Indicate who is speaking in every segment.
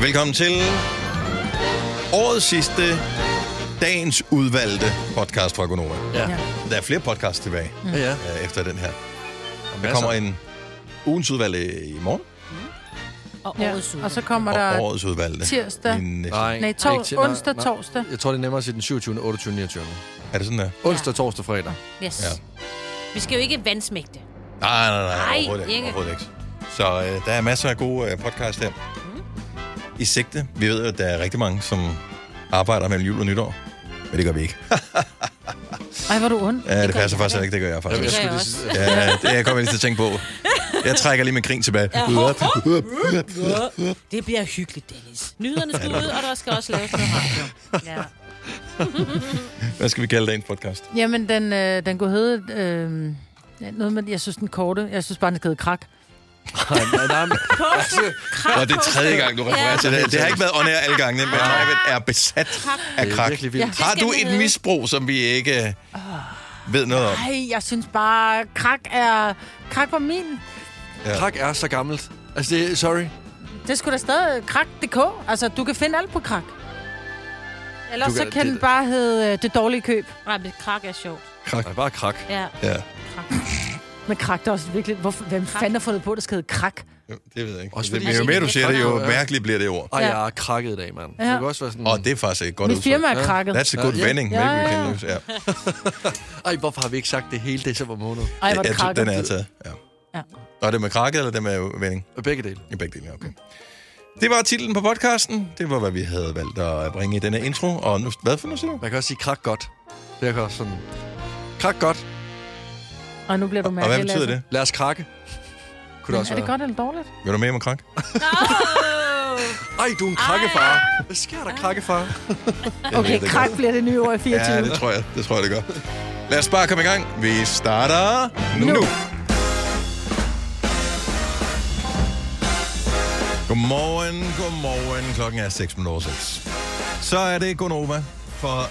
Speaker 1: Velkommen til årets sidste, dagens udvalgte podcast fra Gonova.
Speaker 2: Ja.
Speaker 3: Ja.
Speaker 1: Der er flere podcasts tilbage
Speaker 2: Ja, ja.
Speaker 1: øh, efter den her. Og der
Speaker 2: Masser.
Speaker 1: kommer en ugens udvalgte i morgen,
Speaker 3: Og
Speaker 4: Ja.
Speaker 3: årets uge.
Speaker 4: Og så kommer
Speaker 1: og
Speaker 4: der...
Speaker 1: årets udvalgte øh,
Speaker 4: tirsdag.
Speaker 1: i næste.
Speaker 2: Nej,
Speaker 4: Nej, tors-
Speaker 2: ikke til- nej,
Speaker 4: onsdag,
Speaker 2: nej.
Speaker 4: torsdag.
Speaker 2: Jeg tror, det er nemmere at sige den 27., 28., 29.
Speaker 1: Er det sådan der?
Speaker 2: Onsdag, torsdag, fredag.
Speaker 3: Yes.
Speaker 1: Ja.
Speaker 3: Ja. Vi skal jo ikke vandsmægte.
Speaker 1: Nej, nej, nej,
Speaker 3: Nej,
Speaker 1: nej overhovedet ikke.
Speaker 3: ikke.
Speaker 1: Overhovedet ikke. Så øh, der er masser af gode øh, podcasts her. I sigte. Vi ved, at der er rigtig mange, som arbejder mellem jul og nytår. Men det gør vi ikke.
Speaker 4: Ej, hvor er du ond.
Speaker 1: Ja, det,
Speaker 3: gør
Speaker 1: passer
Speaker 3: jeg
Speaker 1: faktisk
Speaker 3: ikke.
Speaker 1: ikke. Det gør jeg faktisk.
Speaker 3: Det gør jeg
Speaker 2: skulle lige
Speaker 3: også.
Speaker 2: sige-
Speaker 1: Ja, det jeg kommer jeg lige til at tænke på. Jeg trækker lige med grin tilbage.
Speaker 3: Det bliver hyggeligt, Dennis. Nyderne skal ud, og der skal også laves noget radio. Ja.
Speaker 1: Hvad skal vi kalde dagens podcast?
Speaker 4: Jamen, den, øh, den kunne hedde... Øh, ja, noget med, jeg synes, den korte. Jeg synes bare, den skal hedde krak.
Speaker 2: Nej, nej, nej, men- altså,
Speaker 1: Nå, det er tredje gang, du refererer til det. Det har ikke været on air alle gangene, men Majbet er besat af
Speaker 2: Det er
Speaker 1: krak.
Speaker 2: virkelig vildt.
Speaker 1: Har du
Speaker 3: Det skal
Speaker 1: et
Speaker 3: det.
Speaker 1: misbrug, som vi ikke øh,
Speaker 4: Ah.
Speaker 1: ved noget om?
Speaker 4: Ej, jeg synes bare, krak er... Krak var min.
Speaker 2: Krak er så gammelt. Altså, det, er- sorry.
Speaker 4: Det skulle da stadig krak.dk. Altså, du kan finde alt på krak. Ellers
Speaker 2: Du kan-
Speaker 4: så kan
Speaker 2: det-
Speaker 4: den bare hedde øh, Det dårlige køb.
Speaker 3: Nej, men krak er sjovt.
Speaker 2: Nej, bare krak.
Speaker 3: Ja.
Speaker 1: Ja,
Speaker 4: Men krak, det er også virkelig... Hvorfor, hvem fanden har fundet på, at det skal hedde krak?
Speaker 1: jo, det ved jeg ikke.
Speaker 2: Også
Speaker 1: Det-
Speaker 2: fordi-
Speaker 1: Men jo mere du siger det, jo
Speaker 2: Ja.
Speaker 1: mærkeligt bliver det ord.
Speaker 2: Ej,
Speaker 4: Ja.
Speaker 2: jeg er krakket i dag, mand.
Speaker 4: Ja.
Speaker 2: Det kan også være sådan...
Speaker 1: Og det er faktisk et godt
Speaker 4: Mit firma
Speaker 1: udtryk.
Speaker 4: er krakket.
Speaker 1: That's a good
Speaker 2: Ja.
Speaker 1: vending.
Speaker 4: Ja,
Speaker 1: maybe we
Speaker 4: ja,
Speaker 1: can
Speaker 4: ja.
Speaker 1: use. Ja.
Speaker 2: Ej, hvorfor har vi ikke sagt det hele december måned?
Speaker 4: Ej, hvor er
Speaker 1: Ja,
Speaker 4: det
Speaker 1: t-
Speaker 4: krakket.
Speaker 1: Den er taget. Ja.
Speaker 4: Ja.
Speaker 1: Og er det med krakket, eller det med vending?
Speaker 2: Begge dele.
Speaker 1: I begge dele, ja, okay. Det var titlen på podcasten. Det var, hvad vi havde valgt at bringe i denne intro. Og nu, hvad for noget siger du?
Speaker 2: Man kan også sige krak godt. Det er også sådan... Krak godt.
Speaker 4: Og nu bliver du
Speaker 1: Og
Speaker 4: mærkelig. altså.
Speaker 1: hvad betyder det?
Speaker 2: Lad os krakke. Kunne det også
Speaker 4: Er det
Speaker 2: være.
Speaker 4: godt eller dårligt?
Speaker 1: Vil du med med krak?
Speaker 2: Ej, du er en krakkefar. Hvad sker der, krakkefar?
Speaker 4: Okay, krak bliver det nye år i 24.
Speaker 1: Ja, det tror jeg. Det tror jeg, det gør. Lad os bare komme i gang. Vi starter nu. nu.
Speaker 4: Nu.
Speaker 1: Godmorgen, godmorgen. Klokken er 6.06. Så er det Gonova. For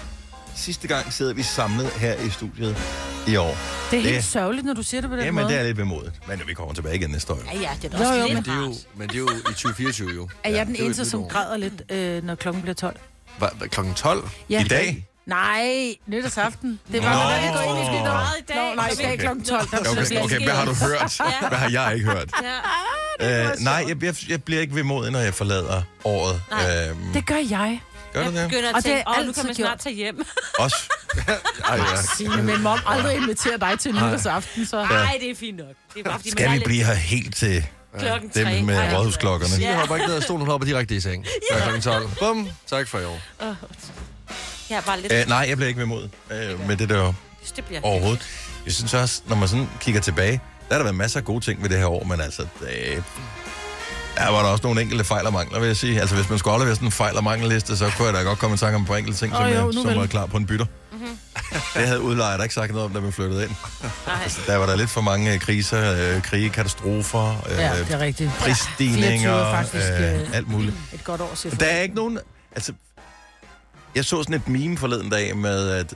Speaker 1: sidste gang sidder vi samlet her i studiet i år.
Speaker 4: Det er helt
Speaker 1: Det-
Speaker 4: sørgeligt, når du siger det på den
Speaker 1: Jamen,
Speaker 4: måde.
Speaker 1: det er lidt vemodigt. Men vi kommer tilbage igen næste år.
Speaker 3: Ja, ja, det er da
Speaker 4: Jo,
Speaker 3: også lidt
Speaker 4: jo, men
Speaker 2: Det er jo,
Speaker 3: rart.
Speaker 2: men det er jo i 2024 jo.
Speaker 4: er jeg den
Speaker 2: det er jo
Speaker 4: eneste,
Speaker 2: et nyt
Speaker 4: som
Speaker 2: år.
Speaker 4: græder lidt, øh, når klokken bliver 12?
Speaker 2: Hva, hva, klokken 12?
Speaker 4: Ja.
Speaker 1: I dag?
Speaker 4: Nej, nytårsaften. Det var,
Speaker 1: Nå.
Speaker 4: når vi går ind i
Speaker 1: Åh.
Speaker 3: Det
Speaker 4: skidtet.
Speaker 3: er meget i dag.
Speaker 4: Nå, nej, i dag
Speaker 1: Okay.
Speaker 4: klokken 12. Der
Speaker 1: Okay,
Speaker 4: okay,
Speaker 1: okay, hvad har du hørt? Hvad har jeg ikke hørt?
Speaker 3: Ja.
Speaker 1: Uh, nej, jeg, jeg, jeg bliver ikke vemodig, når jeg forlader året.
Speaker 3: Nej.
Speaker 1: Uh,
Speaker 4: Det gør jeg.
Speaker 1: gør
Speaker 3: Jeg
Speaker 1: du det?
Speaker 3: begynder
Speaker 4: Og
Speaker 3: at
Speaker 4: det er
Speaker 3: tænke, åh, nu
Speaker 4: altid
Speaker 3: kan man snart
Speaker 4: gjort.
Speaker 3: tage hjem.
Speaker 1: Også?
Speaker 2: Ej, ja.
Speaker 4: Signe, min mor aldrig inviterer dig til nytårsaften, så...
Speaker 3: Nej, det er fint nok. Det er bare, fordi
Speaker 1: Skal
Speaker 3: man
Speaker 1: vi blive her helt til
Speaker 3: blive klokken tre.
Speaker 1: dem med
Speaker 3: Ej,
Speaker 1: rådhusklokkerne?
Speaker 2: Signe hopper ikke ned ad stolen, hun hopper direkte i seng. Ja. Klokken 12. Bum. Tak for i år.
Speaker 3: Jeg er bare lidt...
Speaker 1: Uh, nej, jeg bliver ikke vemodig uh, med det der
Speaker 3: Det bliver
Speaker 1: overhovedet. Jeg synes også, når man sådan kigger tilbage, der har der været masser af gode ting ved det her år, men altså, det, der var der også nogle enkelte fejl og mangler, vil jeg sige. Altså, hvis man skulle aflevere sådan en fejl- og mangelliste, så kunne jeg da godt komme i tanke om på enkelte ting, oh,
Speaker 4: Åh,
Speaker 1: som,
Speaker 4: jo,
Speaker 1: jo,
Speaker 4: nu
Speaker 1: jeg, som
Speaker 4: vel.
Speaker 1: var klar på en bytter. Mm-hmm. Det havde udlejer der ikke sagt noget om, da vi flyttede ind.
Speaker 3: Nej.
Speaker 1: Altså, Der var der lidt for mange øh, kriser, øh, krige, katastrofer, øh,
Speaker 4: Ja, det er rigtigt.
Speaker 1: prisstigninger,
Speaker 4: 24 faktisk,
Speaker 1: øh,
Speaker 4: øh,
Speaker 1: alt muligt.
Speaker 4: Et godt år, siger
Speaker 1: Der er ikke nogen... Altså, jeg så sådan et meme forleden dag med, at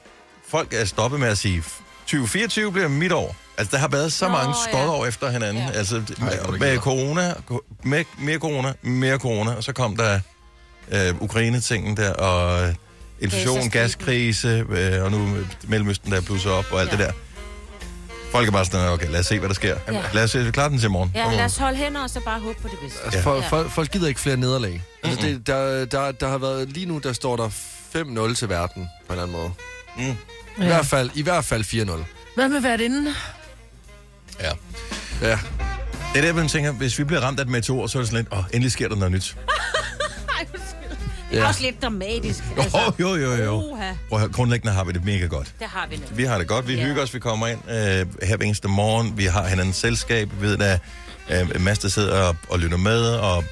Speaker 1: folk er stoppet med at sige, 2024 bliver mit år. Altså, der har været så Nå,
Speaker 3: Nå,
Speaker 1: mange
Speaker 3: ja.
Speaker 1: skodår ja. efter hinanden. Ja.
Speaker 3: Ja.
Speaker 1: Altså,
Speaker 2: hvor er
Speaker 1: med,
Speaker 2: det
Speaker 1: med
Speaker 2: gælder.
Speaker 1: corona, co- med, mere corona, mere corona, og så kom der øh, Ukraine-tingen der, og øh, inflation,
Speaker 3: Gazastriben.
Speaker 1: gaskrise, øh, og nu øh, Mellemøsten, der blusser op, og alt ja.
Speaker 3: Ja.
Speaker 1: det der. Folk er bare sådan, okay, lad os se, hvad der sker. Ja.
Speaker 3: Ja.
Speaker 1: Lad os se, vi klarer den til i morgen.
Speaker 3: Ja, lad os holde hænder, og så bare håbe på det bedste.
Speaker 2: Altså,
Speaker 1: Ja.
Speaker 2: ja. folk,
Speaker 3: Ja.
Speaker 2: folk, folk gider ikke flere nederlag. Altså, det, der, der, der har været... Lige nu, der står der 5-0 til verden, på en eller anden måde.
Speaker 1: Mm.
Speaker 2: I, hvert fald, I hvert fald 4-0.
Speaker 4: Hvad med værtinden?
Speaker 1: Ja.
Speaker 2: Ja.
Speaker 1: Det er der, man tænker, hvis vi bliver ramt af et meteor, så er det sådan lidt, åh, endelig sker der noget nyt.
Speaker 3: Ej, undskyld. Det
Speaker 2: Ja.
Speaker 3: er også lidt dramatisk. altså.
Speaker 1: Jo, jo, jo, jo.
Speaker 3: Uha,
Speaker 1: Prøv at høre, grundlæggende har vi det mega godt.
Speaker 3: det har vi nu.
Speaker 1: Vi har det godt, vi
Speaker 3: Ja.
Speaker 1: hygger os, vi kommer ind øh, her hver eneste morgen, vi har hinandens selskab, vi ved, der er øh, en masse, der sidder og, og lytter med, og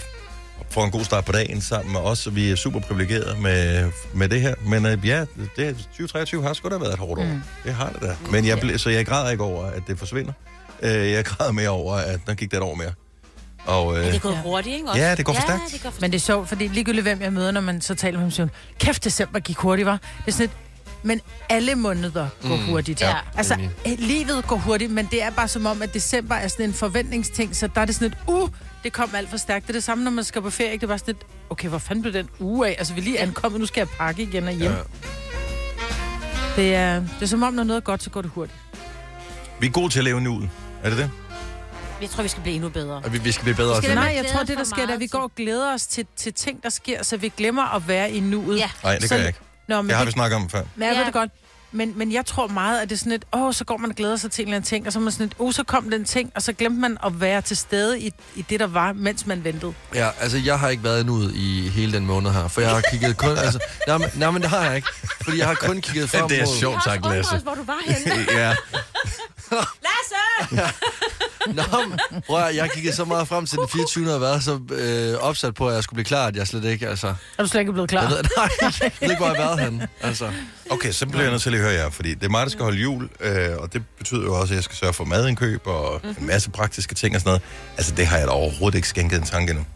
Speaker 1: får en god start på dagen sammen med os, så vi er super privilegerede med, med det her. Men øh, ja, det, 2023 har sgu da været et hårdt år. Mm. Det har det da. Men jeg, ble- så jeg græder ikke over, at det forsvinder. Øh, jeg græder mere over, at der gik det et år mere. Og, øh,
Speaker 3: Det går hurtigt, ikke?
Speaker 1: Ja, det går for stærkt.
Speaker 3: Ja, det går for
Speaker 4: Men det er sjovt, fordi ligegyldigt hvem jeg møder, når man så taler med ham, siger hun, kæft december gik hurtigt, var. Det er sådan et, Men alle måneder går
Speaker 2: Mm,
Speaker 4: mm, hurtigt.
Speaker 2: ja,
Speaker 4: altså,
Speaker 2: enig.
Speaker 4: øh, livet går hurtigt, men det er bare som om, at december er sådan en forventningsting, så der er det sådan et, uh, det kom alt for stærkt. Det er det samme, når man skal på ferie, ikke? det er bare sådan et, okay, hvor fanden blev den uge af? Altså, vi er lige ankommet, nu skal jeg pakke igen og hjem.
Speaker 2: Ja.
Speaker 4: Ja. Det, er, det er som om, når noget er godt, så går det hurtigt.
Speaker 1: Vi er gode til at leve nuet. Er det det?
Speaker 3: Jeg tror, vi skal blive endnu bedre.
Speaker 2: Og vi, vi skal blive bedre
Speaker 3: Vi
Speaker 2: til
Speaker 3: skal
Speaker 2: det.
Speaker 4: Nej,
Speaker 3: man
Speaker 4: jeg
Speaker 3: glæder
Speaker 4: tror, det
Speaker 3: for
Speaker 4: der sker, det er,
Speaker 3: meget
Speaker 4: at vi
Speaker 3: til.
Speaker 4: går og glæder os til, til ting, der sker, så vi glemmer at være i nuet.
Speaker 3: Ja.
Speaker 1: Nej, det gør
Speaker 4: Sådan-
Speaker 1: jeg ikke.
Speaker 4: Nå, men
Speaker 1: Det har vi
Speaker 4: det,
Speaker 1: snakket om før.
Speaker 4: men jeg ved
Speaker 3: Ja.
Speaker 4: det godt. Men, men jeg tror meget, at det er sådan et, åh, så går man og glæder sig til en eller anden ting, og så er man sådan et, åh, så kom den ting, og så glemte man at være til stede i, i det, der var, mens man ventede.
Speaker 2: Ja, altså jeg har ikke været endnu ud i hele den måned her, for jeg har kigget kun... altså, nej, men, nej, men det har jeg ikke, fordi jeg har kun kigget frem
Speaker 1: Det er
Speaker 2: mod-
Speaker 3: Vi
Speaker 1: sjovt,
Speaker 3: har
Speaker 1: tak,
Speaker 3: også undret
Speaker 1: Lasse.
Speaker 3: os, hvor du var henne.
Speaker 1: ja.
Speaker 3: Lasse!
Speaker 2: Nå, men, prøv at, høre, jeg har kigget så meget frem til den 24. og været så øh, opsat på, at jeg skulle blive klar, at jeg slet ikke, altså...
Speaker 4: Er du slet ikke blevet klar?
Speaker 2: Jeg ved, nej, jeg ved ikke, hvor jeg har været henne, altså.
Speaker 1: Okay, så bliver jeg nødt til at lige høre jer, fordi det er mig, der skal holde jul, øh, og det betyder jo også, at jeg skal sørge for madindkøb og en masse praktiske ting og sådan noget. Altså, det har jeg da overhovedet ikke skænket en tanke endnu.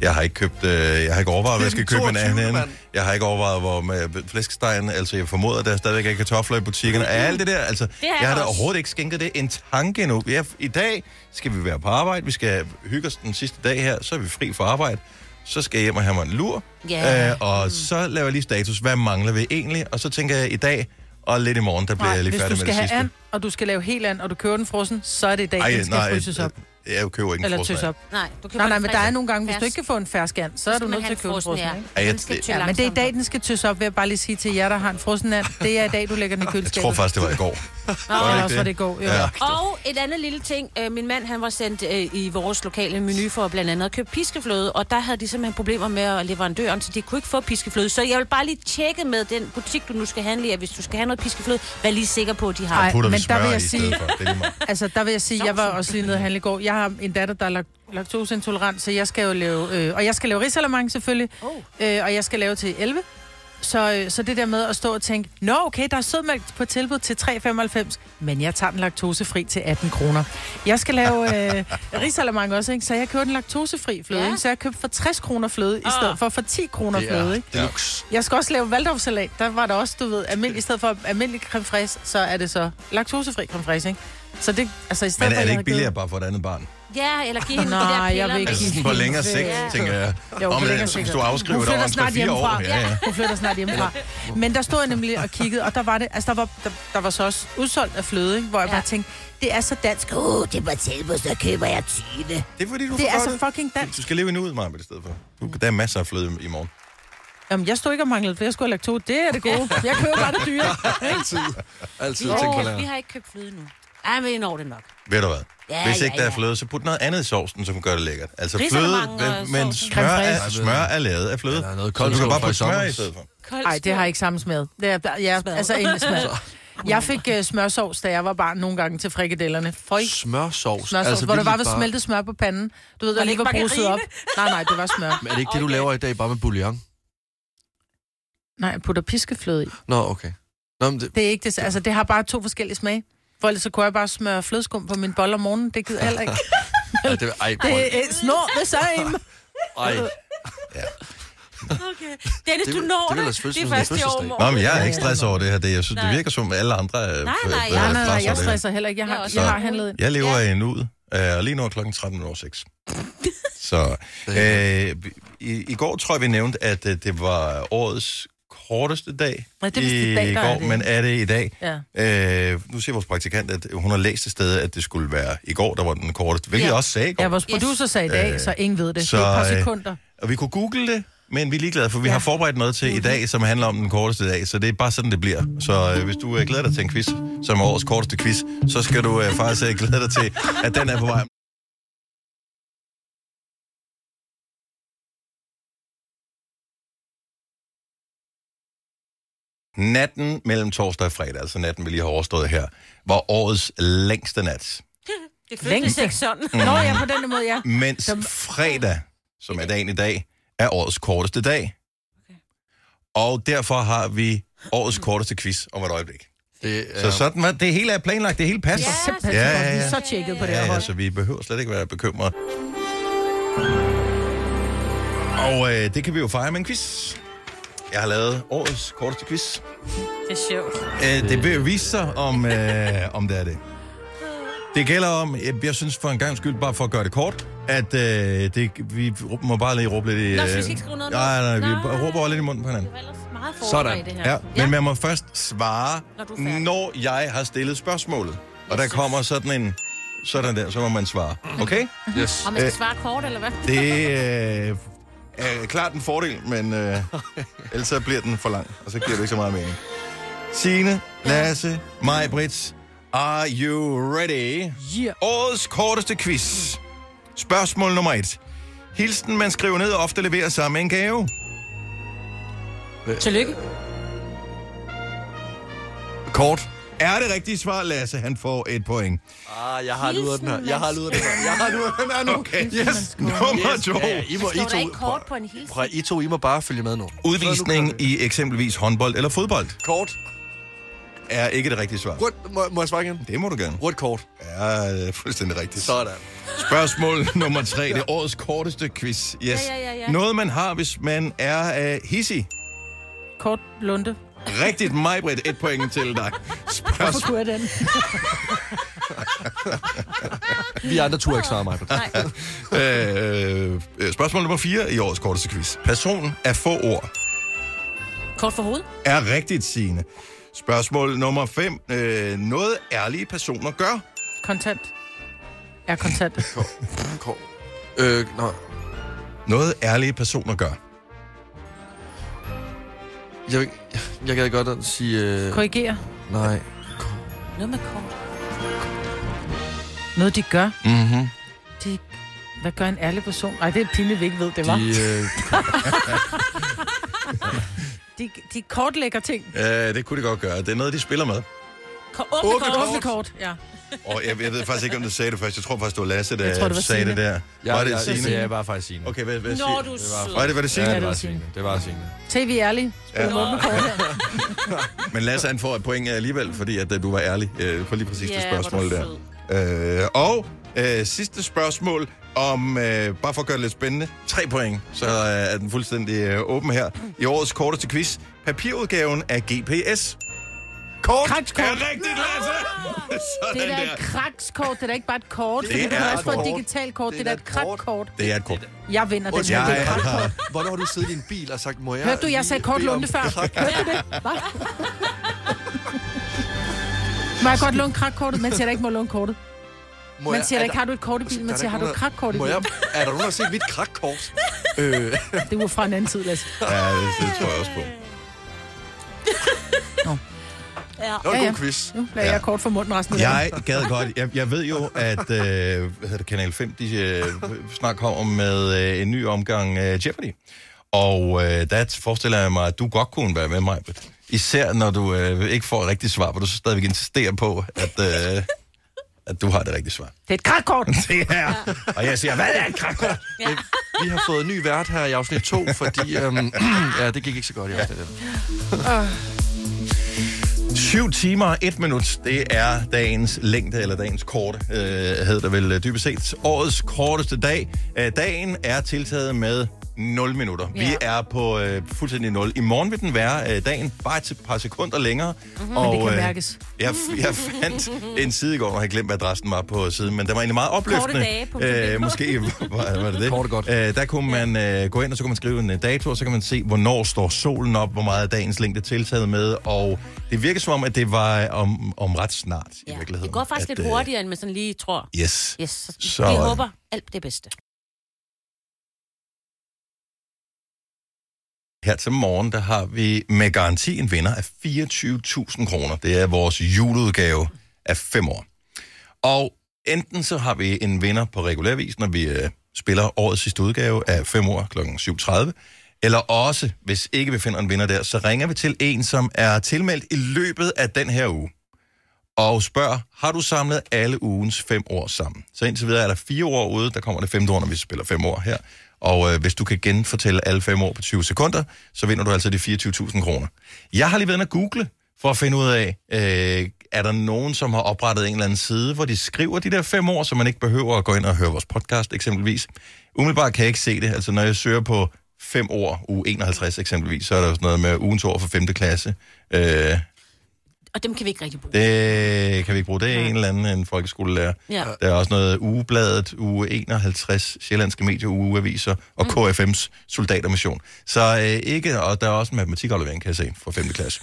Speaker 1: Jeg har ikke købt, øh, jeg har ikke overvejet, hvad jeg
Speaker 2: Det er
Speaker 1: skal
Speaker 2: den
Speaker 1: købe en
Speaker 2: 22.,
Speaker 1: anden.
Speaker 2: mand.
Speaker 1: Jeg har ikke overvejet, hvor med flæskestegen, altså jeg formoder, der stadigvæk er kartofler i butikkerne. Alt det der, altså,
Speaker 3: er
Speaker 1: jeg har da
Speaker 3: også.
Speaker 1: overhovedet ikke skænket det en tanke endnu. Ja, I dag skal vi være på arbejde, vi skal hygge os den sidste dag her, så er vi fri for arbejde. Så skal jeg hjem og have mig en lur,
Speaker 3: Ja.
Speaker 1: øh, og mm. så laver jeg lige status, hvad mangler vi egentlig? Og så tænker jeg i dag, og lidt i morgen, der bliver jeg lige
Speaker 4: hvis du
Speaker 1: færdig med
Speaker 4: skal
Speaker 1: det
Speaker 4: have
Speaker 1: sidste.
Speaker 4: and, og du skal lave helt and, og du kører den frossen, så er det i dag, den skal fryses op.
Speaker 1: øh, Jeg køber ikke en
Speaker 4: Eller
Speaker 1: frossen
Speaker 4: tøs
Speaker 1: and.
Speaker 4: op.
Speaker 3: Nej, du kan
Speaker 4: Nej, nej, men der er nogle gange, hvis du ikke kan få en fersk and, så er du nødt til at købe en frossen and.
Speaker 1: Ja, jeg-
Speaker 4: Ja, men det er i dag, den skal tøs op, vil jeg bare lige sige til jer, der har en frossen and. Det er i dag, du lægger den i
Speaker 1: Jeg
Speaker 4: køleskabet.
Speaker 1: tror faktisk, det var i går.
Speaker 4: Ja,
Speaker 1: Var
Speaker 4: eller
Speaker 1: ikke
Speaker 4: også var det i går. Jo.
Speaker 1: Ja.
Speaker 4: Ja.
Speaker 3: Og et andet lille ting. Øh, Min mand, han var sendt øh, i vores lokale menu for blandt andet at købe piskefløde, og der havde de simpelthen problemer med øh, leverandøren, så de kunne ikke få piskefløde. Så jeg vil bare lige tjekke med den butik, du nu skal handle i, at hvis du skal have noget piskefløde, vær lige sikker på, at de har.
Speaker 4: Ej,
Speaker 3: det.
Speaker 1: Så putter vi
Speaker 4: men der vil
Speaker 1: smør
Speaker 4: jeg
Speaker 1: i
Speaker 4: sige-
Speaker 1: stedet for. Det er lige meget.
Speaker 4: Altså, der vil jeg sige, jeg var også lige nede og handle i går. Jeg har en datter, der er lak- laktoseintolerant, så jeg skal jo lave... Øh, og jeg skal lave risalamande selvfølgelig,
Speaker 3: Oh.
Speaker 4: øh, og jeg skal lave til 11. Så, øh, så det der med at stå og tænke, nå okay, der er sødmælk på tilbud til 3,95, men jeg tager den laktosefri til 18 kroner. Jeg skal lave øh, risalamande også, ikke? så jeg køber den laktosefri fløde,
Speaker 3: Ja.
Speaker 4: ja. ikke? så jeg købte for 60 kroner fløde, i
Speaker 3: Ah.
Speaker 4: stedet for for 10 kroner
Speaker 2: Det
Speaker 4: fløde.
Speaker 2: er
Speaker 4: Ikke?
Speaker 2: deluxe.
Speaker 4: Jeg skal også lave valdorfsalat. Der var der også, du ved, almindelig, i stedet for almindelig creme fraise, så er det så laktosefri creme fraise, ikke? Så det, altså i stedet
Speaker 1: Men er det
Speaker 4: for, at jeg
Speaker 1: ikke
Speaker 4: havde
Speaker 1: billigere bare for et andet barn?
Speaker 3: Ja, eller give hende
Speaker 4: Nej,
Speaker 3: de der
Speaker 4: jeg
Speaker 3: piller.
Speaker 4: vil ikke
Speaker 1: Altså
Speaker 3: med-
Speaker 1: sådan på længere sigt,
Speaker 3: Ja.
Speaker 1: tænker jeg.
Speaker 4: Jo, på
Speaker 1: Om,
Speaker 4: længere
Speaker 1: øh,
Speaker 4: sigt.
Speaker 1: hvis du afskriver
Speaker 4: Hun
Speaker 1: det over
Speaker 4: flytter
Speaker 1: en
Speaker 4: snart
Speaker 1: 3-4 år.
Speaker 4: hjemmefra.
Speaker 1: Ja, ja.
Speaker 4: Hun flytter snart hjemmefra. Men der stod jeg nemlig og kiggede, og der var det, altså der var, der, der var så også udsolgt af fløde, ikke? hvor jeg
Speaker 3: Ja.
Speaker 4: bare tænkte, det er så dansk. Uh, det var tilbud, så køber jeg 20. Det
Speaker 1: Det er fordi, du
Speaker 4: er
Speaker 1: får
Speaker 4: så fucking dansk.
Speaker 1: Du skal leve i nuet, Maja, i stedet for. Du, der er masser af fløde i morgen.
Speaker 4: Jamen, jeg stod ikke og manglede, for jeg skulle have lakto. Det er det gode. Jeg køber bare det dyre.
Speaker 2: Altid. Altid
Speaker 3: Vi, har
Speaker 2: tænk på
Speaker 3: ikke købt, vi
Speaker 2: det.
Speaker 3: har ikke købt fløde nu. Ej, men I når det nok.
Speaker 1: Ved du hvad?
Speaker 3: Ja,
Speaker 1: Hvis
Speaker 3: ja,
Speaker 1: ikke der er
Speaker 3: ja.
Speaker 1: fløde, så put noget andet i sovsen, som gør det lækkert. Altså fløde,
Speaker 3: Risalamande og
Speaker 1: men, men
Speaker 3: sovsen.
Speaker 1: smør, er,
Speaker 4: Creme
Speaker 1: smør er lavet af fløde.
Speaker 2: Ja, der er noget
Speaker 1: så du kan
Speaker 2: koldskål
Speaker 1: bare
Speaker 2: fra i
Speaker 1: putte smør i
Speaker 2: sommer.
Speaker 1: stedet for.
Speaker 3: Kold
Speaker 4: Nej, det har ikke samme smad. Det er, ja,
Speaker 3: Smad.
Speaker 4: altså en smad. Jeg fik uh, smørsovs, da jeg var barn nogle gange til frikadellerne. Føj.
Speaker 2: Smørsovs.
Speaker 4: Smørsovs, altså, hvor der
Speaker 2: virkelig
Speaker 4: bare var smeltet smør på panden. Du ved, der
Speaker 3: det
Speaker 4: lige var
Speaker 3: ikke
Speaker 4: bruset op.
Speaker 3: margarine?
Speaker 4: Nej, nej, det var smør.
Speaker 2: Men er det ikke det, du
Speaker 3: Okay.
Speaker 2: laver i dag, bare med bouillon?
Speaker 4: Nej, jeg putter piskefløde i.
Speaker 2: Nå, okay. Nå, men det,
Speaker 4: Det er ikke det. Altså, det har bare to forskellige smage. For ellers så kunne jeg bare smøre flødeskum på min bolle om morgenen. Det gider jeg heller ikke.
Speaker 2: ja, det, ej, prøv,
Speaker 4: Det er snor the same.
Speaker 2: ej,
Speaker 3: Okay. Dennis,
Speaker 2: Det
Speaker 3: du
Speaker 2: vil-
Speaker 3: når
Speaker 2: det vil altså
Speaker 3: det. Det
Speaker 2: fødselsdag-
Speaker 3: er først i
Speaker 2: fødselsdag.
Speaker 3: overmorgen.
Speaker 1: Nå, men jeg er
Speaker 4: Ja,
Speaker 1: ikke
Speaker 4: ja.
Speaker 1: stress over det her. Det, jeg synes, det
Speaker 3: Nej.
Speaker 1: virker som alle andre øh, øh,
Speaker 3: nej,
Speaker 1: øh,
Speaker 3: nej,
Speaker 4: Nej, nej,
Speaker 1: presser
Speaker 4: nej, jeg
Speaker 1: det her.
Speaker 4: stresser heller ikke. Jeg har,
Speaker 3: Så-
Speaker 4: jeg har handlet...
Speaker 1: Jeg lever i nuet, øh, og lige nu er klokken 13.06. Så øh, i, i går tror jeg, vi nævnte, at øh, det var årets korteste dag
Speaker 4: Ja, det er vist i dag,
Speaker 1: i
Speaker 4: der
Speaker 1: går,
Speaker 4: er det.
Speaker 1: men er det i dag?
Speaker 4: Ja.
Speaker 1: Øh, nu siger vores praktikant, at hun har læst et sted, at det skulle være i går, der var den korteste, hvilket
Speaker 3: Ja.
Speaker 1: ja. jeg også sagde i går. Øh,
Speaker 4: Ja, vores producer sagde i dag, så ingen ved det. Det
Speaker 1: så,
Speaker 4: er et par
Speaker 1: øh,
Speaker 4: sekunder.
Speaker 1: Og vi kunne google det, men vi er ligeglade, for vi ja.
Speaker 4: Ja.
Speaker 1: har forberedt noget til i dag, som handler om den korteste dag, så det er bare sådan, det bliver. Så øh, hvis du øh, glæder dig til en quiz, som er årets korteste quiz, så skal du øh, faktisk øh, glæde dig til, at den er på vej. Natten mellem torsdag og fredag, altså natten, vi lige har overstået her, var årets længste nat.
Speaker 3: Det føltes
Speaker 4: Længste.
Speaker 3: ikke sådan.
Speaker 4: Nå, ja, på den måde, ja.
Speaker 1: Mens
Speaker 4: Som-
Speaker 1: fredag, som er dagen i dag, er årets korteste dag. Og derfor har vi årets korteste quiz om et øjeblik.
Speaker 2: det,
Speaker 1: Så sådan var det hele er planlagt, det hele passer.
Speaker 4: Altså, Simpelthen,
Speaker 1: Ja,
Speaker 4: ja,
Speaker 1: ja,
Speaker 4: ja,
Speaker 1: ja.
Speaker 4: Vi er så tjekket på det her
Speaker 1: Ja, ja,
Speaker 4: hold.
Speaker 1: så vi behøver slet ikke være bekymrede. Og øh, det kan vi jo fejre med en quiz. Jeg har lavet årets korteste quiz.
Speaker 3: Det er sjovt.
Speaker 1: Øh, det vil vise sig, om, øh, om det er det. Det gælder om, jeg, jeg synes for en gang skyld, bare for at gøre det kort, at øh, det, vi må bare lige råbe lidt i... øh,
Speaker 3: Nå, så vi skal ikke skrive noget
Speaker 1: Nej, nej,
Speaker 3: ned?
Speaker 1: vi
Speaker 3: Nej.
Speaker 1: råber over lidt i munden på
Speaker 3: Det
Speaker 1: hinanden.
Speaker 3: var ellers meget
Speaker 2: Sådan.
Speaker 3: forberedt, i det her.
Speaker 1: Ja, men man må først svare,
Speaker 3: Når du er
Speaker 1: når,
Speaker 3: færdig.
Speaker 1: når jeg har stillet spørgsmålet. Og der
Speaker 3: Yes. Mm.
Speaker 1: kommer sådan en... Sådan der, så må man svare. Okay?
Speaker 2: Yes.
Speaker 3: Og man skal
Speaker 1: Øh.
Speaker 3: svare kort, eller hvad?
Speaker 1: Det øh, er klart en fordel, men øh, ellers så bliver den for lang, og så giver det ikke så meget mening. Signe, Lasse, mig, Brits, are you ready?
Speaker 4: Yeah.
Speaker 1: Årets korteste quiz. Spørgsmål nummer et. Hilsen, man skriver ned, ofte leverer sammen med en gave.
Speaker 3: Tillykke.
Speaker 2: Kort.
Speaker 1: Er det rigtige svar, Lasse? Han får et point.
Speaker 2: Ah, jeg har
Speaker 3: Hilsen,
Speaker 2: luret den her. Jeg har
Speaker 3: Mads.
Speaker 2: luret den her. Jeg har luret den her nu.
Speaker 1: Okay,
Speaker 4: Hilsen, man
Speaker 1: yes.
Speaker 4: skriver
Speaker 1: Nummer to.
Speaker 2: Ja, I må, I
Speaker 3: Står der
Speaker 2: to,
Speaker 3: ikke kort
Speaker 2: prøv,
Speaker 3: på en hilsen?
Speaker 2: prøv, I to, I må bare følge med nu.
Speaker 1: Udvisning i eksempelvis håndbold eller fodbold
Speaker 2: Kort.
Speaker 1: er ikke det rigtige svar.
Speaker 2: Rødt. Må, må jeg svare igen?
Speaker 1: Det må du gerne.
Speaker 2: Rødt kort.
Speaker 1: Ja, det er fuldstændig rigtigt.
Speaker 2: Sådan.
Speaker 1: Spørgsmål nummer tre. Det er årets korteste quiz. Yes.
Speaker 3: Ja, ja, ja, ja.
Speaker 1: Noget, man har, hvis man er uh, hissig.
Speaker 4: Kort lunde.
Speaker 1: Rigtigt, Majbrit. Et point til dig.
Speaker 4: Hvorfor
Speaker 1: Spørgsmål.
Speaker 4: kunne jeg den?
Speaker 2: Vi andre turde ikke svare mig på det.
Speaker 3: Nej,
Speaker 1: Øh, øh, spørgsmål nummer 4 i årets korteste quiz. Person af få ord
Speaker 3: kort for hovedet.
Speaker 1: er rigtigt, sigende. Spørgsmål nummer 5. Øh, noget ærlige personer gør.
Speaker 4: Kontant. Er kontant.
Speaker 2: Kort. Øh, nå.
Speaker 1: Noget ærlige personer gør.
Speaker 2: Jeg, jeg gad godt at sige... Øh,
Speaker 4: Korrigere.
Speaker 2: nej.
Speaker 3: Noget med kort.
Speaker 4: Noget, de gør.
Speaker 1: Mm-hmm.
Speaker 4: De... Hvad gør en ærlig person? Ej, det er pinligt, vi ikke ved, det var.
Speaker 2: De,
Speaker 4: De,
Speaker 2: øh,
Speaker 4: de, de kortlægger ting.
Speaker 1: Øh, det kunne det godt gøre. Det er noget, de spiller med.
Speaker 3: Ko- åbne,
Speaker 1: Åbne
Speaker 3: kort.
Speaker 4: Offentlig kort, ja.
Speaker 1: Og jeg, jeg ved faktisk ikke, om du sagde det først. Jeg tror faktisk, det var Lasse, der
Speaker 4: Jeg tror, det var
Speaker 1: sagde det
Speaker 4: Signe.
Speaker 1: der.
Speaker 2: jeg,
Speaker 1: var det
Speaker 2: jeg,
Speaker 1: Signe?
Speaker 2: Ja, jeg var faktisk Signe.
Speaker 1: Okay, hvad, hvad
Speaker 3: Når
Speaker 1: siger
Speaker 3: du
Speaker 2: Det var-
Speaker 3: sød.
Speaker 1: Var det, var det Signe?
Speaker 2: Ja,
Speaker 4: det
Speaker 2: det var
Speaker 4: var
Speaker 2: Signe. Det var Signe.
Speaker 4: TV ærlig. Spil
Speaker 1: Ja.
Speaker 4: ja. åbne kort.
Speaker 1: Men Lasse, han får et point alligevel, fordi at, øh, du var ærlig øh, på lige præcis
Speaker 3: Ja,
Speaker 1: det
Speaker 3: hvor er du
Speaker 1: spørgsmål der.
Speaker 3: sød.
Speaker 1: Øh, og øh, sidste spørgsmål om, øh, bare for at gøre det lidt spændende, tre point, så øh, er den fuldstændig øh, åben her. I årets korteste quiz, papirudgaven af GPS. Kort
Speaker 4: Kranskort.
Speaker 1: er rigtigt, Lasse!
Speaker 4: Det er
Speaker 1: Sådan
Speaker 4: da et
Speaker 1: der.
Speaker 4: krakskort, det er da ikke bare et kort.
Speaker 1: Det
Speaker 4: Det er,
Speaker 1: er
Speaker 4: kan også
Speaker 1: et
Speaker 4: få et
Speaker 1: kort.
Speaker 4: digitalt kort,
Speaker 2: Det
Speaker 4: det,
Speaker 2: er
Speaker 4: er
Speaker 2: da
Speaker 4: da
Speaker 2: et
Speaker 4: et krakkort.
Speaker 1: Det er et kort.
Speaker 4: Jeg vinder den.
Speaker 2: Undskyld,
Speaker 4: her.
Speaker 2: det
Speaker 1: Jeg
Speaker 2: er
Speaker 1: har-
Speaker 2: krakkort. Hvornår har du siddet i en bil og sagt, må jeg...
Speaker 4: Hørte du, jeg
Speaker 2: lige
Speaker 4: sagde kort
Speaker 2: bede om
Speaker 4: lunde før?
Speaker 2: krak?
Speaker 4: Hørte du det? Hva? Må jeg godt låne krakkortet? Man siger, der ikke må låne kortet.
Speaker 2: Må
Speaker 4: Man
Speaker 2: jeg-
Speaker 4: siger, der
Speaker 2: er
Speaker 4: ikke har du et kort i bilen.
Speaker 2: der
Speaker 4: Man
Speaker 2: er
Speaker 4: siger, har
Speaker 2: ikke
Speaker 4: du et
Speaker 2: nogen, der-
Speaker 4: krakkort i
Speaker 2: Må jeg...
Speaker 4: bilen?
Speaker 2: Er der nogen, der har set mit krakkort? øh,
Speaker 4: Det var fra en anden tid, Lasse.
Speaker 1: Ja, det, det tror jeg også på.
Speaker 3: Ja.
Speaker 2: det var en
Speaker 4: Ja,
Speaker 2: god
Speaker 4: ja.
Speaker 2: quiz.
Speaker 4: Nu lader
Speaker 1: Ja.
Speaker 4: jeg kort for munden resten af dagen.
Speaker 1: Jeg gad godt. Jeg, jeg ved jo, at øh, hvad hedder det, Kanal 5 de, øh, snart kommer med øh, en ny omgang øh, Jeopardy. Og øh, der forestiller jeg mig, at du godt kunne være med mig. Især når du øh, ikke får et rigtigt svar, hvor du så stadigvæk insisterer på, at, øh, at du har det rigtige svar.
Speaker 4: Det er et krakkort.
Speaker 1: Det er. Og jeg siger, hvad er et krakkort?
Speaker 2: Vi har fået en ny vært her i afsnit 2, fordi... Øhm, ja, det gik ikke så godt i afsnit 1.
Speaker 1: 7 timer og 1 minut, det er dagens længde, eller dagens korte, øh, hedder det vel øh, dybest set. Årets korteste dag. Øh, dagen er tiltaget med 0 minutter.
Speaker 3: Ja.
Speaker 1: Vi er på øh, fuldstændig 0. I morgen vil den være øh, dagen bare et par sekunder længere. Mm-hmm. Og,
Speaker 4: Mhm. Men det kan
Speaker 1: øh,
Speaker 4: mærkes.
Speaker 1: Jeg, f- jeg fandt en side i går, og jeg har glemt, hvad adressen var på siden, men den var egentlig meget opløftende.
Speaker 3: dage punktum dk.
Speaker 1: øh, måske var, var det det.
Speaker 2: Kort og godt.
Speaker 1: Øh, der kunne man øh, gå ind, og så kunne man skrive en øh, dato, og så kan man se, hvornår står solen op, hvor meget er dagens længde tiltaget med, og det virker som om, at det var øh, om, om ret snart i
Speaker 3: Ja.
Speaker 1: virkeligheden.
Speaker 3: Det går faktisk
Speaker 1: at,
Speaker 3: lidt hurtigere, end man sådan lige tror.
Speaker 1: Øh, yes.
Speaker 3: Yes, så
Speaker 1: Så-
Speaker 3: vi håber alt det bedste.
Speaker 1: Her til morgen, der har vi med garanti en vinder af 24.000 kroner. Det er vores juleudgave af fem år. Og enten så har vi en vinder på regulærvis, når vi øh, spiller årets sidste udgave af 5 år kl. 7.30. Eller også, hvis ikke vi finder en vinder der, så ringer vi til en, som er tilmeldt i løbet af den her uge. Og spørger, har du samlet alle ugens fem år sammen? Så indtil videre er der fire år ude, der kommer det femte år, når vi spiller fem år her. Og øh, hvis du kan genfortælle alle fem år på 20 sekunder, så vinder du altså de 24.000 kroner. Jeg har lige været inde og google for at finde ud af, øh, er der nogen, som har oprettet en eller anden side, hvor de skriver de der fem år, så man ikke behøver at gå ind og høre vores podcast eksempelvis. Umiddelbart kan jeg ikke se det. Altså når jeg søger på fem ord, uge 51 eksempelvis, så er der jo sådan noget med ugens ord for 5. klasse. Øh,
Speaker 3: Og dem kan vi ikke rigtig bruge.
Speaker 1: det kan vi ikke bruge. Det er en eller anden en folkeskolelærer.
Speaker 3: Ja.
Speaker 1: Der er også noget ugebladet, uge 51, Sjællandske Medier, ugeaviser og KFM's Soldatermission. Så øh, ikke, og der er også en matematikaflevering, kan jeg se, fra 5. klasse.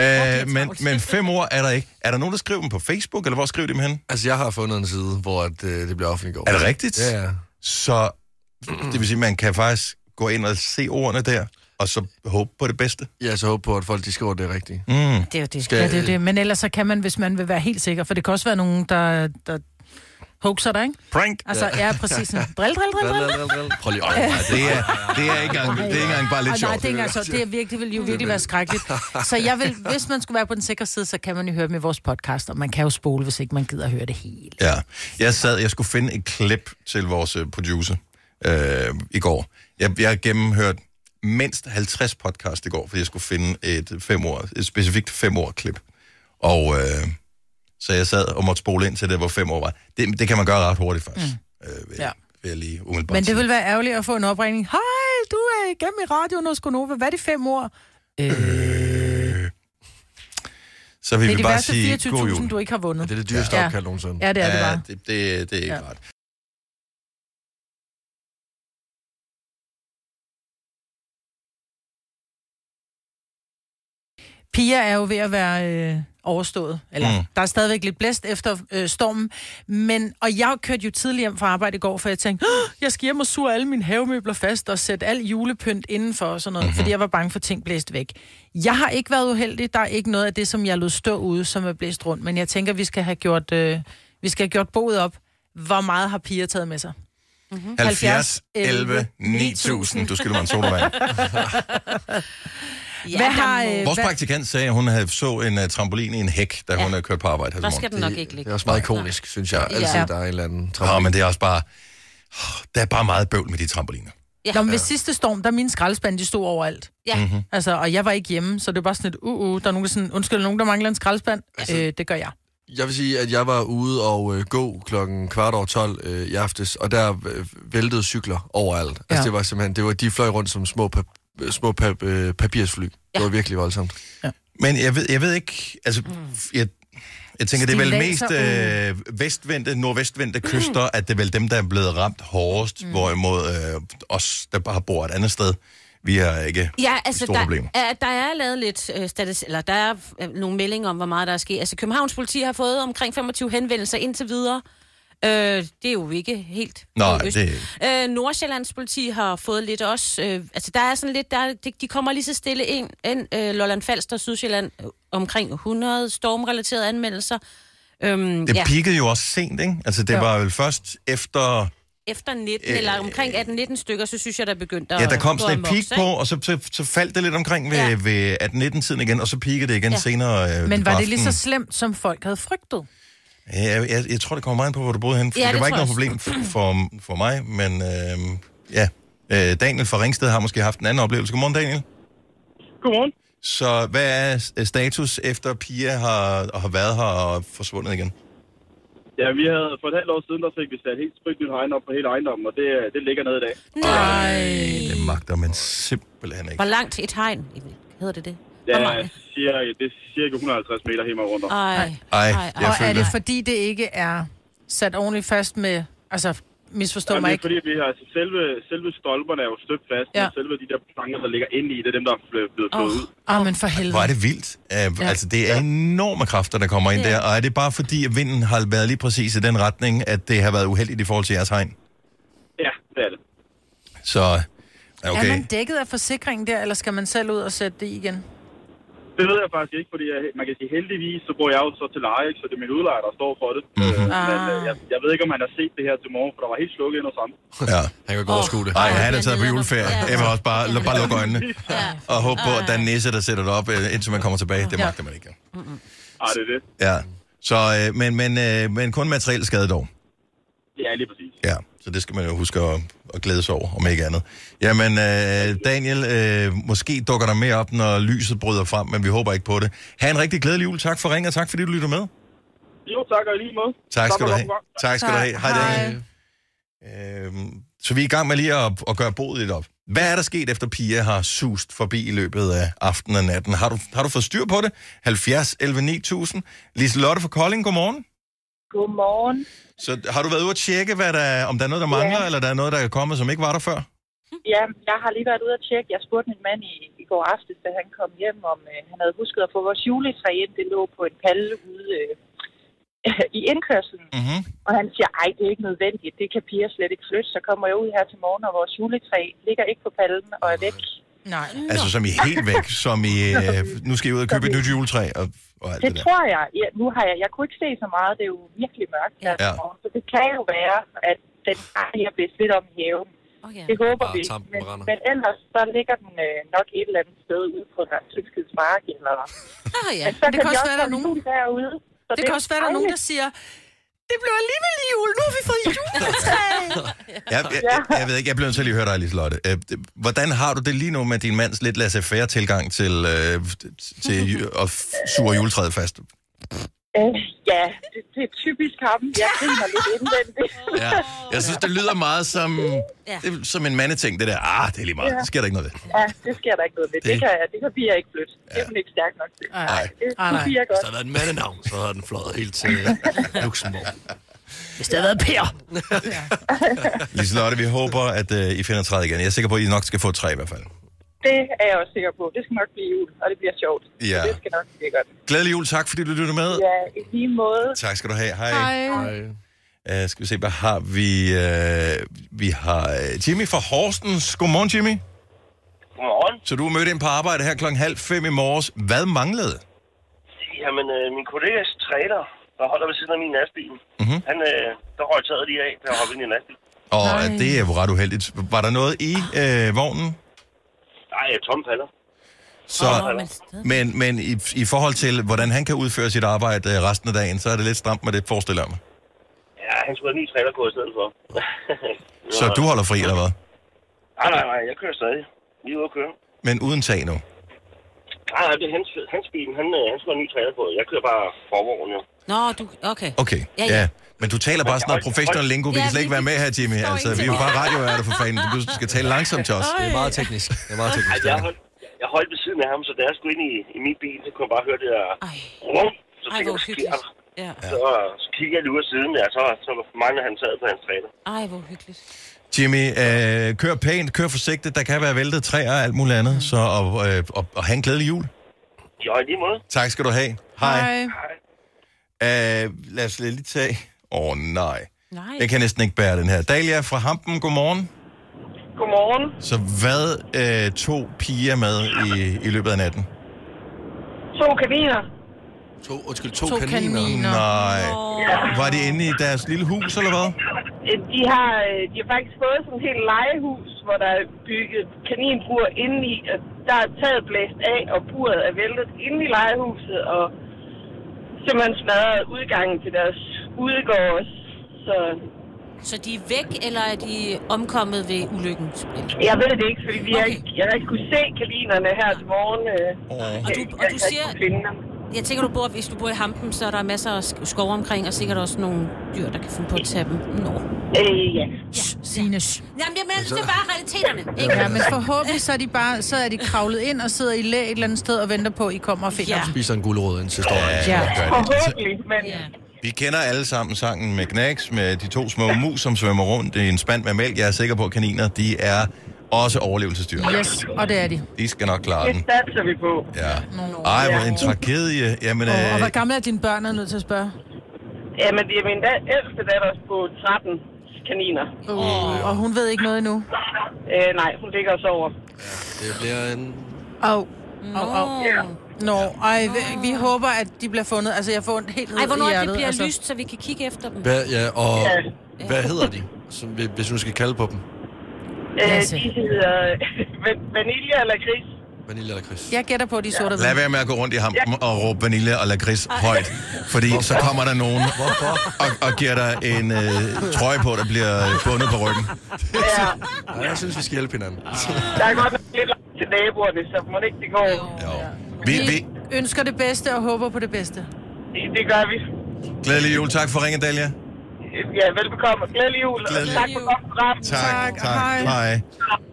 Speaker 1: Øh, men,
Speaker 3: travlt.
Speaker 1: men fem ord er der ikke. Er der nogen, der skriver dem på Facebook, eller hvor skriver de dem hen?
Speaker 2: Altså, jeg har fundet en side, hvor at, øh, det bliver offentliggjort.
Speaker 1: Er det rigtigt?
Speaker 2: Ja, ja.
Speaker 1: Så det vil sige, man kan faktisk gå ind og se ordene der, og så håbe på det bedste.
Speaker 2: Jeg så håber på, at folk de skriver det rigtigt.
Speaker 1: Mm.
Speaker 3: Det er jo det.
Speaker 2: Skal-
Speaker 4: Ja, det er jo det. Men ellers så kan man, hvis man vil være helt sikker, for det kan også være nogen, der, der hoaxer dig, ikke?
Speaker 1: Prank!
Speaker 4: Altså, ja, præcis sådan, drill, drill, drill, drill.
Speaker 2: Prøv lige at overveje
Speaker 1: Det er, det er, ikke, engang, det er ikke engang bare lidt
Speaker 4: Ej, nej, det
Speaker 1: sjovt.
Speaker 4: er ikke engang sjovt. Det er virkelig, vil jo virkelig være skrækkeligt. Så jeg vil, hvis man skulle være på den sikre side, så kan man jo høre dem i vores podcast, og man kan jo spole, hvis ikke man gider at høre det hele.
Speaker 1: Ja. Jeg sad, jeg skulle finde et klip til vores øh, producer øh, i går. Jeg, jeg gennemhørte mindst 50 podcast i går, fordi jeg skulle finde et, fem ord, et specifikt fem ord klip. Og øh, så jeg sad og måtte spole ind til det, hvor fem år var. Det, det kan man gøre ret hurtigt faktisk. Mm. Øh, vil,
Speaker 4: Ja.
Speaker 1: ja. vil jeg lige umiddelbart
Speaker 4: Men det
Speaker 1: sige.
Speaker 4: vil være ærgerligt at få en opregning. Hej, du er igennem i radioen hos Gonova. Hvad er de fem ord?
Speaker 1: Øh. Så vil
Speaker 4: Det er
Speaker 1: vi
Speaker 4: de
Speaker 1: bare
Speaker 4: værste
Speaker 1: sige god jul.
Speaker 4: 24.000, du ikke har vundet.
Speaker 2: Det er det dyreste
Speaker 4: Ja.
Speaker 2: opkald nogensinde.
Speaker 4: Ja, det er det bare.
Speaker 1: det, det, det er ikke
Speaker 4: Ja.
Speaker 1: ja. ret.
Speaker 4: Pia er jo ved at være øh, overstået. Eller, mm.
Speaker 1: Mm.
Speaker 4: Der er stadigvæk lidt blæst efter øh, stormen. Men, og jeg kørte jo tidligt hjem fra arbejde i går, for jeg tænkte, "Åh, jeg skal hjem og sure alle mine havemøbler fast og sætte al julepynt indenfor og sådan noget, mm-hmm. fordi jeg var bange for, at ting blæste væk. Jeg har ikke været uheldig. Der er ikke noget af det, som jeg lod stå ude, som er blæst rundt. Men jeg tænker, vi skal have gjort, øh, vi skal have gjort boet op. Hvor meget har Pia taget med sig?
Speaker 1: 70,
Speaker 4: 11,
Speaker 1: 11, 9000. Du skylder mig en sodavand.
Speaker 3: Ja,
Speaker 4: Hvad
Speaker 3: der
Speaker 4: har,
Speaker 3: må-
Speaker 4: øh,
Speaker 1: Vores praktikant sagde, at hun havde så en uh, trampolin i en hæk, da ja. hun havde kørt på arbejde her
Speaker 3: Der
Speaker 1: til
Speaker 3: skal
Speaker 1: morgen.
Speaker 3: den nok ikke
Speaker 2: Det
Speaker 3: ligge.
Speaker 2: er også meget ikonisk, synes jeg. Altid,
Speaker 3: Ja.
Speaker 2: der er en eller anden
Speaker 1: Nå,
Speaker 2: trampolin.
Speaker 1: men det er også bare... åh, Der er bare meget bøvl med de trampoliner.
Speaker 3: Ja.
Speaker 4: Nå, men ved sidste storm, der mine skraldespande, de stod overalt.
Speaker 3: Ja.
Speaker 1: Mhm.
Speaker 4: Mm-hmm. Altså, og jeg var ikke hjemme, så det var bare sådan et, uh, uh, der er nogen, der sådan, undskyld, er der nogen, der mangler en skraldespand.
Speaker 3: Altså-
Speaker 4: Øh, det gør jeg.
Speaker 2: Jeg vil sige, at jeg var ude og øh, gå klokken kvart over 12 øh, i aftes, og der øh, væltede cykler overalt. Altså,
Speaker 4: Ja.
Speaker 2: ja. det var simpelthen, det var, de fløj rundt som små, pap, øh, små pap, øh, papirsfly. Ja.
Speaker 3: Ja.
Speaker 2: Det var virkelig voldsomt.
Speaker 1: Men jeg ved, jeg ved ikke... Altså,
Speaker 4: Mm.
Speaker 1: jeg, jeg tænker, det er vel mest
Speaker 4: Stillaser,
Speaker 3: mm.
Speaker 1: øh, vestvendte, nordvestvendte kyster, at det er vel dem, der er blevet ramt hårdest, mm. hvorimod øh, os, der bare bor et andet sted, vi har ikke...
Speaker 3: Ja, altså,
Speaker 1: store
Speaker 3: der,
Speaker 1: problemer.
Speaker 3: er, der er lavet lidt øh, status, eller der er øh, nogle meldinger om, hvor meget der er sket. Altså, Københavns politi har fået omkring 25 henvendelser indtil videre. Øh, det er jo ikke helt...
Speaker 1: Nej,
Speaker 3: på øst.
Speaker 1: det-
Speaker 3: Øh, Nordsjællands politi har fået lidt også... Øh, altså, der er sådan lidt... Der, er- de, de kommer lige så stille ind, ind øh, Lolland Falster og Sydsjælland øh, omkring 100 stormrelaterede anmeldelser. Øhm,
Speaker 1: Det
Speaker 3: ja,
Speaker 1: peakede jo også sent, ikke? Altså, det
Speaker 4: Jo.
Speaker 1: var vel først efter...
Speaker 3: efter 19, øh, eller omkring 18-19 stykker, så synes jeg, der begyndte at...
Speaker 1: Ja, der kom
Speaker 3: gå
Speaker 1: sådan et
Speaker 3: amok,
Speaker 1: peak
Speaker 3: ikke?
Speaker 1: på, og så, så, så faldt det lidt omkring ved,
Speaker 3: Ja.
Speaker 1: ja. ved 18-19-tiden igen, og så peakede det igen
Speaker 3: Ja.
Speaker 1: ja. senere. Øh,
Speaker 4: Men
Speaker 1: på
Speaker 4: var det lige så
Speaker 1: aftenen.
Speaker 4: slemt, som folk havde frygtet?
Speaker 1: Ja, jeg, jeg, jeg tror, det kommer meget an på, hvor du boede henne. for
Speaker 3: Ja,
Speaker 1: det,
Speaker 3: det
Speaker 1: var ikke
Speaker 3: tror
Speaker 1: noget problem f- for, for mig, men øh, ja. Øh, Daniel fra Ringsted har måske haft en anden oplevelse. Godmorgen, Daniel.
Speaker 5: Godmorgen.
Speaker 1: Så hvad er s- øh, status efter Pia har, har været her og forsvundet igen?
Speaker 5: Ja, vi havde for et halvt år siden, der fik vi sat helt sprit nyt hegn op på hele ejendommen, og det, øh, det ligger nede i dag.
Speaker 3: Nej.
Speaker 1: Det magter man simpelthen
Speaker 3: Hvor
Speaker 1: ikke.
Speaker 3: langt et hegn? Hedder det det?
Speaker 5: Det
Speaker 3: Hvor
Speaker 5: er,
Speaker 3: mange?
Speaker 5: cirka, det er cirka 150 meter hjemme rundt om.
Speaker 3: Ej.
Speaker 1: Ej,
Speaker 4: Og
Speaker 1: Jeg
Speaker 4: er
Speaker 1: føler-
Speaker 4: det, fordi det ikke er sat ordentligt fast med... Altså, misforstå
Speaker 5: Jamen,
Speaker 4: mig
Speaker 5: det er
Speaker 4: ikke.
Speaker 5: fordi, vi har, altså, selve, selve stolperne er jo støbt fast,
Speaker 4: Ja.
Speaker 5: ja. og selve de der planker, der ligger inde i, det er dem, der er fl- blevet flået
Speaker 3: Åh.
Speaker 5: ud.
Speaker 4: Åh, oh, men for
Speaker 1: Hvor er
Speaker 4: helvede.
Speaker 1: det vildt. Uh, ja. Altså, det er enorme kræfter, der kommer ind der. Og er det bare fordi, at vinden har været lige præcis i den retning, at det har været uheldigt i forhold til jeres hegn?
Speaker 5: Ja, det er det.
Speaker 1: Så, ja, okay.
Speaker 4: Er man dækket af forsikringen der, eller skal man selv ud og sætte det i igen?
Speaker 5: Det ved jeg faktisk ikke, fordi jeg, man kan sige, heldigvis, så bor jeg jo så til leje, ikke? så det er min udlejer, der står for det.
Speaker 1: Mhm.
Speaker 5: Mm-hmm. Men øh,
Speaker 4: Ah.
Speaker 5: jeg, jeg, ved ikke, om han har set det her til morgen, for der var helt slukket ind og sammen.
Speaker 1: Ja.
Speaker 2: Han kan godt overskue det.
Speaker 1: Ej,
Speaker 3: Åh,
Speaker 1: han er
Speaker 3: den
Speaker 1: taget på
Speaker 3: leder-
Speaker 1: juleferie.
Speaker 3: Ja.
Speaker 1: Jeg vil også bare, luk- bare lukke øjnene. Og håbe på, at der er en nisse, der sætter det op, øh, indtil man kommer tilbage. Det
Speaker 4: Ja.
Speaker 1: magter man ikke.
Speaker 5: Ej, det er det.
Speaker 1: Ja. Så, øh, men, men, øh, men kun materiel skade dog.
Speaker 5: Ja, lige præcis.
Speaker 1: Ja, så det skal man jo huske at, at glæde sig over, om ikke andet. Jamen, øh, Daniel, øh, måske dukker der mere op, når lyset bryder frem, men vi håber ikke på det. Ha' en rigtig glædelig jul. Tak for ringen, og tak fordi du lytter med.
Speaker 5: Jo, tak og i lige måde.
Speaker 1: Tak skal
Speaker 5: og
Speaker 1: du
Speaker 5: godt
Speaker 1: have.
Speaker 5: program.
Speaker 1: Tak skal du have. Hej,
Speaker 4: Hej.
Speaker 1: Daniel. Øhm, så vi er i gang med lige at, at gøre bodet lidt op. Hvad er der sket, efter Pia har sust forbi i løbet af aftenen og natten? Har du, har du fået styr på det? 70 11 9000. Lise Lotte fra Kolding, godmorgen.
Speaker 6: Godmorgen.
Speaker 1: Så har du været ude at tjekke, hvad der, om der er noget, der mangler, ja. eller der er noget, der er kommet, som ikke var der før?
Speaker 6: Ja, jeg har lige været ude at tjekke. Jeg spurgte min mand i, i går aftes, da han kom hjem, om øh, han havde husket at få vores juletræ ind. Det lå på en palle ude øh, i indkørselen.
Speaker 1: Mm-hmm.
Speaker 6: Og han siger, ej, det er ikke nødvendigt. Det kan piger slet ikke flytte. Så kommer jeg ud her til morgen, og vores juletræ ligger ikke på pallen og er væk.
Speaker 4: Nej.
Speaker 1: Altså, som i helt væk, som i, øh, nu skal I ud og købe et nyt juletræ og, og alt
Speaker 6: Det
Speaker 1: det der.
Speaker 6: tror jeg. Ja, nu har jeg, jeg kunne ikke se så meget. Det er jo virkelig mørkt her
Speaker 1: Ja.
Speaker 6: til morgen. Så det kan jo være, at den har jeg blevet lidt om i haven.
Speaker 3: Oh, ja.
Speaker 6: Det håber
Speaker 2: Bare
Speaker 6: vi.
Speaker 2: tampen
Speaker 6: Men,
Speaker 2: brænder.
Speaker 6: men ellers så ligger den øh, nok et eller andet sted ude på en Tyskets mark. Eller...
Speaker 3: Nå, Ah, ja.
Speaker 6: Men så
Speaker 4: Men det
Speaker 6: kan
Speaker 4: kan
Speaker 6: vi
Speaker 4: også
Speaker 6: også
Speaker 4: være, der er
Speaker 6: holde
Speaker 4: nogen-
Speaker 6: jul derude. Så
Speaker 4: Det kan også være, der er nogen, der siger, det blev alligevel jul, nu har vi fået juletræ.
Speaker 1: Jeg, jeg, jeg, jeg ved ikke, jeg bliver nødt til at lige høre dig, Liselotte. Øh, det- Hvordan har du det lige nu med din mands lidt laissez-faire tilgang til, øh, t- til ju- at f- sure juletræet fast?
Speaker 6: Øh, ja, det, det, er typisk ham. Jeg griner lidt indvendigt.
Speaker 1: Ja. Jeg synes, det lyder meget som,
Speaker 3: Ja.
Speaker 1: det, er som en mandeting, det der. Ah, det er lige meget. Det sker der ikke noget ved.
Speaker 6: ja, det sker der ikke noget ved. Det,
Speaker 1: Det-
Speaker 6: kan, det kan piger ikke flytte. Det er hun ikke stærk nok til.
Speaker 4: Ej.
Speaker 6: Det,
Speaker 7: Ah,
Speaker 4: Ej,
Speaker 6: det
Speaker 4: nej.
Speaker 6: piger
Speaker 8: Hvis
Speaker 6: godt.
Speaker 8: der havde været en mandenavn, så havde den fløjet helt til Luxembourg.
Speaker 4: Hvis det havde været Per.
Speaker 1: Liselotte, vi håber, at øh, I finder træet igen. Jeg er sikker på, at I nok skal få et træ i hvert fald.
Speaker 6: Det er jeg også sikker på. Det skal nok blive jul, og det bliver sjovt.
Speaker 1: Ja.
Speaker 6: Så det skal nok blive godt.
Speaker 1: Glædelig jul. Tak, fordi du lyttede med.
Speaker 6: Ja, i lige måde.
Speaker 1: Tak skal du have. Hej.
Speaker 2: Nej.
Speaker 1: Uh, skal vi se, hvad har vi? Uh, vi har øh, Jimmy fra Horsens. Godmorgen, Jimmy.
Speaker 9: Godmorgen.
Speaker 1: Så du mødte ind på arbejde her klokken halv fem i morges. Hvad manglede?
Speaker 9: Jamen, øh, min kollegas trailer, der holder ved siden af min lastbil, mm-hmm. han, øh, der røg taget lige af, da jeg hoppede ind i en lastbil.
Speaker 1: Mhm. Og
Speaker 4: Nej.
Speaker 1: Nej. det er jo ret uheldigt. Var der noget i øh, vognen?
Speaker 9: Nej, jeg er tomme paller.
Speaker 1: Så,
Speaker 3: Nå, men stadig.
Speaker 1: men men i, i forhold til, hvordan han kan udføre sit arbejde øh, resten af dagen, så er det lidt stramt med det, forestiller jeg mig.
Speaker 9: Ja, han skulle have en ny trailer på i stedet for.
Speaker 1: Så du holder fri, eller hvad?
Speaker 9: Nej, nej, nej, jeg kører stadig. Vi er ude at køre.
Speaker 1: Men uden tag nu.
Speaker 9: Nej, nej, det er hans, hans bil. Han, øh, han skulle have en ny trailer på. Jeg kører bare forvognen, jo.
Speaker 3: Nå, du... Okay.
Speaker 1: Okay,
Speaker 3: Ja, ja.
Speaker 1: Men du taler bare sådan noget
Speaker 9: Hold-
Speaker 1: professionel
Speaker 9: hold-
Speaker 1: lingo. Vi kan
Speaker 3: Ja,
Speaker 1: slet ikke
Speaker 3: vi-
Speaker 1: være med her, Jimmy.
Speaker 3: forstår
Speaker 1: Altså, vi er jo
Speaker 3: ingenting.
Speaker 1: bare radioærter for fanden. Du skal tale langsomt til os.
Speaker 2: Det er meget teknisk. Det er meget
Speaker 1: altså
Speaker 9: Ej,
Speaker 2: teknisk. det
Speaker 9: jeg,
Speaker 2: her.
Speaker 9: holdt, jeg holdt ved siden af ham, så da jeg skulle ind i, i min bil, så kunne jeg bare høre det der...
Speaker 3: Ej,
Speaker 9: Rum, så tænkte
Speaker 3: ej hvor
Speaker 9: jeg, hvad
Speaker 3: hyggeligt.
Speaker 9: sker der?
Speaker 3: Ja.
Speaker 9: Så, øh, så kiggede jeg lige ud af siden, ja, så, så mangler han taget på hans trailer.
Speaker 3: Ej, hvor hyggeligt.
Speaker 1: Jimmy, øh, kør pænt, kør forsigtigt. Der kan være væltet træer og alt muligt andet. Så og, øh, og, og have en glædelig jul.
Speaker 9: Jo, i lige måde.
Speaker 1: Tak skal du have. Hej. Øh, lad os lige tage... Åh, oh, nej.
Speaker 3: Nej.
Speaker 1: Jeg kan næsten ikke bære den her. Dalia fra Hampen, godmorgen.
Speaker 6: Godmorgen.
Speaker 1: Så hvad øh, tog piger med i, i løbet af natten?
Speaker 6: To kaniner.
Speaker 2: To, undskyld, to,
Speaker 4: To
Speaker 2: to kaniner.
Speaker 4: kaniner. Nå.
Speaker 1: Nej.
Speaker 3: Åh.
Speaker 1: Var de inde i deres lille hus, eller hvad?
Speaker 6: Øh, De har, øh, de har faktisk fået sådan et helt legehus, hvor der er bygget kaninbur indeni, og der er taget blæst af, og buret er væltet inde i legehuset, og simpelthen smadret udgangen til deres udegård også. Så
Speaker 3: Så de er væk, eller er de omkommet ved ulykken?
Speaker 6: jeg ved det ikke, fordi vi har
Speaker 3: Okay.
Speaker 6: ikke, jeg har ikke kunne se kaninerne her til morgen. øh.
Speaker 1: Åh.
Speaker 3: Og du- og
Speaker 6: Jeg- jeg
Speaker 3: du
Speaker 6: kan ikke
Speaker 3: siger-
Speaker 6: kunne finde dem.
Speaker 3: Jeg tænker, du bor, hvis du bor i Hampen, så er der masser af sk- skov omkring, og sikkert også nogle dyr, der kan finde på at tage dem. Nå.
Speaker 6: Øh, ja.
Speaker 4: Signe.
Speaker 3: Jamen, jeg
Speaker 2: Altså-
Speaker 3: mener, det er bare realiteterne. Ikke?
Speaker 4: Ja, men forhåbentlig så er de bare så er de kravlet ind og sidder i læ et eller andet sted og venter på, at I kommer og finder
Speaker 3: Ja.
Speaker 4: dem.
Speaker 2: Spiser en gulerod, en sidste år.
Speaker 4: Ja.
Speaker 1: gør det.
Speaker 6: Forhåbentlig, men
Speaker 3: Ja.
Speaker 1: Vi kender alle sammen sangen med Knacks, med de to små mus, som svømmer rundt i en spand med mælk. Jeg er sikker på, at kaniner, de er også overlevelsesdyr.
Speaker 4: Yes, og det er de.
Speaker 1: De skal nok klare
Speaker 6: det
Speaker 1: den.
Speaker 6: satser vi på.
Speaker 1: Ja. Ej, hvor en tragedie. Jamen,
Speaker 4: Og, og
Speaker 1: øh,
Speaker 4: hvor gamle er dine børn, er jeg nødt til at spørge?
Speaker 6: Jamen, det er min da- ældste datter på 13 kaniner.
Speaker 4: Oh. Og hun ved ikke noget endnu.
Speaker 6: Øh, nej, hun ligger os over.
Speaker 2: Det bliver en...
Speaker 4: Au. Au, au. Nå, ej, vi, vi håber, at de bliver fundet. Altså, jeg får ondt helt ned
Speaker 3: Ej,
Speaker 4: i
Speaker 3: hvornår
Speaker 4: hjertet.
Speaker 3: det bliver
Speaker 4: altså.
Speaker 3: lyst, så vi kan kigge efter dem?
Speaker 2: Hvad, ja, og hvad hedder de, som, vi- hvis du skal kalde på dem?
Speaker 6: Øh,
Speaker 4: Lasse.
Speaker 6: de hedder van- vanilje eller gris.
Speaker 2: Vanilla eller Chris?
Speaker 4: Jeg gætter på, at de er sorte
Speaker 1: lad
Speaker 4: og hvide.
Speaker 1: være med at gå rundt i hampen og råbe vanilje og lakrids højt. Fordi så kommer der nogen og, og giver dig en øh, trøje på, der bliver bundet på ryggen.
Speaker 6: Ja,
Speaker 4: Ah.
Speaker 2: Nej, jeg synes, vi skal hjælpe hinanden.
Speaker 6: der er godt nok lidt langt til naboerne, så må det ikke det går.
Speaker 1: Jo. Vi, vi,
Speaker 4: Vi ønsker det bedste og håber på det bedste.
Speaker 6: Det, det gør vi.
Speaker 1: glædelig jul. Tak for ringen, Dalia.
Speaker 6: ja, velbekomme og glædelig jul.
Speaker 1: Glædelig
Speaker 6: og tak for
Speaker 3: jul.
Speaker 6: godt program.
Speaker 1: Tak, tak,
Speaker 4: hej.
Speaker 1: hej.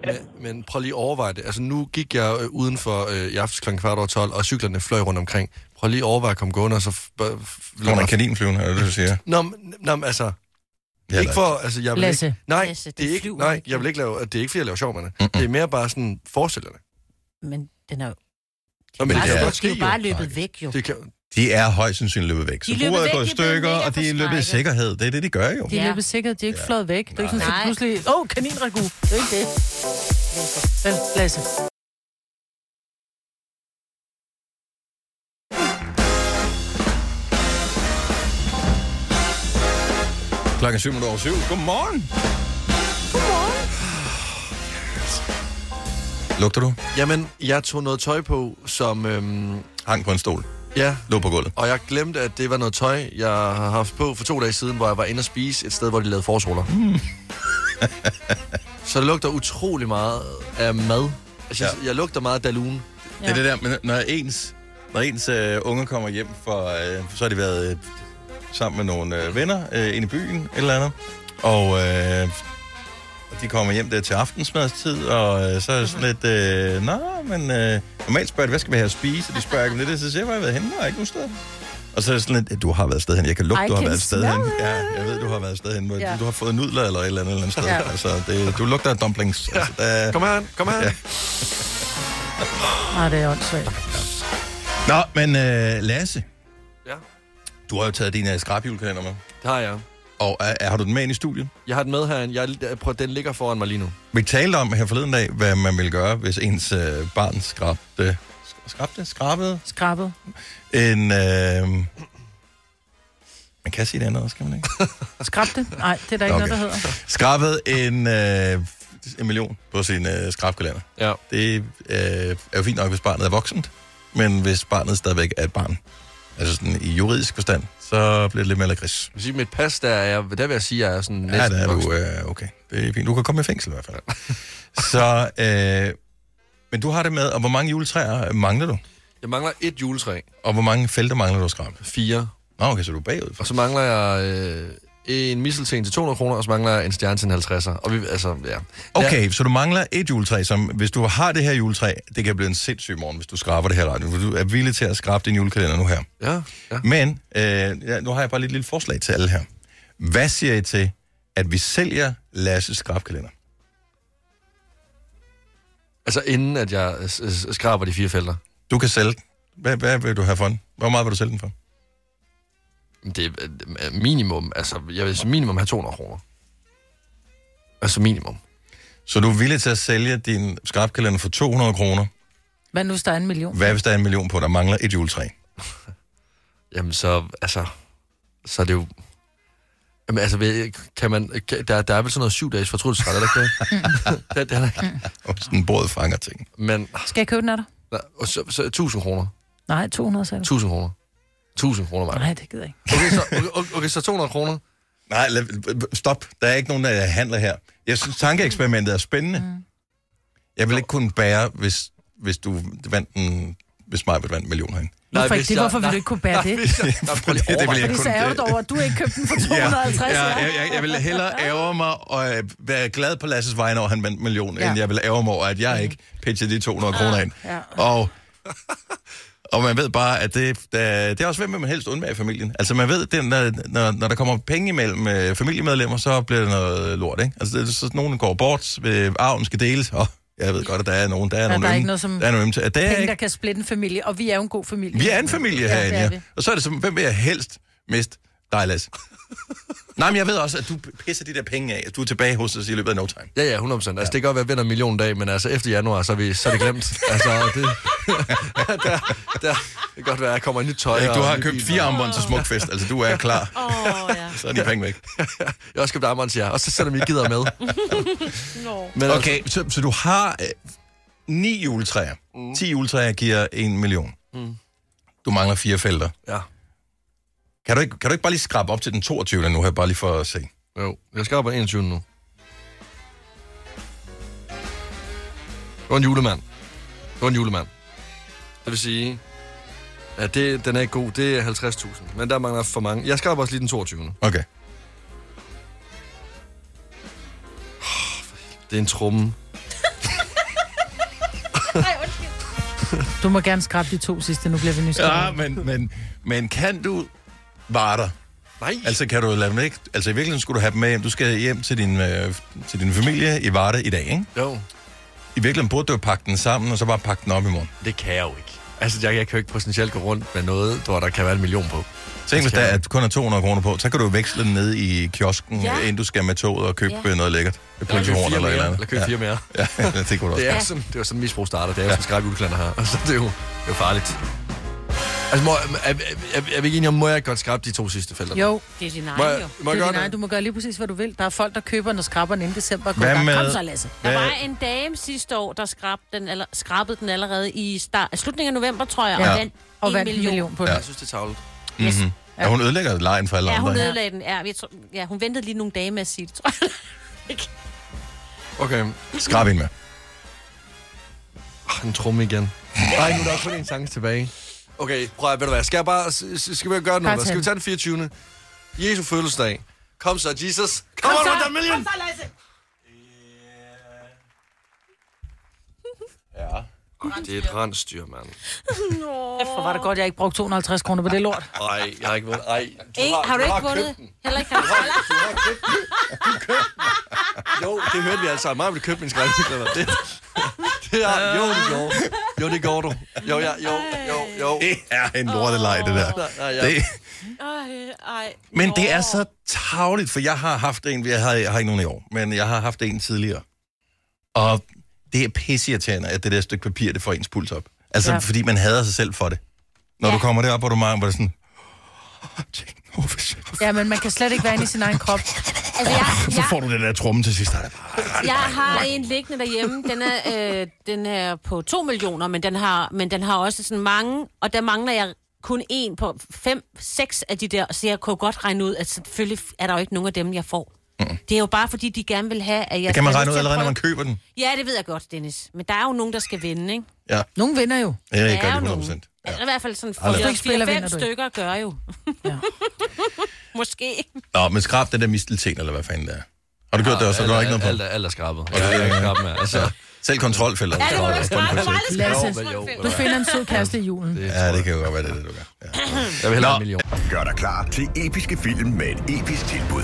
Speaker 2: Men- Men prøv lige at overveje det. Altså, nu gik jeg øh, udenfor øh, i aftes kl. kvart over 12, og cyklerne fløj rundt omkring. Prøv lige at overveje at komme gående, og så... f- bare f-
Speaker 1: Lå en kaninflyvende, er det det, du siger?
Speaker 2: Nå, men- nå, men altså...
Speaker 1: Ja,
Speaker 2: ikke for, altså, jeg vil
Speaker 4: Lasse.
Speaker 2: Ikke, nej,
Speaker 3: Lasse, det
Speaker 2: det er ikke,
Speaker 3: flyver
Speaker 2: nej,
Speaker 3: ikke.
Speaker 2: jeg vil ikke lave, det er ikke, fordi jeg laver sjov med det. Det er mere bare sådan forestillerne.
Speaker 3: Men den er jo
Speaker 2: Nå, men det
Speaker 3: bare,
Speaker 2: kan
Speaker 1: er-
Speaker 2: jo godt
Speaker 3: det
Speaker 2: ske,
Speaker 3: er jo
Speaker 2: jo.
Speaker 3: bare løbet væk, jo.
Speaker 2: Det kan,
Speaker 1: De er højst sandsynligt løbet væk. Så
Speaker 3: De er løbet
Speaker 1: bordet
Speaker 3: væk,
Speaker 1: går i
Speaker 3: de er blevet
Speaker 1: stykker,
Speaker 3: mega
Speaker 1: og de er løbet i
Speaker 3: forskrækket.
Speaker 1: sikkerhed. Det er det, de gør jo.
Speaker 4: De er
Speaker 3: Ja.
Speaker 4: løbet sikkert, de er ikke
Speaker 1: Ja.
Speaker 4: fløjet væk. Det er ikke sådan, at
Speaker 3: Nej.
Speaker 4: pludselig... Åh, oh, kaninragu. Det er ikke det. Vel, Lasse.
Speaker 1: Klokken 7 over 7. Godmorgen. Godmorgen. Lugter du?
Speaker 2: jamen, jeg tog noget tøj på, som... Øhm,
Speaker 1: Hang på en stol.
Speaker 2: ja,
Speaker 1: Lå på gulvet.
Speaker 2: og jeg glemte, at det var noget tøj, jeg har haft på for to dage siden, hvor jeg var inde og spise et sted, hvor de lavede forsruller. Mm. så det lugter utrolig meget af mad. Altså, Jeg, synes, ja. jeg lugter meget af dalun.
Speaker 1: Det er det der, men når ens, når ens øh, unge kommer hjem, fra, øh, så har de været øh, sammen med nogle øh, venner øh, inde i byen, et eller andet. Og øh, og de kommer hjem der til aftensmadstid, og øh, så er det sådan lidt, øh, nå, men øh, normalt spørger de, hvad skal vi have at spise? Og de spørger ikke om det, der, så siger jeg, hvor har jeg været henne, der er ikke nogen sted. Og så er det sådan lidt, du har været et sted hen, jeg kan lugte,
Speaker 4: I
Speaker 1: du har
Speaker 4: can
Speaker 1: været et sted
Speaker 4: smell
Speaker 1: hen.
Speaker 4: it.
Speaker 1: Ja, jeg ved, du har været et sted hen, hvor
Speaker 4: Ja.
Speaker 1: du har fået nudler eller et eller andet, et eller andet sted.
Speaker 4: Ja.
Speaker 1: Altså, det, du lugter af dumplings. Altså, der,
Speaker 2: Kom her, kom her.
Speaker 1: Ja.
Speaker 2: Ja.
Speaker 4: Nej, det er åndssvagt.
Speaker 1: Nå, men øh, Lasse,
Speaker 2: ja,
Speaker 1: du har jo taget din uh, skrabhjulkalender med.
Speaker 2: det har jeg.
Speaker 1: Og er, er, har du den med ind i studiet?
Speaker 2: Jeg har den med herinde. Jeg, jeg prøver, den ligger foran mig lige nu.
Speaker 1: Vi talte om her forleden dag, hvad man ville gøre, hvis ens øh, barn skrabte, sk- skrabte, skrabede
Speaker 4: Skrabbet.
Speaker 1: en... Øh, man kan sige det andet også, kan man ikke?
Speaker 4: Skrabte? Nej, det er der ikke
Speaker 1: Okay.
Speaker 4: okay. noget, der hedder.
Speaker 1: Skrabede en, øh, en million på sin øh, skrabkalender.
Speaker 2: Ja.
Speaker 1: Det øh, er jo fint nok, hvis barnet er voksent, men hvis barnet stadigvæk er et barn, altså sådan i juridisk forstand, så bliver det lidt mere gris.
Speaker 2: Jeg vil sige, mit pas, der, er, jeg- der vil jeg sige, at jeg er sådan
Speaker 1: Ja,
Speaker 2: næsten
Speaker 1: der er
Speaker 2: voksen.
Speaker 1: du, øh, okay. Det er fint. Du kan komme i fængsel i hvert fald. Så, øh, men du har det med, og hvor mange juletræer mangler du?
Speaker 2: Jeg mangler et juletræ.
Speaker 1: Og hvor mange felter mangler du at skræmme?
Speaker 2: Fire.
Speaker 1: øh, Nå, okay, så du er bagud.
Speaker 2: Og så mangler jeg øh, en misselten til 200 kroner, og så mangler jeg en stjerne til en 50'er. Og vi, altså, ja.
Speaker 1: Okay, så du mangler et juletræ, som hvis du har det her juletræ, det kan blive en sindssyg morgen, hvis du skraber det her radio, for du er villig til at skrabe din julekalender nu her.
Speaker 2: Ja, ja.
Speaker 1: Men øh, ja, nu har jeg bare lige et lille forslag til alle her. Hvad siger I til, at vi sælger Lasses skrabkalender?
Speaker 2: Altså inden, at jeg øh, s- s- skraber de fire felter.
Speaker 1: Du kan sælge den. Hvad, hvad vil du have for den? Hvor meget vil du sælge den for?
Speaker 2: Det er øh, minimum, altså jeg vil sige minimum have 200 kroner. Altså minimum.
Speaker 1: Så du er villig til at sælge din skrabkalender for 200 kroner.
Speaker 4: Hvad nu, hvis der er en million?
Speaker 1: Hvad hvis der er en million på, der mangler et juletræ?
Speaker 2: Jamen så, altså, så er det jo... Jamen altså, ved- kan man, kan, der, der er vel sådan noget syv dages fortrydelsesret, er der ikke det? det, det er der ikke.
Speaker 1: Og sådan bordet fanger ting.
Speaker 2: Men,
Speaker 4: Skal jeg købe den af dig?
Speaker 2: nej, og så, så 1000 kroner.
Speaker 4: Nej, 200 sagde du.
Speaker 2: 1000 kroner. 1000 kroner, Maja.
Speaker 4: Nej, det gider jeg ikke.
Speaker 2: Okay, så, okay, okay, okay, så 200 kroner.
Speaker 1: Nej, lad, stop. Der er ikke nogen, der handler her. Jeg synes, tankeeksperimentet er spændende. Mm. Jeg vil ikke kunne bære, hvis, hvis du vandt en hvis mig vandt en million herinde.
Speaker 4: Hvorfor
Speaker 2: hvis
Speaker 4: ikke det?
Speaker 2: jeg-
Speaker 4: Hvorfor vil du
Speaker 2: nej,
Speaker 4: ikke kunne bære
Speaker 2: nej,
Speaker 4: det?
Speaker 2: hvis jeg- nej, prøv lige
Speaker 1: Det- det vil
Speaker 2: overvej
Speaker 1: jeg
Speaker 4: Fordi
Speaker 1: kun
Speaker 4: så
Speaker 1: det.
Speaker 4: ærger du over, at du ikke købte den for 250,
Speaker 1: ja,
Speaker 4: ja.
Speaker 1: jeg, jeg, jeg vil hellere ære mig og øh, være glad på Lasses vegne over, at han vandt en million, ja.
Speaker 4: Ja. Mm.
Speaker 1: end jeg vil ære mig over, at jeg ikke pitchede de 200 kroner ind.
Speaker 4: ja.
Speaker 1: Og, og man ved bare, at det, da, det er også, hvem vil man helst undvære i familien. Altså man ved, det, når, når, når der kommer penge imellem øh, familiemedlemmer, så bliver det noget lort, ikke? Altså det, er så nogen går bort, øh, arven skal deles, og jeg ved godt, at der er nogen, der er, nogen
Speaker 4: der er
Speaker 1: ømme-
Speaker 4: ikke noget som
Speaker 1: der er nogen ømme til. Ja, det er
Speaker 4: Penge,
Speaker 1: ikke-
Speaker 4: der kan splitte en familie, og vi er jo en god familie.
Speaker 1: vi er en familie
Speaker 4: Ja,
Speaker 1: herinde,
Speaker 4: det er
Speaker 1: ja.
Speaker 4: vi.
Speaker 1: Og så er det som, hvem vil jeg helst miste? Dig, Lasse. Nej, men jeg ved også, at du pisser de der penge af, at du er tilbage hos os i løbet af no time.
Speaker 2: Ja, ja, 100 procent. Altså, det kan godt være, at jeg vinder en million dag, men altså, efter januar, så er, vi, så er det glemt. altså, det, der, der, det kan godt være, at jeg kommer i nyt tøj.
Speaker 1: Ja,
Speaker 2: og
Speaker 1: du har
Speaker 2: ny
Speaker 1: købt
Speaker 2: bil.
Speaker 1: fire armbånd til smukfest, altså du er klar.
Speaker 3: Åh, oh, ja.
Speaker 1: Så er de penge væk.
Speaker 2: Jeg har også købt armbånd til jer, og så sender vi gider med.
Speaker 3: Nå.
Speaker 2: Men okay.
Speaker 1: Okay, altså, så, så du har øh, ni juletræer.
Speaker 2: Mm.
Speaker 1: Ti juletræer giver en million. Du mangler fire felter.
Speaker 2: Altså,
Speaker 1: Kan du, ikke, kan du ikke bare lige skrabe op til den 22. nu her, bare lige for at se?
Speaker 2: ja, jo. Jeg skal op på 21 nu. Det var en julemand. Det var en julemand. Det vil sige, at det, den er ikke god. Det er 50.000. Men der mangler for mange. Jeg skal op også lige den 22.
Speaker 1: Okay.
Speaker 2: Det er en tromme.
Speaker 4: Du må gerne skrabe de to sidste, nu bliver vi nysgerrige.
Speaker 1: Ja, men, men, men kan du vare dig?
Speaker 2: Nej. Altså,
Speaker 1: Altså, kan du lade dem ikke? Altså, i virkeligheden skulle du have dem med hjem. Du skal hjem til din, øh, til din familie i Varde i dag, ikke?
Speaker 2: jo,
Speaker 1: I virkeligheden burde du jo pakke den sammen, og så bare pakke den op i morgen.
Speaker 2: det kan jeg jo ikke. Altså, jeg, jeg kan jo ikke potentielt gå rundt med noget, hvor der kan være en million på.
Speaker 1: Tænk, hvis
Speaker 2: skal
Speaker 1: der
Speaker 2: jeg.
Speaker 1: er, kun er 200 kroner på, så kan du jo veksle den ned i kiosken, ja.
Speaker 3: Ja.
Speaker 1: inden du skal med toget og købe ja. noget lækkert. Et
Speaker 2: Eller købe
Speaker 1: pølsehorn
Speaker 2: fire
Speaker 1: eller et
Speaker 2: mere.
Speaker 1: eller andet.
Speaker 2: Eller købe fire mere.
Speaker 1: Ja, ja, det kunne du også.
Speaker 2: Det er, sådan, det er jo sådan, misbrug starter. Det er jo sådan skrab julekalender her. Altså, det er jo, det er jo farligt. Altså, må, er, er, er, er, vi ikke enige om, må jeg godt skrabe de to sidste felter?
Speaker 4: Jo,
Speaker 3: Det er din
Speaker 2: Må
Speaker 3: egen, jo.
Speaker 2: jeg, må
Speaker 4: det
Speaker 2: jeg
Speaker 4: er
Speaker 2: godt?
Speaker 4: din egen. Du må gøre lige præcis, hvad du vil. Der er folk, der køber den og skraber den inden december. Kom,
Speaker 1: Hvad
Speaker 4: gang.
Speaker 1: med-
Speaker 4: Kom så, Lasse.
Speaker 3: Der
Speaker 1: Hvad-
Speaker 3: var en dame sidste år, der skrabede den, aller, skrabede den allerede i start, slutningen af november, tror jeg,
Speaker 4: Ja.
Speaker 3: ja. og vandt
Speaker 4: Og
Speaker 3: en
Speaker 4: vandt en
Speaker 3: million.
Speaker 4: million på den.
Speaker 2: Jeg synes, det er tavlet.
Speaker 3: Yes.
Speaker 1: Mm-hmm. Ja, hun ødelægger lejen for alle
Speaker 3: Ja,
Speaker 1: andre.
Speaker 3: hun
Speaker 1: ikke?
Speaker 3: ødelagde den. Ja, jeg tror, ja, hun ventede lige nogle dage med at sige det, tror jeg.
Speaker 2: Okay,
Speaker 1: Skrab en med.
Speaker 2: Ah, en tromme igen. Nej, nu er der kun en sang tilbage. Okay, prøv at, ved du hvad, skal jeg bare, s- s- skal vi gøre
Speaker 4: Bare
Speaker 2: noget?
Speaker 4: tag
Speaker 2: Skal vi
Speaker 4: den.
Speaker 2: tage den 24. Jesu fødselsdag. Kom så, Jesus. Come on with a million. Det er et rensdyr, mand.
Speaker 4: Hvor var det godt, jeg ikke brugte 250 kroner på det lort.
Speaker 2: Ej, jeg har ikke vundet. Ej, du
Speaker 3: Ikke, har du ikke vundet?
Speaker 2: købt den.
Speaker 3: Heller ikke har du
Speaker 2: Du har købt den. Du købte den. Jo, det hørte vi altså. Mig ville købe min skrækkekalender. Det, det er, jo, det gjorde. Jo, det gjorde du. Jo, ja, jo, jo, jo.
Speaker 1: Det er en lortelej, det der.
Speaker 2: nej, ja.
Speaker 1: Det,
Speaker 3: Ej, ej.
Speaker 1: men det er så tavligt, for jeg har haft en, jeg har, jeg har ikke nogen i år, men jeg har haft en tidligere. Og det er pisseirriterende, at det der stykke papir, det får ens puls op. Altså, ja.
Speaker 4: Ja.
Speaker 1: fordi man hader sig selv for det. Når ja. du kommer derop, hvor du meget, hvor det er sådan... "Tænk nu, hvis jeg-
Speaker 4: Ja, men man kan slet ikke være inde i sin egen krop.
Speaker 3: Altså, jeg,
Speaker 1: Så
Speaker 3: jeg,
Speaker 1: får du den der tromme til sidst. der er bare-
Speaker 3: jeg har en liggende derhjemme. Den er, øh, den er på 2 millioner, men den, har, men den har også sådan mange, og der mangler jeg kun en på fem, seks af de der, så jeg kunne godt regne ud, at selvfølgelig er der jo ikke nogen af dem, jeg får. Mm. Det er jo bare fordi, de gerne vil have, at jeg...
Speaker 1: Det kan man
Speaker 3: skal
Speaker 1: regne ud
Speaker 3: til at
Speaker 1: allerede, når
Speaker 3: prøve-
Speaker 1: man køber den.
Speaker 3: Ja, det ved jeg godt, Dennis. Men der er jo nogen, der skal vinde, ikke?
Speaker 1: Ja,
Speaker 4: Nogen vinder jo.
Speaker 1: det er
Speaker 3: Der
Speaker 1: ikke
Speaker 3: er
Speaker 1: godt
Speaker 3: jo
Speaker 1: 100
Speaker 3: nogen.
Speaker 1: procent.
Speaker 3: Ja. I hvert fald sådan
Speaker 1: Aldrig.
Speaker 4: Hvis du ikke spiller, vinder
Speaker 3: 4-5
Speaker 4: du ikke.
Speaker 3: stykker gør jo.
Speaker 4: Ja.
Speaker 3: Måske.
Speaker 1: Nå, men skrab den der mistelten, eller hvad fanden det er. Har du gjort det også, så går der ikke noget
Speaker 2: Alt
Speaker 1: på?
Speaker 2: er, alt er skrabet. Ja, det er ikke skrabet mere. Altså,
Speaker 1: Selv kontrolfælder.
Speaker 3: Ja, det må du ikke skrabe. Du må aldrig skrabe.
Speaker 4: Lasse,
Speaker 2: Jo, men jo, men
Speaker 4: du finder en sød kæreste i julen.
Speaker 1: Ja, det kan jo godt være, det er det, du gør. Ja.
Speaker 2: jeg vil hellere have
Speaker 1: Nå.
Speaker 2: en million.
Speaker 10: Gør dig klar til episke film med et episk tilbud.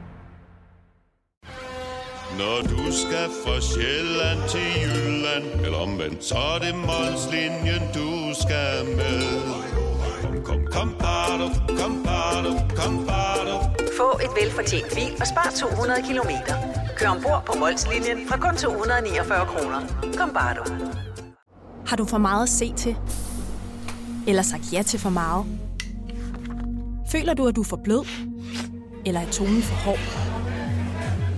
Speaker 11: Når du skal fra Sjælland til Jylland, eller omvendt, så er det Molslinjen, du skal med. Kom, kom, kom, bado, kom, bado, kom, bado.
Speaker 12: Få et velfortjent bil og spar 200 kilometer. Kør ombord på Molslinjen fra kun 249 kroner. Kom bare du.
Speaker 11: Har du for meget at se til? Eller sagt ja til for meget? Føler du, at du er for blød? Eller er tonen for hård?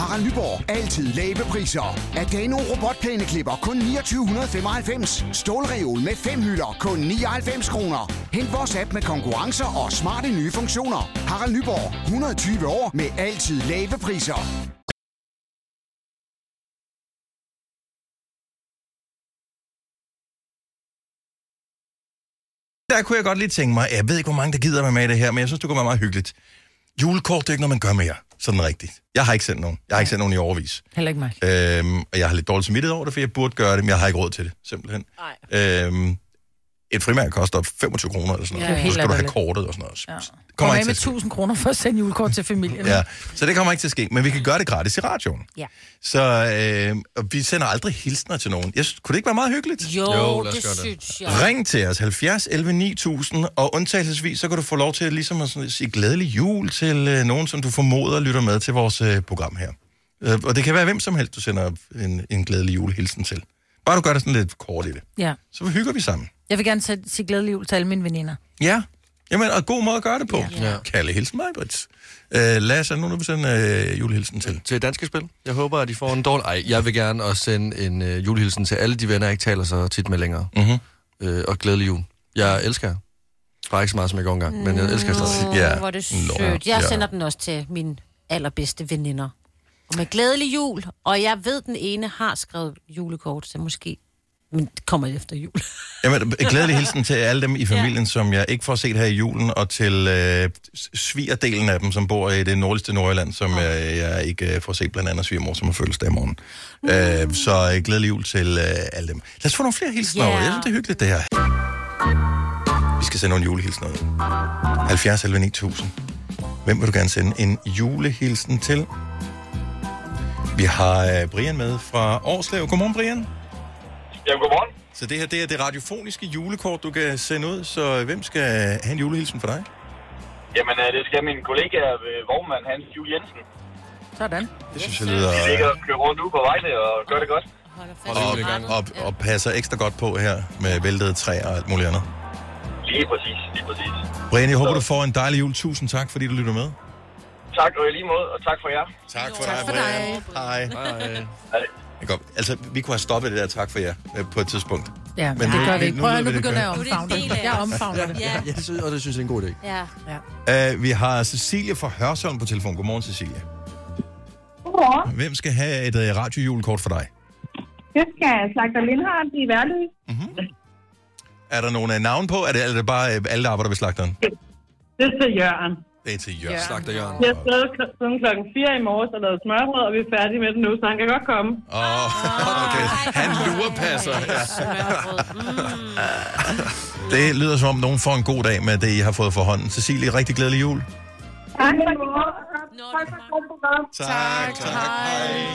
Speaker 10: Harald Nyborg. Altid lave priser. Adano robotplæneklipper kun 2995. Stålreol med fem hylder kun 99 kroner. Hent vores app med konkurrencer og smarte nye funktioner. Harald Nyborg. 120 år med altid lave priser.
Speaker 1: Der kunne jeg godt lige tænke mig, jeg ved ikke, hvor mange der gider være med i det her, men jeg synes, det kunne være meget hyggeligt. Julekort, det er ikke noget, man gør mere. Sådan rigtigt. Jeg har ikke sendt nogen. Jeg har ikke sendt nogen i overvis.
Speaker 4: Heller ikke mig.
Speaker 1: Øhm, og jeg har lidt dårligt smittet over det, for jeg burde gøre det, men jeg har ikke råd til det, simpelthen. Øhm, et frimærke koster 25 kroner eller sådan
Speaker 4: Det
Speaker 1: noget.
Speaker 4: er jo
Speaker 1: Ja, så
Speaker 4: helt
Speaker 1: skal du have
Speaker 4: latterligt.
Speaker 1: kortet og sådan noget. Ja.
Speaker 4: Kom af med
Speaker 1: at ske.
Speaker 4: 1000 kroner for at sende julekort til familien.
Speaker 1: Ja, så det kommer ikke til at ske, men vi kan gøre det gratis i radioen.
Speaker 3: Ja.
Speaker 1: Så øh, og vi sender aldrig hilsner til nogen. Jeg synes, kunne det ikke være meget hyggeligt?
Speaker 3: Jo,
Speaker 2: Jo,
Speaker 3: jo
Speaker 2: lad os
Speaker 3: det
Speaker 2: gøre det.
Speaker 3: synes jeg.
Speaker 1: Ring til os, 70 11 9000, og undtagelsesvis, så kan du få lov til at, ligesom at sådan sige glædelig jul til øh, nogen, som du formoder lytter med til vores øh, program her. Øh, og det kan være hvem som helst, du sender en, en glædelig julehilsen til. Bare du gør det sådan lidt kort i det.
Speaker 4: Ja.
Speaker 1: Så hygger vi sammen.
Speaker 4: Jeg vil gerne sige sige glædelig jul til alle mine veninder.
Speaker 1: Ja. Jamen, og god måde at gøre det på. Ja. Kalle Hilsen mig, Brits. Øh, Lasse, er der nogen, du vil sende øh, julehilsen til?
Speaker 2: Til Danske Spil. Jeg håber, at de får en dårlig... Ej, jeg vil gerne også sende en øh, julehilsen til alle de venner, jeg ikke taler så tit med længere.
Speaker 1: Mhm.
Speaker 2: Øh, og glædelig jul. Jeg elsker jer. Bare ikke så meget, som jeg går engang, men jeg elsker jer stadig.
Speaker 3: Ja. Hvor er det sødt. Jeg sender den også til mine allerbedste veninder. Og med glædelig jul. Og jeg ved, den ene har skrevet julekort, så måske men det kommer efter jul.
Speaker 1: Jamen, glædelig hilsen til alle dem i familien, ja. som jeg ikke får set her i julen, og til øh, svigerdelen af dem, som bor i det nordligste Nordjylland, som øh, jeg ikke øh, får set, blandt andet svigermor, som har fødselsdag i morgen. Øh, så øh, glædelig jul til øh, alle dem. Lad os få nogle flere hilsener
Speaker 13: Ja.
Speaker 1: yeah. over. Jeg synes, det er hyggeligt, det her. Vi skal sende nogle julehilsener ud. 70 11 9000. Hvem vil du gerne sende en julehilsen til? Vi har øh, Brian med fra Årslev. Godmorgen, Brian.
Speaker 14: Jamen, godmorgen.
Speaker 1: Så det her, det er det radiofoniske julekort, du kan sende ud, så øh, hvem skal have en julehilsen for dig?
Speaker 14: Jamen, øh, det skal min kollega, øh, vognmand Hans Jul Jensen.
Speaker 4: Sådan.
Speaker 1: Det synes jeg lyder...
Speaker 14: Vi ligger og kører rundt ude på vejene og gør det godt.
Speaker 1: Og, og, og passer ekstra godt på her med væltede træer og alt muligt andet.
Speaker 14: Lige præcis, lige præcis.
Speaker 1: Brian, jeg håber, du får en dejlig jul. Tusind tak, fordi du lytter med.
Speaker 14: Tak, og i lige måde, og tak for jer.
Speaker 1: Tak for dig, Brian. Hej. Det er godt. Altså, vi kunne have stoppet det der tak for jer øh, på et tidspunkt.
Speaker 4: Ja, men
Speaker 1: Men
Speaker 4: det
Speaker 1: nu-
Speaker 4: gør vi ikke.
Speaker 1: nu
Speaker 4: Prøv at
Speaker 1: ved
Speaker 4: høre, nu
Speaker 1: vi, det
Speaker 4: begynder jeg at
Speaker 1: gør.
Speaker 4: omfavne
Speaker 3: Nu er det en del af os.
Speaker 4: det. Jeg omfavner det.
Speaker 3: Ja.
Speaker 2: Jeg synes, og det synes jeg er en god idé.
Speaker 3: Ja. ja.
Speaker 1: Uh, vi har Cecilie fra Hørsholm på telefon. Godmorgen, Cecilie.
Speaker 15: Godmorgen.
Speaker 1: Hvem skal have et uh, radiojulekort for dig?
Speaker 15: Det skal Slagter Lindhardt i hverdag.
Speaker 1: Mm-hmm. Er der nogen uh, navn på? Er det, er det bare uh, alle, der arbejder ved slagteren?
Speaker 15: Det er til Jørgen.
Speaker 1: Det er til Jørgen.
Speaker 15: Jørgen.
Speaker 1: Slagter Jørgen.
Speaker 15: Jeg har stået kl- siden klokken 4 i morges og lavet smørbrød, og vi er færdige med det nu, så han kan godt komme.
Speaker 1: Åh, oh, okay. Han lurepasser. Ja. Det lyder som om, nogen får en god dag med det, I har fået for hånden. Cecilie, rigtig glædelig jul.
Speaker 3: Mm.
Speaker 15: Tak for Tak for godt program.
Speaker 1: Tak, tak. Hej.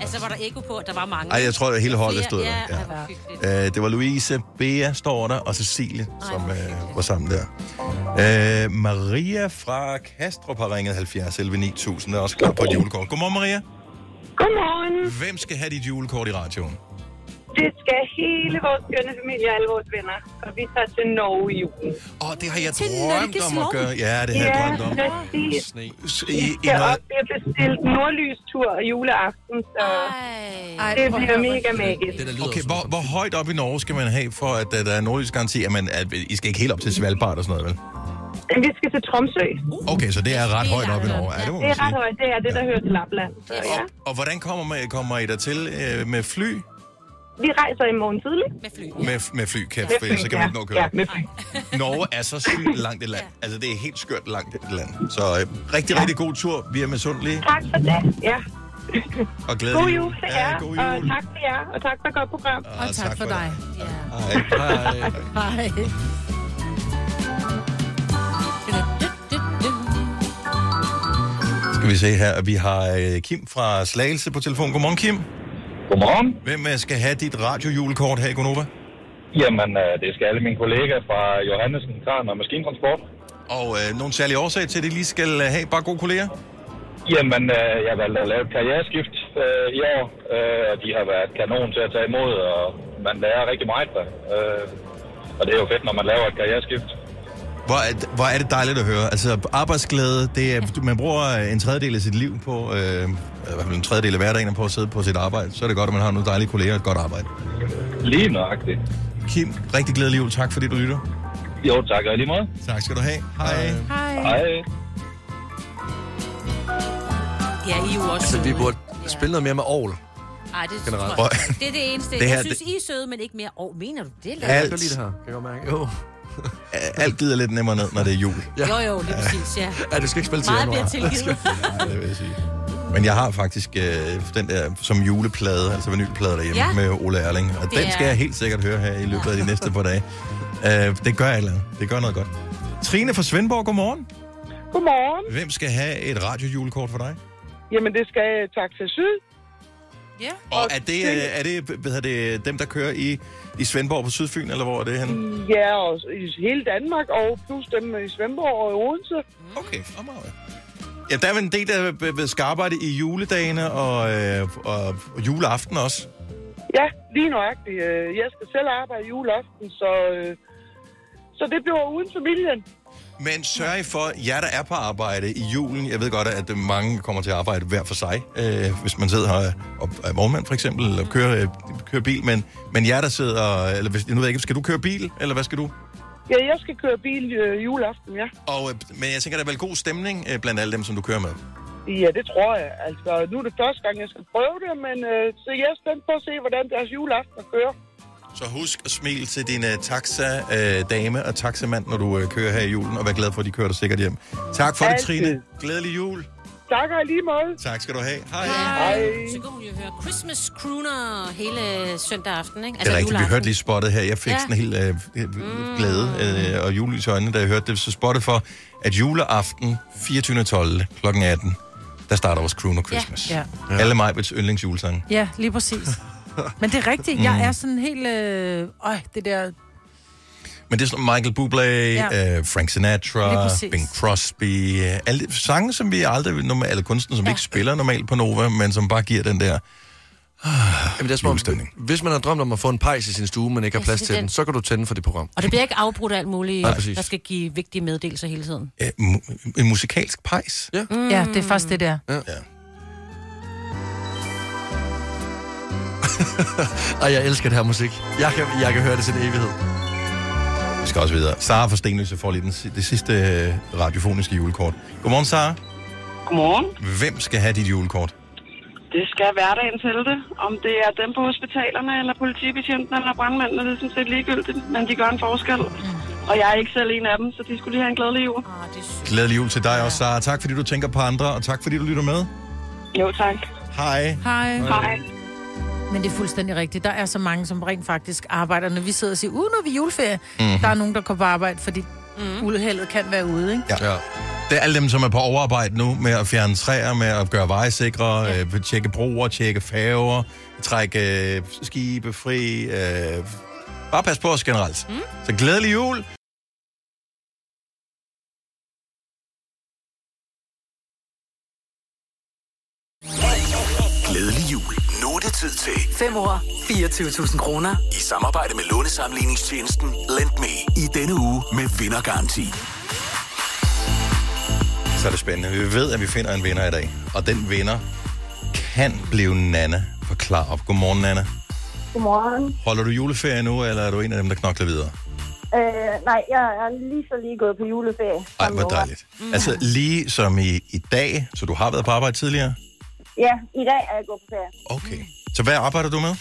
Speaker 3: Altså, var der ekko på, at der var mange.
Speaker 1: Ej, jeg tror, at hele holdet stod der.
Speaker 3: Ja,
Speaker 1: Ja.
Speaker 3: ja. hvor hyggeligt.
Speaker 1: Øh, det var Louise, Bea står der, og Cecilie, som øh, var sammen der. Øh, Maria fra Kastrup har ringet 70 11 9000, og er også klar på et julekort. Godmorgen, Maria.
Speaker 7: Godmorgen.
Speaker 1: Hvem skal have dit julekort i radioen?
Speaker 7: Det skal hele vores skønne familie og alle vores venner. Og vi tager til Norge i julen.
Speaker 1: Åh, det har jeg drømt om at gøre. Ja, det har jeg
Speaker 7: ja,
Speaker 1: drømt om.
Speaker 7: Præcis.
Speaker 1: S-
Speaker 7: I,
Speaker 1: I, i
Speaker 7: skal
Speaker 1: noget,
Speaker 7: op. Vi har bestilt nordlystur juleaften, så det bliver mega magisk.
Speaker 1: okay, hvor, hvor højt op i Norge skal man have, for at uh, der er nordisk garanti, at, man, at I skal ikke helt op til Svalbard og sådan noget, vel?
Speaker 7: Men vi skal til Tromsø.
Speaker 1: Okay, så Uh. det er ret højt op i Norge. Ja, det må
Speaker 7: Det
Speaker 1: man
Speaker 7: er ret
Speaker 1: sige.
Speaker 7: højt. Det er det, der hører til Lapland. Så, ja.
Speaker 1: Og hvordan kommer, man, kommer I dertil øh, med fly?
Speaker 7: Vi rejser i morgen tidlig.
Speaker 3: Med fly.
Speaker 1: Med, med fly, kan,
Speaker 7: Med
Speaker 1: for
Speaker 7: fly,
Speaker 1: ellers så kan man
Speaker 7: ja.
Speaker 1: ikke nå at køre.
Speaker 7: Ja, med fly.
Speaker 1: Norge er så sygt langt et land. Altså, det er helt skørt langt et land. Så øh, rigtig, rigtig god tur. Vi er misundelige
Speaker 7: Tak for det. Ja.
Speaker 1: og
Speaker 7: God
Speaker 1: glædelige.
Speaker 7: jul til jer,
Speaker 1: god
Speaker 7: og tak for jer, og tak for et godt program.
Speaker 1: Og tak tak for for dig.
Speaker 7: Hej.
Speaker 1: Hej.
Speaker 7: Hej.
Speaker 1: Skal vi se her. Vi har øh, Kim fra Slagelse på telefon. Godmorgen, Kim.
Speaker 14: Godmorgen.
Speaker 1: Hvem øh, skal have dit radiojulekort her i Gonova?
Speaker 14: Jamen, øh, det skal alle mine kollegaer fra Johannesen, Kran og Maskintransport.
Speaker 1: Og øh, nogle særlige årsager til, at I lige skal øh, have bare gode kolleger?
Speaker 14: Jamen, øh, jeg valgte at lave et karriereskift øh, i år, øh, og de har været kanon til at tage imod, og man lærer rigtig meget der. Øh, og det er jo fedt, når man laver et karriereskift.
Speaker 1: Hvor er, hvor er det dejligt at høre. Altså, arbejdsglæde, det er, man bruger en tredjedel af sit liv på, øh, i hvert fald en tredjedel af hverdagen på at sidde på sit arbejde. Så er det godt, at man har nogle dejlige kolleger og et godt arbejde.
Speaker 14: Lige nøjagtigt.
Speaker 1: Kim, rigtig glædelig jul. Tak fordi du lytter.
Speaker 14: Jo, tak og i lige måde.
Speaker 1: Tak skal du have. Hej.
Speaker 4: Hej.
Speaker 14: Hej.
Speaker 3: Ja, I er jo også
Speaker 2: Altså, vi
Speaker 3: søde.
Speaker 2: burde spille noget mere med Aarhus.
Speaker 3: Ej, det,
Speaker 2: Generelt.
Speaker 3: tror jeg. ikke. det er det eneste.
Speaker 2: Det her,
Speaker 3: jeg synes,
Speaker 1: det-
Speaker 3: I er søde, men ikke mere. Åh, oh, mener du det? Lasse?
Speaker 1: Alt.
Speaker 2: Jeg kan godt lide det her. Kan jeg godt mærke. Jo.
Speaker 1: Alt glider lidt nemmere ned, når det er jul.
Speaker 3: Ja. Jo, jo, lige præcis, ja.
Speaker 2: Ja, du skal ikke spille til
Speaker 3: Meget
Speaker 2: januar.
Speaker 3: bliver tilgivet.
Speaker 1: Ja, det vil jeg sige. Men jeg har faktisk øh, den der som juleplade, altså vinylplade derhjemme
Speaker 3: Ja.
Speaker 1: ja. med Ole Erling. Og
Speaker 3: Det
Speaker 1: den skal
Speaker 3: er-
Speaker 1: jeg helt sikkert høre her i løbet af de næste par dage. Øh, det gør jeg eller andet. Det gør noget godt. Trine fra Svendborg, godmorgen.
Speaker 16: Godmorgen.
Speaker 1: Hvem skal have et radiojulekort for dig?
Speaker 16: Jamen, det skal øh, tak til Syd.
Speaker 4: Ja.
Speaker 1: Og er det, øh, er det, hvad hedder det dem, der kører i, i Svendborg på Sydfyn, eller hvor er det henne?
Speaker 16: Ja, og i hele Danmark, og plus dem i Svendborg og i Odense.
Speaker 1: Okay, fremragende. Ja, der er vel en del, der øh, skal arbejde i juledagene og, øh, og, og juleaften også.
Speaker 16: Ja, lige nøjagtigt. Øh, Jeg skal selv arbejde juleaften, så, øh, så det bliver uden familien.
Speaker 1: Men sørg for, jer der er på arbejde i julen, jeg ved godt, at øh, mange kommer til at arbejde hver for sig, øh, hvis man sidder her og er vognmand for eksempel, eller kører, øh, kører bil, men, men jer der sidder, eller hvis, nu ved jeg ikke, skal du køre bil, eller hvad skal du?
Speaker 16: Ja, jeg skal køre bil øh, juleaften, ja.
Speaker 1: Og, øh, men jeg tænker, der er vel god stemning øh, blandt alle dem, som du kører med.
Speaker 16: Ja, det tror jeg. Altså, nu er det første gang, jeg skal prøve det, men øh, så jeg er spændt på at se, hvordan deres juleaften kører.
Speaker 1: Så husk at smile til din uh, taxa-dame og taxamand, når du uh, kører her i julen, og vær glad for, at de kører dig sikkert hjem. Tak for det,
Speaker 16: Altid.
Speaker 1: Trine. Glædelig jul.
Speaker 16: Tak og lige måde.
Speaker 1: Tak skal du have. Hej.
Speaker 3: Hej. Så kunne vi jo høre Christmas Crooner hele søndag aften, ikke?
Speaker 1: Altså, det er rigtigt, vi
Speaker 3: juleaften.
Speaker 1: hørte lige spottet her. Jeg fik
Speaker 3: Ja.
Speaker 1: ja. sådan helt øh, mm. glæde øh, og julelys i øjnene, da jeg hørte det. Så spottet for, at juleaften 24.12. kl. 18, der starter vores Crooner Christmas.
Speaker 4: Ja.
Speaker 1: Ja. Alle Majbets yndlingsjulesang.
Speaker 4: Ja, lige præcis. Men det er rigtigt. Jeg
Speaker 1: Mm.
Speaker 4: er sådan helt... Øh, øj, det der...
Speaker 1: Men det er sådan Michael Bublé,
Speaker 4: Ja.
Speaker 1: ja. øh, Frank
Speaker 4: Lige
Speaker 1: Sinatra,
Speaker 4: præcis.
Speaker 1: Bing Crosby, øh, alle de sange, som vi aldrig vil normalt, eller kunstnere, som ja. ikke spiller normalt på Nova, men som bare giver den der... ah,
Speaker 2: Jamen, det er som om, hvis man har drømt om at få en pejs i sin stue, men ikke har
Speaker 3: Ja,
Speaker 2: plads
Speaker 3: så
Speaker 2: til
Speaker 3: den-
Speaker 2: den, så kan du tænde for det program.
Speaker 3: Og det bliver ikke afbrudt af alt muligt,
Speaker 2: Nej, præcis.
Speaker 3: der skal give vigtige meddelelser hele tiden.
Speaker 1: Øh, mu- en musikalsk pejs.
Speaker 2: Ja.
Speaker 3: Mm.
Speaker 4: Ja, det er faktisk det der.
Speaker 2: Ja. Og jeg elsker det her musik. Jeg kan, jeg kan høre det til en evighed.
Speaker 1: Vi skal også videre. Sara fra Stenløse får lige den, si- det sidste øh, radiofoniske julekort. Godmorgen, Sara.
Speaker 13: Godmorgen.
Speaker 1: Hvem skal have dit julekort?
Speaker 13: Det skal hverdagen til det. Om det er dem på hospitalerne, eller politibetjentene, eller brandmændene, det er sådan set ligegyldigt. Men de gør en forskel. Og jeg er ikke selv en af dem, så de skulle lige have en glædelig jul.
Speaker 3: Ah, det
Speaker 1: Glædelig jul til dig også, Sara. Tak fordi du tænker på andre, og tak fordi du lytter med.
Speaker 13: Jo, tak.
Speaker 1: Hej.
Speaker 4: Hej.
Speaker 1: Hej.
Speaker 4: Men det er fuldstændig rigtigt. Der er så mange, som rent faktisk arbejder. Når vi sidder og siger, uh, nu er vi juleferie,
Speaker 1: Mhm.
Speaker 4: mm-hmm. der er nogen, der går på arbejde, fordi mm-hmm. uheldet kan være ude, ikke?
Speaker 1: Ja. ja. Det er alle dem, som er på overarbejde nu med at fjerne træer, med at gøre veje sikre, ja. øh, tjekke broer, tjekke færger, trække øh, skibe fri. Øh, bare pas på os generelt. Mm. Så glædelig jul.
Speaker 17: Glædelig jul. Nu er det tid til
Speaker 12: 5 år, 24.000 kroner.
Speaker 17: i samarbejde med lånesamligningstjenesten Lend Me i denne uge med vindergaranti.
Speaker 1: Så er det spændende. Vi ved, at vi finder en vinder i dag. Og den vinder kan blive Nana fra Klarup. Godmorgen, Nana.
Speaker 18: Godmorgen.
Speaker 1: Holder du juleferie nu, eller er du en af dem, der knokler videre?
Speaker 18: Øh, nej, jeg er lige så lige gået på juleferie.
Speaker 1: Ej, hvor dejligt.
Speaker 19: Mm.
Speaker 1: Altså lige som i, i dag, så du har været på arbejde tidligere.
Speaker 18: Ja, i dag er jeg gået på ferie.
Speaker 1: Okay. Så hvad arbejder du med?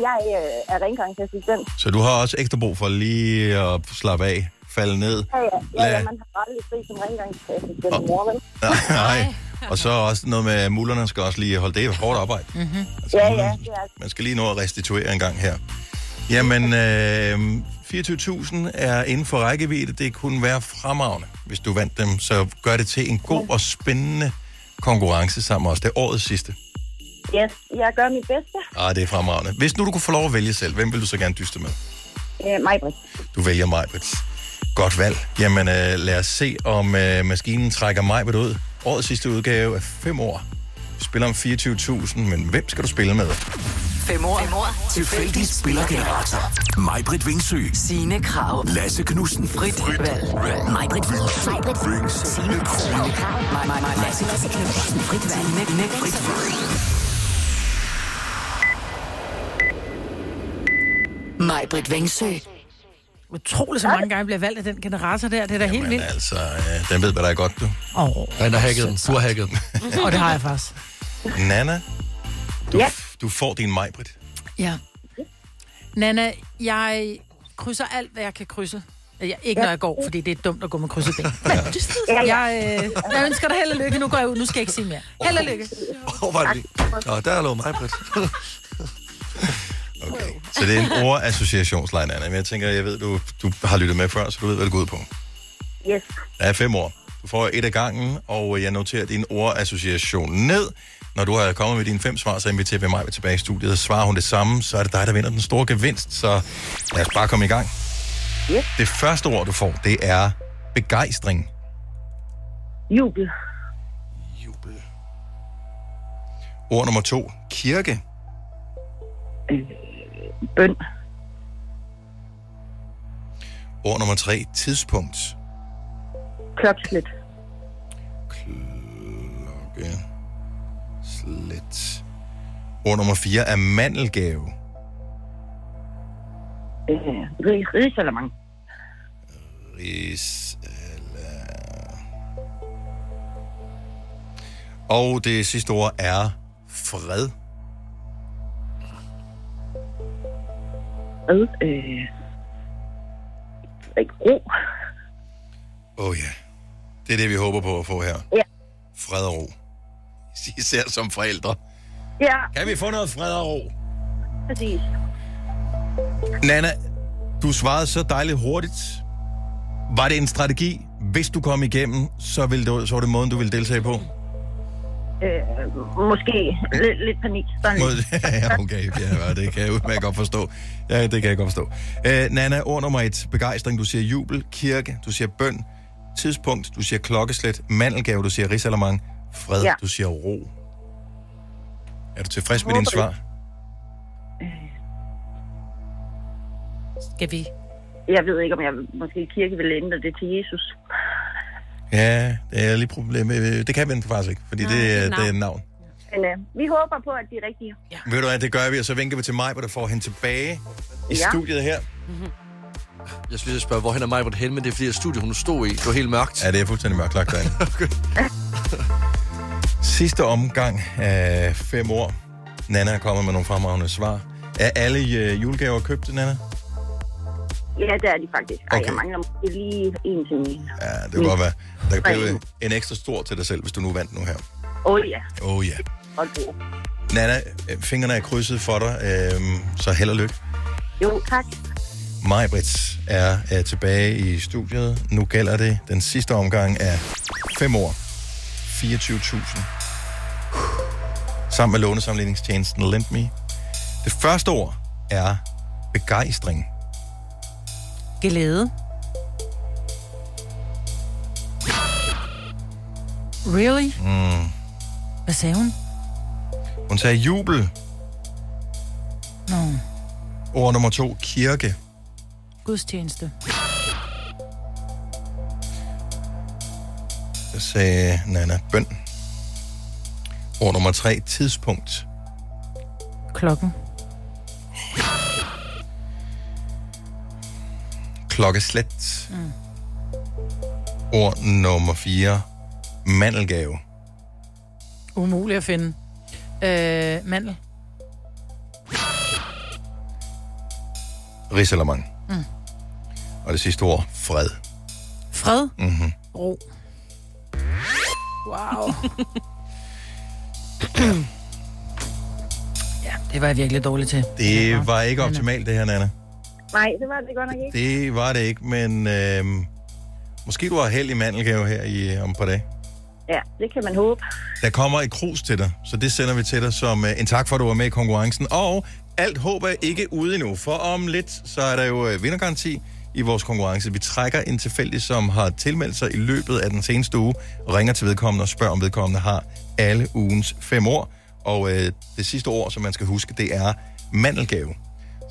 Speaker 18: Jeg øh, er rengøringsassistent.
Speaker 1: Så du har også ekstra brug for lige at slappe af, falde ned.
Speaker 18: Ja, ja, ja, ja
Speaker 1: Lad-
Speaker 18: man har aldrig fri som rengøringsassistent oh. mor, vel?
Speaker 1: Nej. Og så også noget med, at mullerne skal også lige holde det er hårdt arbejde.
Speaker 18: Mm-hmm.
Speaker 1: Altså,
Speaker 18: ja,
Speaker 1: mullerne-
Speaker 18: ja, det er
Speaker 1: Man skal lige nå at restituere en gang her. Jamen, øh, 24.000 er inden for rækkevidde. Det kunne være fremragende, hvis du vandt dem. Så gør det til en god og spændende konkurrence sammen med os. Det er årets sidste.
Speaker 18: Yes, jeg gør mit bedste.
Speaker 1: Ah, det er fremragende. Hvis nu du kunne få lov at vælge selv, hvem vil du så gerne dyste med?
Speaker 18: Øh, Majbrit.
Speaker 1: Du vælger Majbrit. Godt valg. Jamen, øh, lad os se, om øh, maskinen trækker Majbrit ud. Årets sidste udgave er 5 år. Vi spiller om 24.000, men hvem skal du spille med?
Speaker 12: 5 år, 5 år.
Speaker 17: Tilfældig spillergenerator. Majbrit Vingsø.
Speaker 12: Signe Krav.
Speaker 17: Lasse Knudsen. Frit Valg. Majbrit Vingsø. Signe Krav.
Speaker 12: Mig, mig, mig, Lasse, Lasse Knudsen. Frit valg. Nek, nek, frit valg. Mig, Britt Vengsø.
Speaker 4: Utroligt, så mange gange jeg bliver valgt af den generator der. Det er da helt vildt.
Speaker 1: Altså, øh, den ved, hvad der er godt, du.
Speaker 4: Oh,
Speaker 2: Den har hacket den. Du har hacket den.
Speaker 4: Og det har jeg faktisk.
Speaker 1: Nana, du,
Speaker 4: Ja.
Speaker 1: du får din Majbrit.
Speaker 4: Ja. Nana, jeg krydser alt, hvad jeg kan krydse. Jeg, ikke når jeg går, fordi det er dumt at gå med krydset ben. Men jeg, øh, jeg ønsker dig held og lykke. Nu går jeg ud. Nu skal jeg ikke sige mere. Held og lykke.
Speaker 2: Hvor var det lige? Nå, der lå mig, Britt.
Speaker 1: Så det er en ordassociationsleg, Nana. Men jeg tænker, jeg ved, du, du har lyttet med før, så du ved, hvad det går ud på.
Speaker 18: Yes.
Speaker 1: Der er fem år. Du får et af gangen, og øh, jeg noterer din ordassociation ned. Når du har kommet med dine fem svar, så inviterer vi mig tilbage i studiet. Svarer hun det samme, så er det dig, der vinder den store gevinst. Så lad os bare komme i gang.
Speaker 18: Yep.
Speaker 1: Det første ord, du får, det er begejstring.
Speaker 18: Jubel.
Speaker 1: Ord nummer to, kirke.
Speaker 19: øh, bøn.
Speaker 1: Ord nummer tre, tidspunkt.
Speaker 19: Klokslet.
Speaker 1: Klokke. Slet. Ord nummer fire er mandelgave.
Speaker 19: Øh, ris- risalamang.
Speaker 1: Ris eller... Og det sidste ord er fred.
Speaker 19: Ad, øh, ikke ro.
Speaker 1: Åh oh, ja. Yeah. Det er det, vi håber på at få her.
Speaker 19: Ja.
Speaker 1: Fred og ro. Især som forældre.
Speaker 19: Ja,
Speaker 1: Kan vi få noget fred og ro?
Speaker 19: præcis.
Speaker 1: Nana, du svarede så dejligt hurtigt. Var det en strategi? Hvis du kom igennem, så, ville du, så var det måden, du ville deltage på?
Speaker 19: Øh, måske lidt, lidt panik. Sådan lidt.
Speaker 1: Mod- ja, okay, ja, det kan jeg udmærket godt forstå. Ja, det kan jeg godt forstå. Øh, Nana, ord nummer et. Begejstring, du siger jubel. Kirke, du siger bøn. Tidspunkt, du siger klokkeslet. Mandelgave, du siger risalamang. Fred,
Speaker 19: Ja.
Speaker 1: ja. du siger ro. Er du tilfreds med dine
Speaker 19: Håber
Speaker 1: svar?
Speaker 19: det.
Speaker 3: Skal vi?
Speaker 19: Jeg ved ikke, om jeg måske kirke vil ændre det til Jesus.
Speaker 1: Ja, det er lige problemet. Det kan vi faktisk ikke, fordi Nej, det, er, det er et navn.
Speaker 19: Men øh, vi håber på, at de er rigtige. Ja.
Speaker 1: Ved du hvad, det gør vi, og så vinker vi til mig, hvor der får hende tilbage i
Speaker 19: Ja.
Speaker 1: ja. studiet her.
Speaker 2: Jeg skulle lige spørge, hvorhen er mig på det hen, men det er fordi, at studiet, hun stod i, det var helt mørkt.
Speaker 1: Ja, det er fuldstændig mørklagt derinde. Sidste omgang af fem år. Nana er kommet med nogle fremragende svar. Er alle øh, julegaver købt, Nana?
Speaker 19: Ja, det er de faktisk. Ej, okay. jeg
Speaker 1: Okay.
Speaker 19: mangler måske lige en til min.
Speaker 1: Ja, det kan godt være. Der kan blive en ekstra stor til dig selv, hvis du nu vandt nu her.
Speaker 19: Åh oh, ja,
Speaker 1: Oh ja. Yeah.
Speaker 19: og god.
Speaker 1: Nana, øh, fingrene er krydset for dig, øh, så held og lykke.
Speaker 19: Jo, tak.
Speaker 1: Majbrits er, er tilbage i studiet. Nu gælder det den sidste omgang af 5 år. 24.000. Sammen med lånesamligningstjenesten LendMe. Det første ord er begejstring.
Speaker 4: Glæde. Really?
Speaker 1: Mm.
Speaker 4: Hvad sagde hun?
Speaker 1: Hun sagde jubel.
Speaker 4: Nå,
Speaker 1: Ord nummer to, kirke.
Speaker 4: gudstjeneste.
Speaker 1: Så sagde Nana bøn. Ord nummer tre, tidspunkt.
Speaker 4: Klokken.
Speaker 1: Klokkeslet.
Speaker 4: Mm.
Speaker 1: Ord nummer fire, mandelgave.
Speaker 4: Umuligt at finde. Øh, mandel.
Speaker 1: Risalamang.
Speaker 4: Mm.
Speaker 1: Og det sidste ord, fred.
Speaker 4: Fred.
Speaker 1: Mm-hmm.
Speaker 4: Ro. Wow. ja, det var jeg virkelig dårlig til.
Speaker 1: Det var ikke optimalt, det her, Nana.
Speaker 19: Nej, det var det godt nok ikke.
Speaker 1: Det var det ikke, men øh, måske du har held i mandelgave her i, om et par dage.
Speaker 19: Ja, det kan man håbe.
Speaker 1: Der kommer et krus til dig, så det sender vi til dig som øh, en tak for, at du var med i konkurrencen. Og alt håb er ikke ude endnu, for om lidt, så er der jo øh, vindergaranti i vores konkurrence. Vi trækker en tilfældig, som har tilmeldt sig i løbet af den seneste uge, og ringer til vedkommende og spørger, om vedkommende har alle ugens fem år. Og øh, det sidste ord, som man skal huske, det er mandelgave.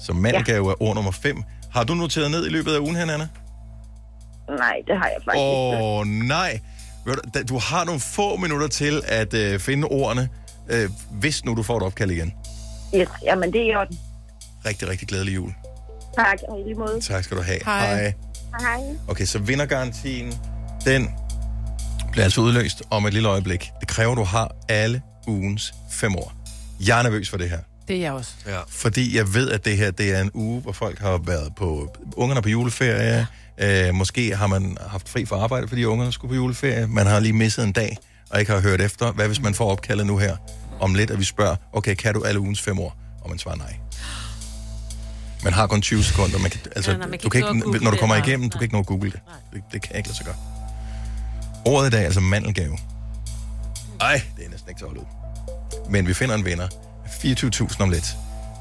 Speaker 1: Så mandelgave er ord nummer 5. Har du noteret ned i løbet af ugen her, Anna?
Speaker 19: Nej, det har jeg faktisk ikke.
Speaker 1: Åh, oh, nej. Ved du, da- Du har nogle få minutter til at øh, finde ordene, øh, hvis nu du får et opkald igen.
Speaker 19: Yes, jamen det er i orden.
Speaker 1: Rigtig, rigtig glædelig jul.
Speaker 19: Tak, og i lige måde.
Speaker 1: Tak skal du have.
Speaker 19: Hej. Hej.
Speaker 1: Okay, så vindergarantien, den bliver altså udløst om et lille øjeblik. Det kræver, du har alle ugens fem år. Jeg er nervøs for det her.
Speaker 4: Det er jeg også.
Speaker 1: Ja. Fordi jeg ved, at det her det er en uge, hvor folk har været på... Ungerne er på juleferie. Øh, måske har man haft fri fra arbejde, fordi ungerne skulle på juleferie. Man har lige misset en dag, og ikke har hørt efter. Hvad hvis man får opkaldet nu her om lidt, og vi spørger, okay, kan du alle ugens fem år? Og man svarer nej. Man har kun 20 sekunder. Man kan, altså,
Speaker 3: Ja,
Speaker 1: ja,
Speaker 3: nej, man
Speaker 1: man
Speaker 3: kan
Speaker 1: kan du kan
Speaker 3: ikke nå at
Speaker 1: ikke,
Speaker 3: google
Speaker 1: når du
Speaker 3: det,
Speaker 1: kommer
Speaker 3: nej.
Speaker 1: igennem, du kan ikke nå at google det. det. Det kan jeg ikke lade sig gøre. Ordet i dag er altså mandelgave. Ej, det er næsten ikke til at holde ud. Men vi finder en vinder. 24.000 om lidt.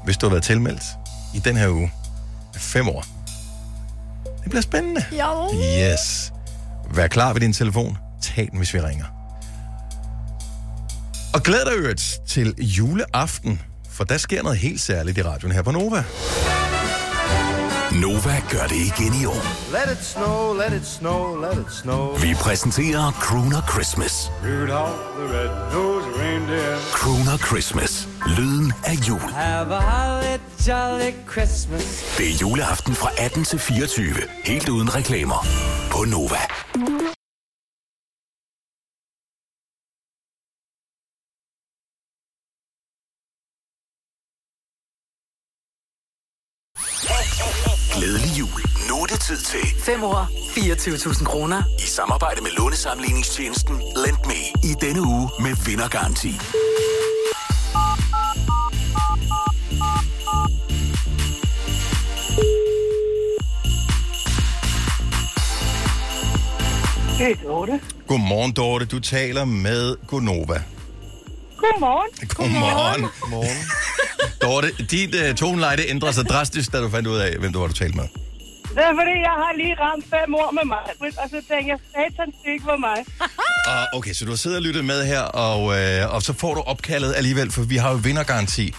Speaker 1: Hvis du har været tilmeldt i den her uge. 5 år. Det bliver spændende.
Speaker 4: Jo.
Speaker 1: Yes. Vær klar ved din telefon. Tag den, hvis vi ringer. Og glæd dig i øvrigt til juleaften, for der sker noget helt særligt i radioen her på Nova.
Speaker 17: Nova gør det igen i år.
Speaker 20: Let it snow, let it snow, let it snow.
Speaker 17: Vi præsenterer Crooner Christmas.
Speaker 20: Rudolph the red-nosed reindeer.
Speaker 17: Crooner Christmas. Lyden af jul.
Speaker 20: Have a holly jolly Christmas.
Speaker 17: Det er juleaften fra 18 til 24. Helt uden reklamer. På Nova. Glædelig jul. Nu er det tid til
Speaker 12: 5 år, 24.000 kroner.
Speaker 17: i samarbejde med lånesamligningstjenesten Lend Me. I denne uge med vindergaranti.
Speaker 1: Det er Dorte. Godmorgen, Dorte. Du taler med Gonova.
Speaker 7: Godmorgen.
Speaker 1: Godmorgen. Godmorgen. Dorte, dit uh, toneleje det ændrede sig drastisk, da du fandt ud af, hvem du var, du talte med.
Speaker 7: Det er fordi, jeg har lige ramt fem år med mig, og så tænkte jeg, satans det ikke var mig.
Speaker 1: Og, okay, så du har siddet og lyttet med her, og, uh, og så får du opkaldet alligevel, for vi har jo vindergaranti.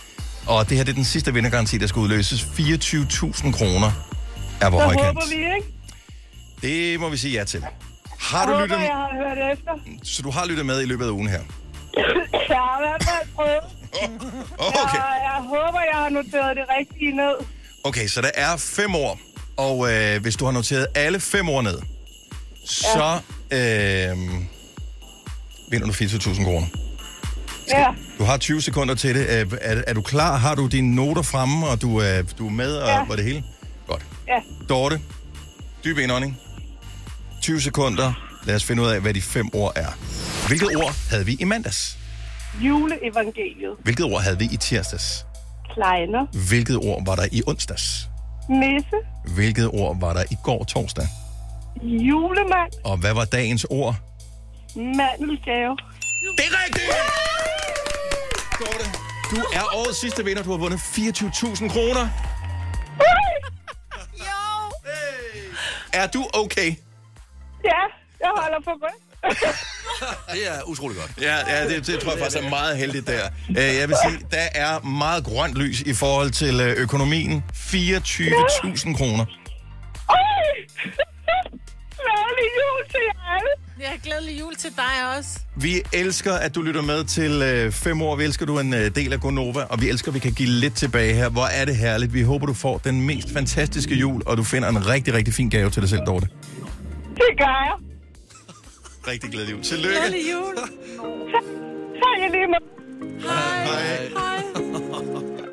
Speaker 1: Og det her det er den sidste vindergaranti, der skal udløses. 24.000 kroner er på
Speaker 7: så
Speaker 1: højkant.
Speaker 7: håber vi, ikke?
Speaker 1: Det må vi sige ja til. Har du
Speaker 7: håber,
Speaker 1: lyttet,
Speaker 7: jeg har hørt efter.
Speaker 1: så du har lyttet med i løbet af ugen her?
Speaker 7: Jeg har i hvert fald prøvet.
Speaker 1: Okay.
Speaker 7: Jeg, jeg håber, jeg har noteret det rigtige ned.
Speaker 1: Okay, så der er fem ord, og øh, hvis du har noteret alle fem ord ned, så øh, vinder du 24.000 kroner.
Speaker 7: Ja,
Speaker 1: Du har 20 sekunder til det. Øh, Er, er du klar? Har du dine noter fremme, og du, øh, du er med og,
Speaker 7: Ja.
Speaker 1: og det hele? Godt.
Speaker 7: ja.
Speaker 1: Dorte, dyb indånding. 20 sekunder. Lad os finde ud af, hvad de fem ord er. Hvilket ord havde vi i mandags?
Speaker 7: Juleevangeliet.
Speaker 1: Hvilket ord havde vi i tirsdags?
Speaker 7: Kleiner.
Speaker 1: Hvilket ord var der i onsdags?
Speaker 7: Nisse.
Speaker 1: Hvilket ord var der i går torsdag?
Speaker 7: Julemand.
Speaker 1: Og hvad var dagens ord?
Speaker 7: Mandelgave.
Speaker 1: Det er rigtigt! Dorte, du er årets sidste vinder. Du har vundet 24.000 kroner. Er du okay?
Speaker 7: Ja, jeg holder for godt.
Speaker 1: Det er utrolig godt. Ja, ja det, det tror jeg faktisk er meget heldigt der. Øh, Jeg vil sige, der er meget grønt lys i forhold til øh, økonomien. 24.000 kroner.
Speaker 4: Glædelig jul til jer alle. Ja, glædelig jul til dig også.
Speaker 1: Vi elsker, at du lytter med til øh, fem år. Vi elsker, at du er en øh, del af Gonova, og vi elsker, at vi kan give lidt tilbage her. Hvor er det herligt. Vi håber, du får den mest fantastiske jul, og du finder en rigtig, rigtig fin gave til dig selv, Dorte.
Speaker 7: Det gør jeg.
Speaker 1: Rigtig glædelig jul. Tillykke.
Speaker 7: Glædelig jul. Tak, jeg lige med. Hej. Hej.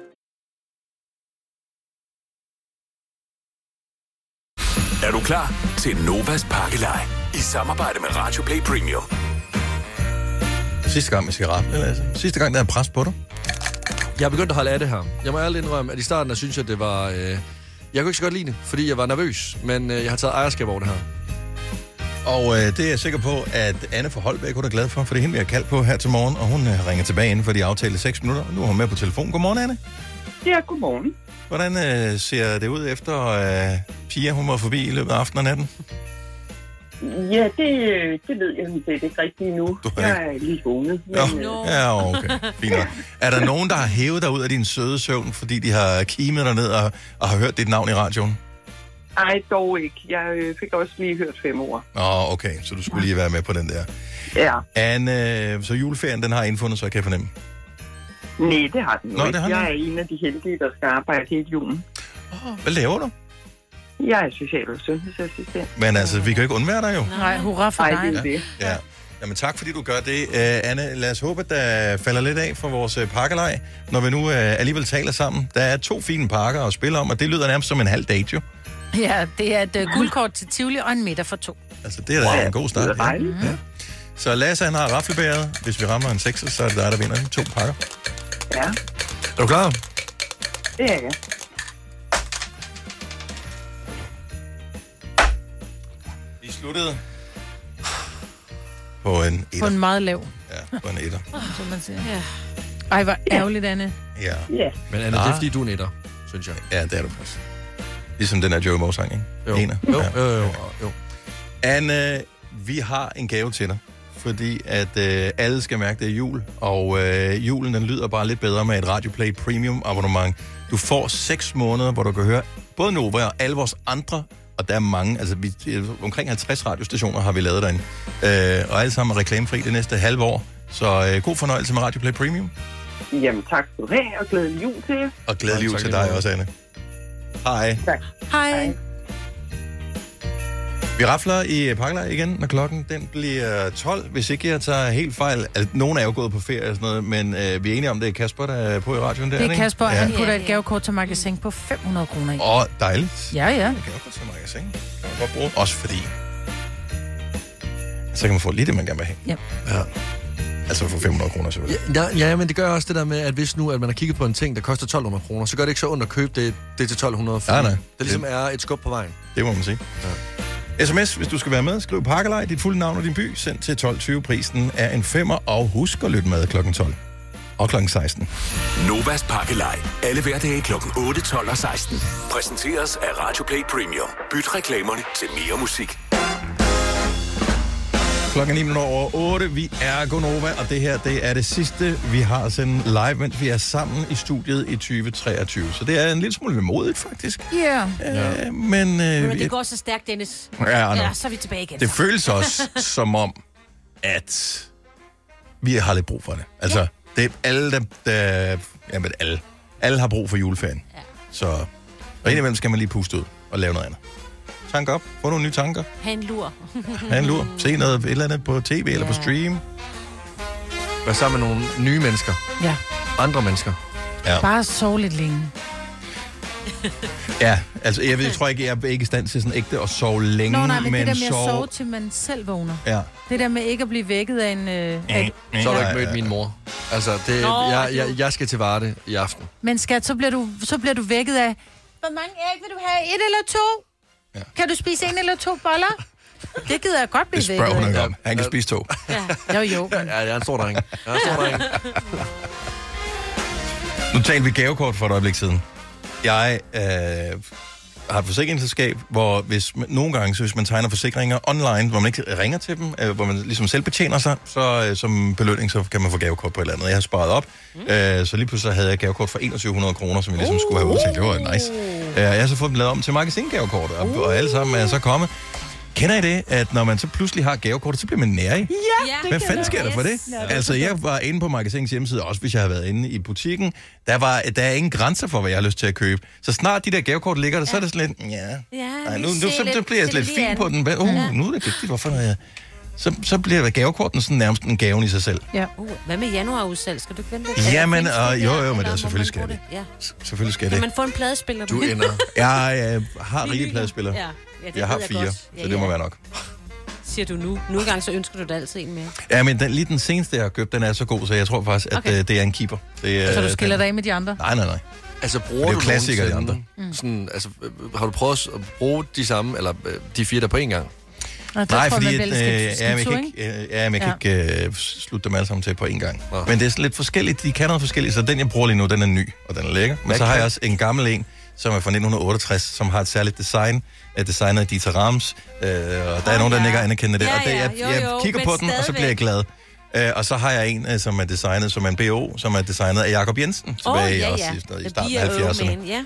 Speaker 17: Er du klar til Novas pakkeleg? I samarbejde med Radio Play Premium.
Speaker 1: Sidste gang med cigaretten, Lasse. Sidste gang, der er pres på dig.
Speaker 2: Jeg er begyndt at holde af det her. Jeg må ærligt indrømme, at i starten, der synes jeg, det var... Øh... Jeg kunne ikke så godt lide det, fordi jeg var nervøs, men øh, jeg har taget ejerskab over det her.
Speaker 1: Og øh, det er jeg sikker på, at Anne fra Holbæk, hun er glad for, for det er hende, vi har kaldt på her til morgen, og hun øh, ringer tilbage inden for de aftalte 6 minutter. Nu er hun med på telefon. Godmorgen, Anne.
Speaker 21: Ja, godmorgen.
Speaker 1: Hvordan øh, ser det ud efter øh, Pia, hun var forbi i løbet af aftenen og natten?
Speaker 21: Ja, det, øh, det ved jeg sådan set ikke rigtigt endnu. Jeg er lige vågnet. Men, øh,
Speaker 1: Ja, ja okay. Fint nok. Er der nogen, der har hævet dig ud af din søde søvn, fordi de har kimet dig ned og, og har hørt dit navn i radioen?
Speaker 21: Ej, dog ikke. Jeg øh, fik også lige hørt fem ord.
Speaker 1: Nå, okay, så du skulle lige være med på den der.
Speaker 21: Ja,
Speaker 1: Anne, øh, så juleferien, den har indfundet, så kan jeg fornemme.
Speaker 21: nej, det har den jo
Speaker 1: Nå,
Speaker 21: ikke.
Speaker 1: det har den
Speaker 21: Jeg er en af de heldige, der skal arbejde hele julen.
Speaker 1: Hvad laver du?
Speaker 21: Jeg er social- og sundhedsassistent.
Speaker 1: Men altså, vi kan jo ikke undvære dig jo.
Speaker 4: Nej, hurra for
Speaker 21: Ej,
Speaker 4: dig.
Speaker 21: det er det.
Speaker 1: Ja. Jamen tak, fordi du gør det. Uh, Anne, lad os håbe, at der falder lidt af for vores uh, pakkelej, når vi nu uh, alligevel taler sammen. Der er to fine pakker at spille om, og det lyder nærmest som en halv date jo.
Speaker 4: Ja, det er et uh, guldkort til Tivoli og en middag for to.
Speaker 1: Altså, det er da
Speaker 4: Wow.
Speaker 1: en god start. Ja. Ja. Så Lasse, han har raflebæret. Hvis vi rammer en 6, så er det dig, der vinder den. To pakker.
Speaker 21: Ja,
Speaker 1: Er du klar?
Speaker 21: det er jeg.
Speaker 1: Vi sluttede. På en
Speaker 4: På
Speaker 1: etter.
Speaker 4: en meget lav,
Speaker 1: Ja, på en etter.
Speaker 4: som man siger. Ja. Ej, hvor ærgerligt, Anne.
Speaker 1: Ja.
Speaker 4: Ja.
Speaker 2: Men Anne, det er fordi, du er en etter, synes jeg.
Speaker 1: Ah. Ja, det er du faktisk. Ligesom den der Joey Moe-sang, ikke? Jo. Ener.
Speaker 2: Jo, jo, jo, jo.
Speaker 1: Anne, vi har en gave til dig. fordi at øh, alle skal mærke, det er jul, og øh, julen den lyder bare lidt bedre med et Radioplay Premium abonnement. Du får 6 måneder, hvor du kan høre både Nova og alle vores andre, og der er mange, altså vi, øh, omkring 50 radiostationer har vi lavet derinde, øh, og alle sammen er reklamefri det næste halve år. Så øh, god fornøjelse med Radioplay Premium,
Speaker 21: Jamen, tak skal du have, og glædelig jul til jer.
Speaker 1: og glædelig jul
Speaker 21: tak
Speaker 1: til
Speaker 21: lige
Speaker 1: dig
Speaker 21: meget.
Speaker 1: også, Anne. Hej.
Speaker 21: Tak.
Speaker 4: Hej.
Speaker 1: Vi rafler i pakkelej igen, når klokken den bliver 12. Hvis ikke jeg tager helt fejl, altså, nogen er jo gået på ferie og sådan noget, men øh, vi er enige om, det er Kasper, der er på i radioen der,
Speaker 4: Det er
Speaker 1: ikke?
Speaker 4: Kasper, han putter et gavekort til magasin på 500 kroner i.
Speaker 1: Åh, dejligt.
Speaker 4: Ja, ja.
Speaker 1: Det kan jeg godt til magasin. Det Kan man godt bruge. Også fordi, så kan man få lige det, man gerne vil have.
Speaker 4: Ja.
Speaker 1: ja. Altså for 500 kroner selvfølgelig.
Speaker 2: Ja, ja, men det gør også det der med, at hvis nu at man har kigget på en ting, der koster 1200 kroner, så gør det ikke så ondt at købe det, det til 1200. fordi
Speaker 1: Nej, nej.
Speaker 2: Det ligesom er et skub på vejen.
Speaker 1: Det må man sige. Ja. SMS, hvis du skal være med, skriv pakkelej, dit fulde navn og din by, send til 12.20. Prisen er en femmer, og husk at lytte med klokken 12. Og klokken 16.
Speaker 17: Novas Pakkelej. Alle hverdage kl. 8, 12 og 16. Præsenteres af Radioplay Premium. Byt reklamerne til mere musik.
Speaker 1: Klokken er 9 minutter over 8. Vi er Gonova, og det her det er det sidste, vi har at sende live, mens vi er sammen i studiet i 2023. Så det er en lille smule modigt, faktisk.
Speaker 4: Yeah.
Speaker 1: Ja. Øh, men øh,
Speaker 3: Men det
Speaker 1: jeg-
Speaker 3: går så stærkt, Dennis.
Speaker 1: Ja, I know.
Speaker 3: ja så er vi tilbage igen.
Speaker 1: det føles også som om, at vi har lidt brug for det. Altså, ja. det er alle, der... der jamen, alle. Alle har brug for juleferien. Ja. Så og indimellem skal man lige puste ud og lave noget andet. Tank op. Få nogle nye tanker.
Speaker 3: Ha' en lur.
Speaker 1: Ha' en
Speaker 4: Mhm.
Speaker 1: lur. Se noget, et eller andet på tv ja. eller på stream.
Speaker 2: Vær sammen med nogle nye mennesker.
Speaker 4: Ja.
Speaker 2: Andre mennesker.
Speaker 1: Ja.
Speaker 4: Bare sove lidt længe.
Speaker 1: Ja, altså jeg, ved, jeg tror ikke, jeg er ikke i stand til sådan ægte at sove længe,
Speaker 4: Nå nej, men, men det der med
Speaker 1: sove...
Speaker 4: at sove, til man selv vågner.
Speaker 1: Ja.
Speaker 4: Det der med ikke at blive vækket af en... Øh, af,
Speaker 2: Mm. Så har du ikke mødt min mor. Altså, det,
Speaker 4: Nå,
Speaker 2: jeg,
Speaker 4: du-
Speaker 2: jeg, jeg skal til Varde i aften.
Speaker 4: Men skat, så bliver, du, så bliver du vækket af... Hvor mange æg vil du have? Et eller to? Ja. Kan du spise en eller to boller? Det gider jeg godt blive
Speaker 1: Det spørger hun
Speaker 4: vækket
Speaker 1: ikke
Speaker 4: af.
Speaker 1: om. Han kan spise to.
Speaker 4: Ja. Jo, jo.
Speaker 2: Ja, jeg er en stor dreng. Jeg er en stor dreng.
Speaker 1: Nu talte vi gavekort for et øjeblik siden. Jeg øh, har et forsikringsselskab, hvor hvis man, nogle gange, så hvis man tegner forsikringer online, hvor man ikke ringer til dem, øh, hvor man ligesom selv betjener sig, så øh, som belønning, så kan man få gavekort på et eller andet. Jeg har sparet op, mm. øh, så lige pludselig havde jeg gavekort for 2100 kroner, som jeg ligesom skulle have udtalt. Det var nice. Øh, jeg har så fået dem lavet om til magasingavekortet, og, og alle sammen er så kommet. Kender I det, at når man så pludselig har gavekortet, så bliver man nærig?
Speaker 5: det
Speaker 1: Hvad
Speaker 5: kan
Speaker 1: fanden
Speaker 5: jeg
Speaker 1: sker der
Speaker 5: godt.
Speaker 1: for det?
Speaker 5: Yes. Ja, det
Speaker 1: Altså, jeg var inde på magasinets hjemmeside, også hvis jeg havde været inde i butikken. Der, var, der er ingen grænser for, hvad jeg har lyst til at købe. Så snart de der gavekort ligger der, så er det sådan lidt, ja, Ej, nu, nu, så, så bliver jeg lidt fin på den. Hvad- Uh,
Speaker 3: Ja.
Speaker 1: Nu er det vigtigt, hvorfor er jeg... Så, så bliver gavekorten sådan nærmest en gaven i sig selv.
Speaker 4: Ja.
Speaker 3: Uh, hvad med januarudsalg? Skal du ikke vente lidt?
Speaker 1: Jamen,
Speaker 3: Findes det
Speaker 1: og, jo,
Speaker 3: der,
Speaker 1: jo, men
Speaker 3: eller
Speaker 1: det er
Speaker 3: må man
Speaker 1: selvfølgelig
Speaker 3: bruge
Speaker 1: skal det.
Speaker 3: Ja.
Speaker 1: Selvfølgelig skal
Speaker 3: Kan
Speaker 1: det.
Speaker 3: man få en pladespiller?
Speaker 1: Du ender. Jeg, jeg har rigelige pladespillere.
Speaker 3: Ja. Ja, det
Speaker 1: jeg har
Speaker 3: ved jeg
Speaker 1: fire,
Speaker 3: godt.
Speaker 1: så
Speaker 3: Ja,
Speaker 1: det
Speaker 3: ja.
Speaker 1: må være nok.
Speaker 3: Siger du nu. Nu engang, så ønsker du da altid en mere.
Speaker 1: Ja, men den, lige den seneste, jeg har købt, den er så god, så jeg tror faktisk, at
Speaker 3: Okay.
Speaker 1: okay. det er en keeper. Det, er-
Speaker 4: Så du
Speaker 1: Øh, den-
Speaker 4: skiller dig af med de andre?
Speaker 1: Nej, nej, nej.
Speaker 2: Altså,
Speaker 1: Det er
Speaker 2: bruger
Speaker 1: jo
Speaker 2: du
Speaker 1: klassikere, de
Speaker 2: nogensinde Sådan, altså, øh, har du prøvet at s- at bruge de samme, eller øh, de fire der på én gang?
Speaker 4: Nå, der
Speaker 1: Nej,
Speaker 4: tror
Speaker 1: fordi
Speaker 4: man
Speaker 1: at,
Speaker 4: vel,
Speaker 1: øh,
Speaker 4: skal
Speaker 1: ja, men jeg
Speaker 4: skifte
Speaker 1: kan
Speaker 4: ud,
Speaker 1: ikke, øh, ja, men jeg
Speaker 4: Ja.
Speaker 1: kan ikke øh, slutte dem alle sammen til på én gang. Men det er sådan lidt forskelligt. De kan noget forskelligt, så den, jeg bruger lige nu, den er ny, og den er lækker. Men
Speaker 2: Hvad
Speaker 1: så har
Speaker 2: kan-
Speaker 1: jeg også en gammel en, som er fra 1968, som har et særligt design, er designet af Dieter Rams, øh, og der er nogen, der nikker anerkendende det.
Speaker 5: Ja,
Speaker 1: og det,
Speaker 5: ja,
Speaker 1: jeg,
Speaker 5: jo,
Speaker 1: jeg
Speaker 5: jo,
Speaker 1: kigger
Speaker 5: men
Speaker 1: på den, og så bliver jeg glad. Øh, og så har jeg en, øh, som er designet som er en BO, som er designet af Jakob Jensen, tilbage oh, ja, ja. også i, sådan noget, i
Speaker 3: The
Speaker 1: starten
Speaker 3: Beer
Speaker 1: af 70'erne.
Speaker 3: Old Man, Ja.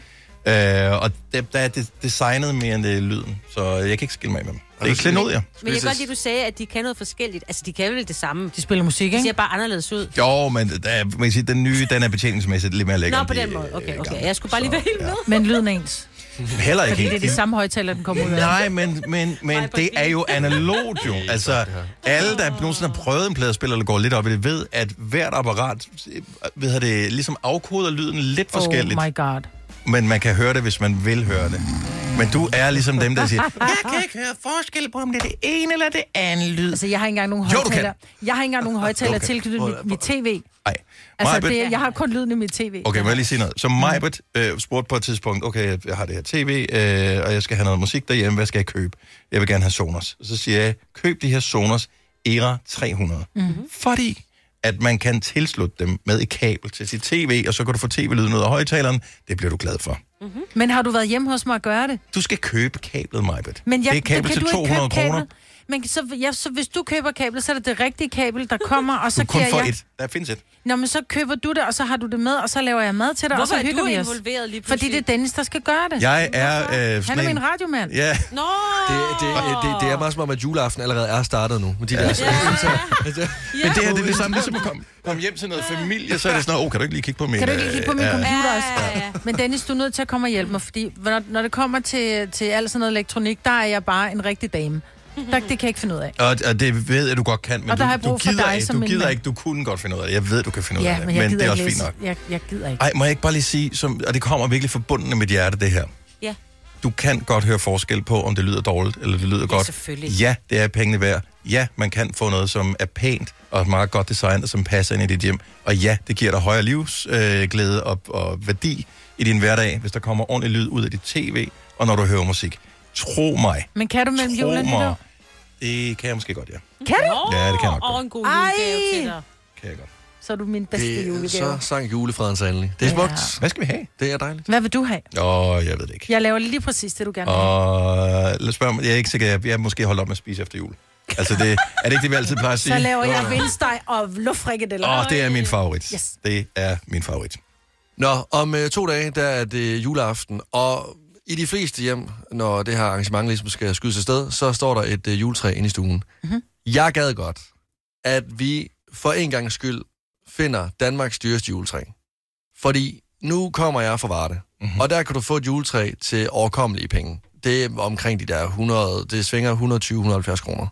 Speaker 1: Øh, og der, der er det designet mere end det er lyden, så jeg kan ikke skille mig af med dem. Det er ikke ud, ja.
Speaker 3: Men jeg kan godt lide, at du sagde, at de kan noget forskelligt. Altså, de kan vel det samme.
Speaker 4: De spiller musik, ikke?
Speaker 3: De ser bare anderledes ud.
Speaker 1: Jo, men der, er- man kan sige, den nye, den er betjeningsmæssigt lidt mere lækker.
Speaker 3: Nå,
Speaker 1: end
Speaker 3: på
Speaker 1: de-
Speaker 3: den måde. Okay, okay. Jeg skulle bare lige være helt med.
Speaker 4: ikke? Men lyden er ens.
Speaker 1: Heller ikke.
Speaker 4: Fordi det er de
Speaker 1: helt-
Speaker 4: samme højtaler, den kommer ud af.
Speaker 1: Nej, men, men, men det er jo analogt jo. Altså, alle, der nogensinde har prøvet en pladespiller, eller går lidt op i det, ved, at hvert apparat øh, ved at det, ligesom afkoder lyden lidt forskelligt.
Speaker 4: Oh my god.
Speaker 1: Men man kan høre det, hvis man vil høre det. Men du er ligesom dem, der siger,
Speaker 4: Jeg kan ikke høre forskel på, om det er det ene eller det andet lyd. Altså, jeg har ikke engang nogen
Speaker 1: Jo, du kan.
Speaker 4: højtaler. Jeg har ikke engang nogen højtaler
Speaker 1: Okay.
Speaker 4: tilknyttet mit, mit tv.
Speaker 1: Nej.
Speaker 4: Altså,
Speaker 1: Majbrit-
Speaker 4: det, er- jeg har kun lyden i mit tv.
Speaker 1: Okay, må jeg lige sige noget? Så
Speaker 4: Mm.
Speaker 1: Majbert øh, spurgte på et tidspunkt, okay, jeg- jeg har det her tv, øh, og jeg skal have noget musik derhjemme, hvad skal jeg købe? Jeg vil gerne have Sonos. Så siger jeg, køb de her Sonos Era 300, mm-hmm. fordi at man kan tilslutte dem med et kabel til sit tv, og så kan du få tv-lyden ud af højtaleren. Det bliver du glad for.
Speaker 4: Mm-hmm. Men har du været hjemme hos mig og gøre det?
Speaker 1: Du skal købe kablet, Majbert.
Speaker 4: Men jeg,
Speaker 1: det er kabel
Speaker 4: kan
Speaker 1: til
Speaker 4: du ikke
Speaker 1: 200
Speaker 4: købe kablet?
Speaker 1: kroner.
Speaker 4: men så, ja, så hvis du køber kablet, så er det det rigtige kabel, der kommer, og så
Speaker 1: du kun
Speaker 4: giver
Speaker 1: får
Speaker 4: jeg...
Speaker 1: et. Der findes et.
Speaker 4: Nå, men så køber du det, og så har du det med, og så laver jeg mad til dig,
Speaker 3: Hvorfor
Speaker 4: og så
Speaker 3: er
Speaker 4: hygger
Speaker 3: du
Speaker 4: vi os.
Speaker 3: involveret lige
Speaker 4: Fordi
Speaker 3: pludselig?
Speaker 4: det er Dennis, der skal gøre det.
Speaker 2: Jeg er,
Speaker 4: Hvorfor?
Speaker 2: øh,
Speaker 4: Han
Speaker 2: sådan
Speaker 4: er
Speaker 2: en-
Speaker 4: min radiomand.
Speaker 2: Ja.
Speaker 3: Nå!
Speaker 2: Det, det,
Speaker 1: øh,
Speaker 2: det, det er meget som om, at juleaften allerede er startet nu. Med de
Speaker 1: Ja.
Speaker 2: der, altså,
Speaker 1: Ja.
Speaker 2: altså,
Speaker 1: Men det her, det er det samme, ligesom at komme, komme hjem til noget familie, så er det sådan noget, oh, kan du ikke lige kigge på min...
Speaker 4: Kan du ikke lige kigge på min
Speaker 1: øh,
Speaker 4: computer også? Men Dennis, du er nødt til at komme og hjælpe mig, fordi når, når det kommer til, til alt sådan noget elektronik, der er jeg bare en rigtig dame. Der, det kan jeg ikke finde ud af.
Speaker 1: Og, og det ved jeg, du godt kan, men
Speaker 4: Og der
Speaker 1: du,
Speaker 4: har jeg
Speaker 1: du
Speaker 4: brug for
Speaker 1: gider,
Speaker 4: dig
Speaker 1: ikke,
Speaker 4: som
Speaker 1: du
Speaker 4: min
Speaker 1: gider
Speaker 4: mand.
Speaker 1: ikke, du kunne godt finde ud af det. Jeg ved, du kan finde ud af
Speaker 4: Ja,
Speaker 1: det,
Speaker 4: men jeg
Speaker 1: men
Speaker 4: gider
Speaker 1: det er
Speaker 4: ikke
Speaker 1: også fint nok.
Speaker 4: læse. Jeg, jeg gider ikke.
Speaker 1: Ej, må jeg ikke bare lige sige, som, og det kommer virkelig forbundet med dit hjerte, det her.
Speaker 3: Ja.
Speaker 1: Du kan godt høre forskel på, om det lyder dårligt eller det lyder ja, godt.
Speaker 3: selvfølgelig.
Speaker 1: Ja, det er pengene værd. Ja, man kan få noget, som er pænt og meget godt designet, som passer ind i dit hjem. Og ja, det giver dig højere livsglæde øh, glæde og, og værdi i din hverdag, hvis der kommer ordentlig lyd ud af dit tv, og når du hører musik. Tro mig.
Speaker 4: Men kan du mellem
Speaker 1: Tro
Speaker 4: jul
Speaker 1: mig.
Speaker 4: og nytår?
Speaker 1: Det kan jeg måske godt, ja.
Speaker 4: Kan du?
Speaker 1: Ja, det kan jeg nok
Speaker 4: Og en god julegave til dig.
Speaker 1: Kan jeg godt.
Speaker 4: Så er du min bedste
Speaker 2: det,
Speaker 4: julegave.
Speaker 2: er- så sang julefreden så endelig. Det er smukt.
Speaker 4: Ja.
Speaker 1: Hvad skal vi have?
Speaker 2: Det er dejligt.
Speaker 4: Hvad vil du have?
Speaker 1: Åh, oh, jeg ved det ikke.
Speaker 4: Jeg laver lige præcis det, du gerne vil. have.
Speaker 1: Og lad os spørge, om- jeg er ikke sikker, jeg, jeg er måske holdt op med at spise efter jul. Altså, det, er det ikke det, vi altid plejer at sige?
Speaker 4: Så laver jeg
Speaker 1: Nå.
Speaker 4: vindsteg og luftfrikadeller.
Speaker 1: Åh, det er min favorit.
Speaker 4: Yes.
Speaker 1: Det er min favorit.
Speaker 2: Nå, om øh, to dage, der er det juleaften, og i de fleste hjem, når det her arrangement ligesom skal skydes afsted, så står der et øh, juletræ inde i stuen. Mm-hmm. Jeg gad godt, at vi for en gang skyld finder Danmarks dyreste juletræ. Fordi nu kommer jeg fra Varde,
Speaker 1: Mhm.
Speaker 2: mm-hmm. og der kan du få et juletræ til overkommelige penge. Det er omkring de der 100, det svinger 120-170 kroner.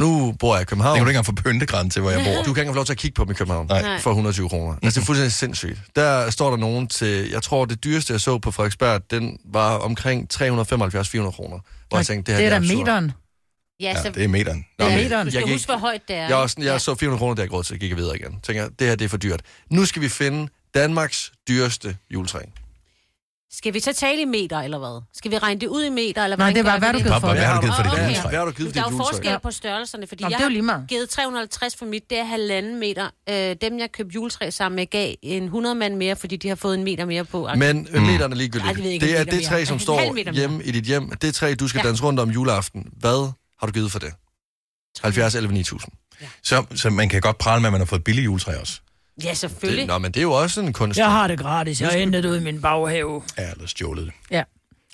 Speaker 2: Nu bor jeg i København. Det kan
Speaker 1: du ikke engang få pyntegræn til, hvor jeg bor.
Speaker 2: Du kan ikke engang få lov til at kigge på dem i København
Speaker 1: Nej.
Speaker 2: for 120 kroner. Altså, det er fuldstændig sindssygt. Der står der nogen til, jeg tror, det dyreste, jeg så på Frederiksberg, den var omkring 375-400 kroner. Hvor jeg tænkte, det her
Speaker 4: det er da
Speaker 2: absurd.
Speaker 4: meteren.
Speaker 3: Ja, så...
Speaker 1: meteren.
Speaker 3: Det er
Speaker 2: men
Speaker 3: meteren. Du skal
Speaker 2: jeg gik-
Speaker 3: huske, hvor højt det er.
Speaker 2: Jeg, var sådan, jeg så 400 kroner, der jeg ikke råd til, gik jeg videre igen. Tænker, jeg, det her det er for dyrt. Nu skal vi finde Danmarks dyreste juletræ.
Speaker 3: Skal vi så tale i meter, eller hvad? Skal vi regne det ud i meter, eller
Speaker 4: Nej,
Speaker 3: hvordan
Speaker 4: det er
Speaker 3: gør
Speaker 4: bare,
Speaker 3: vi
Speaker 4: hvad har du givet for det? Hvad har du givet for det
Speaker 3: Åh,
Speaker 4: der
Speaker 3: okay.
Speaker 4: juletræ? Hvad har du givet
Speaker 3: Der
Speaker 4: for
Speaker 3: er jo
Speaker 4: dit juletræ?
Speaker 3: forskel
Speaker 4: Ja.
Speaker 3: på størrelserne, fordi
Speaker 4: Nå,
Speaker 3: jeg
Speaker 4: det er jo lige
Speaker 3: har
Speaker 4: meget.
Speaker 3: givet 350 for mit, det er halvanden meter. Øh, dem, jeg købte juletræ sammen med, gav en 100 mand mere, fordi de har fået en meter mere på.
Speaker 2: Men mm. meteren er
Speaker 3: Ej, det ved
Speaker 2: ligegyldigt.
Speaker 3: jeg
Speaker 2: Ej,
Speaker 3: ikke,
Speaker 2: det, det er
Speaker 3: en meter
Speaker 2: det
Speaker 3: mere.
Speaker 2: træ, som
Speaker 3: En halv meter
Speaker 2: står
Speaker 3: mere.
Speaker 2: hjemme i dit hjem. Det træ, du skal
Speaker 3: Ja.
Speaker 2: ja. danse rundt om juleaften. Hvad har du givet for det? 70 11 9000.
Speaker 1: Så, så man kan godt prale med, at man har fået billige juletræ også.
Speaker 3: Ja,
Speaker 2: Det,
Speaker 3: selvfølgelig.
Speaker 2: nå, men det er jo også en kunst.
Speaker 4: Jeg har det gratis. Jeg har hentet det ud i min baghave.
Speaker 1: Ja, eller stjålet det.
Speaker 4: Ja.
Speaker 1: Ja.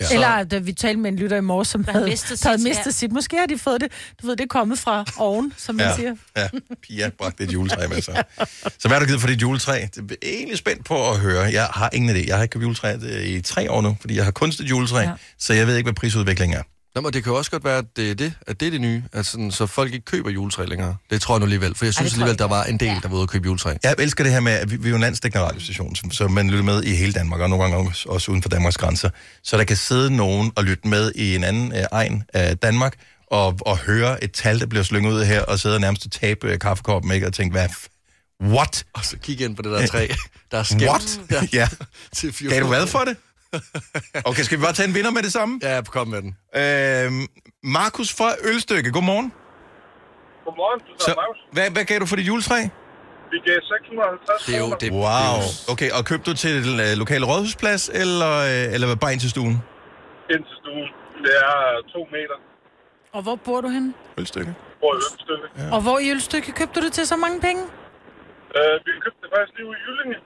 Speaker 4: Ja. Eller da vi talte med en lytter i morges, som
Speaker 3: har
Speaker 4: havde,
Speaker 3: mistet
Speaker 4: mistet, der havde
Speaker 3: sit,
Speaker 4: mistet
Speaker 3: ja.
Speaker 4: sit. Måske har de fået det, du ved, det er kommet fra oven, som man
Speaker 1: ja,
Speaker 4: siger.
Speaker 1: ja, Pia bragte et juletræ med sig. Så hvad har du givet for dit juletræ? Det er jeg egentlig spændt på at høre. Jeg har ingen idé. Jeg har ikke købt juletræ øh, i tre år nu, fordi jeg har kunstigt juletræ, ja. så jeg ved ikke, hvad prisudviklingen er.
Speaker 2: Nå, men det kan jo også godt være, at det er det, at det, er det nye. At sådan, så folk ikke køber juletræ længere. Det tror jeg nu alligevel, for jeg synes alligevel, der var en del, der var ude og købe juletræ.
Speaker 1: Jeg elsker det her med, at vi, vi er jo en landsdækkende radiostation, som- så man lytter med i hele Danmark, og nogle gange også- også uden for Danmarks grænser. Så der kan sidde nogen og lytte med i en anden øh, egen af Danmark, og, og høre et tal, der bliver slynget ud her, og sidde og nærmest tabe øh, kaffekoppen, ikke? Og tænke, hvad f- What?
Speaker 2: Og så kig ind på det der træ, der er skævt.
Speaker 1: What? Ja. ja.
Speaker 2: Til
Speaker 1: Gav du hvad for det? Okay, skal vi bare tage en vinder med det samme?
Speaker 2: Ja, kom med den.
Speaker 1: Øhm, Markus fra Ølstykke, godmorgen.
Speaker 5: Godmorgen, du
Speaker 1: Så, hvad, hvad gav du for dit juletræ?
Speaker 5: Vi gav 650
Speaker 2: Det er jo det.
Speaker 1: Wow. Okay, og købte du til den øh, lokale rådhusplads, eller, øh, eller bare ind til stuen?
Speaker 5: ind til stuen. Det er øh, to meter.
Speaker 4: Og hvor bor du henne?
Speaker 1: Ølstykke.
Speaker 5: Hvor er Ølstykke?
Speaker 1: Ja.
Speaker 4: Og hvor i Ølstykke købte du det til så mange penge?
Speaker 5: Øh, vi købte det faktisk lige ude i Jyllinge.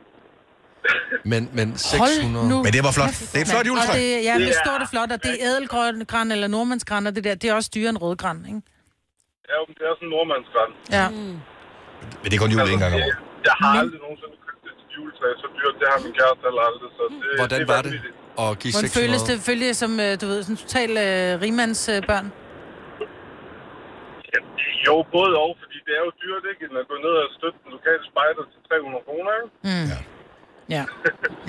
Speaker 2: Men, men
Speaker 4: Hold
Speaker 2: 600...
Speaker 4: nu
Speaker 1: Men det var flot.
Speaker 4: kæft,
Speaker 1: Det er et flot
Speaker 4: mand.
Speaker 1: juletræ.
Speaker 4: Og det, ja, det
Speaker 1: Ja.
Speaker 4: er stort og flot, og det er ædelgræn eller nordmandsgræn, og det der, det er også dyrere end rødgræn, ikke?
Speaker 5: Ja, men det er sådan en nordmandsgræn. Altså,
Speaker 4: Ja.
Speaker 1: Men det er kun jul en gang om året.
Speaker 5: Jeg har aldrig nogensinde købt et juletræ så dyrt. Det har min kæreste heller aldrig, så det,
Speaker 2: Hvordan
Speaker 5: det
Speaker 2: var det at give
Speaker 4: Hvordan føles
Speaker 2: 600?
Speaker 4: det? Føles det som, øh, du ved, sådan total øh, rimandsbørn?
Speaker 5: Jo, både og, fordi det er jo dyrt, ikke? End at gå ned og støtte den lokale spejder til 300 kroner, ikke?
Speaker 4: Mm. Ja. ja.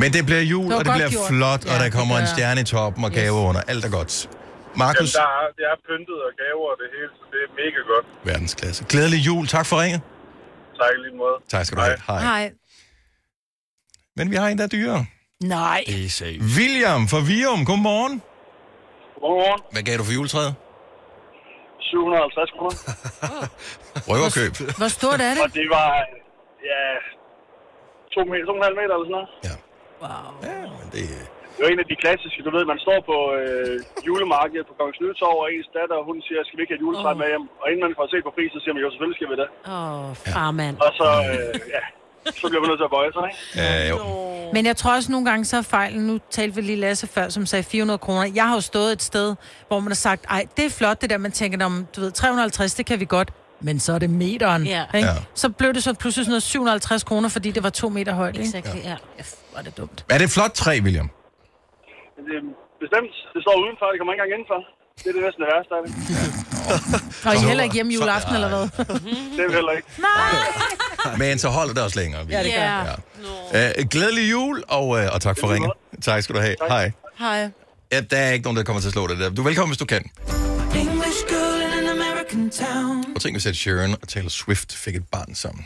Speaker 1: Men det bliver jul,
Speaker 5: Det
Speaker 1: det
Speaker 5: var
Speaker 1: og det
Speaker 5: godt
Speaker 1: bliver
Speaker 5: gjort.
Speaker 1: gjort. flot, ja,
Speaker 5: Ja,
Speaker 1: og der
Speaker 5: det
Speaker 1: kommer
Speaker 5: gør
Speaker 1: en
Speaker 5: jeg.
Speaker 1: stjerne i toppen og gave under. Alt er godt. Markus,
Speaker 5: Jamen, der er, det er pyntet og gaver og det hele, så det er mega godt.
Speaker 1: verdensklasse. Glædelig jul. Tak for ringet.
Speaker 5: Tak i lige måde.
Speaker 1: Tak skal du have. Hej.
Speaker 4: Hej.
Speaker 1: Men vi har en, der er dyrere.
Speaker 4: Nej.
Speaker 2: Det er safe.
Speaker 1: William fra Vium, godmorgen.
Speaker 5: Godmorgen.
Speaker 1: Hvad gav du for juletræet?
Speaker 5: 750 kroner.
Speaker 1: Røverkøb.
Speaker 4: Hvor stort er det?
Speaker 5: Og det var, ja, to meter, to og en halv meter eller sådan noget.
Speaker 1: Men det,
Speaker 5: Det var en af de klassiske, du ved, man står på øh, julemarkedet på Kongens Nytorv, og ens datter, hun siger, skal vi ikke have et juletræ med hjem? Og inden man får set på prisen, så siger man, jo, selvfølgelig skal vi det.
Speaker 3: Åh, oh, far mand.
Speaker 5: Og så, øh, ja, så bliver man nødt til at bøje sig, ikke?
Speaker 1: Ja, jo.
Speaker 4: Men jeg tror også nogle gange, så er fejlen, nu talte vi lige Lasse før, som sagde 400 kroner. Jeg har jo stået et sted, hvor man har sagt, ej, det er flot det der, man tænker, "Nå, men du ved, 350, det kan vi godt. Men så er det meteren.
Speaker 3: Ja.
Speaker 4: Ikke?
Speaker 1: Ja.
Speaker 4: Så blev det så pludselig sådan noget 750 kroner, fordi det var to meter højt. Ikke?
Speaker 3: Exakt, ja.
Speaker 4: Var det dumt.
Speaker 1: Er det et flot træ, William?
Speaker 5: Men det er bestemt, det står udenfor, det kommer ikke engang indenfor. Det er det næsten det værste af det.
Speaker 4: Og I er heller ikke hjemme juleaften, eller hvad?
Speaker 5: Det er vi heller ikke.
Speaker 1: Men så holder det også længere. William.
Speaker 4: Ja, det gør det.
Speaker 1: Ja. Øh, glædelig jul, og, øh, og tak for ringen. Tak skal du have. Hej.
Speaker 4: Hej.
Speaker 1: Ja, der er ikke nogen, der kommer til at slå det der. Du er velkommen, hvis du kan.
Speaker 8: English girl in an American town.
Speaker 1: Og tænk, hvis at Sharon og Taylor Swift fik et barn sammen.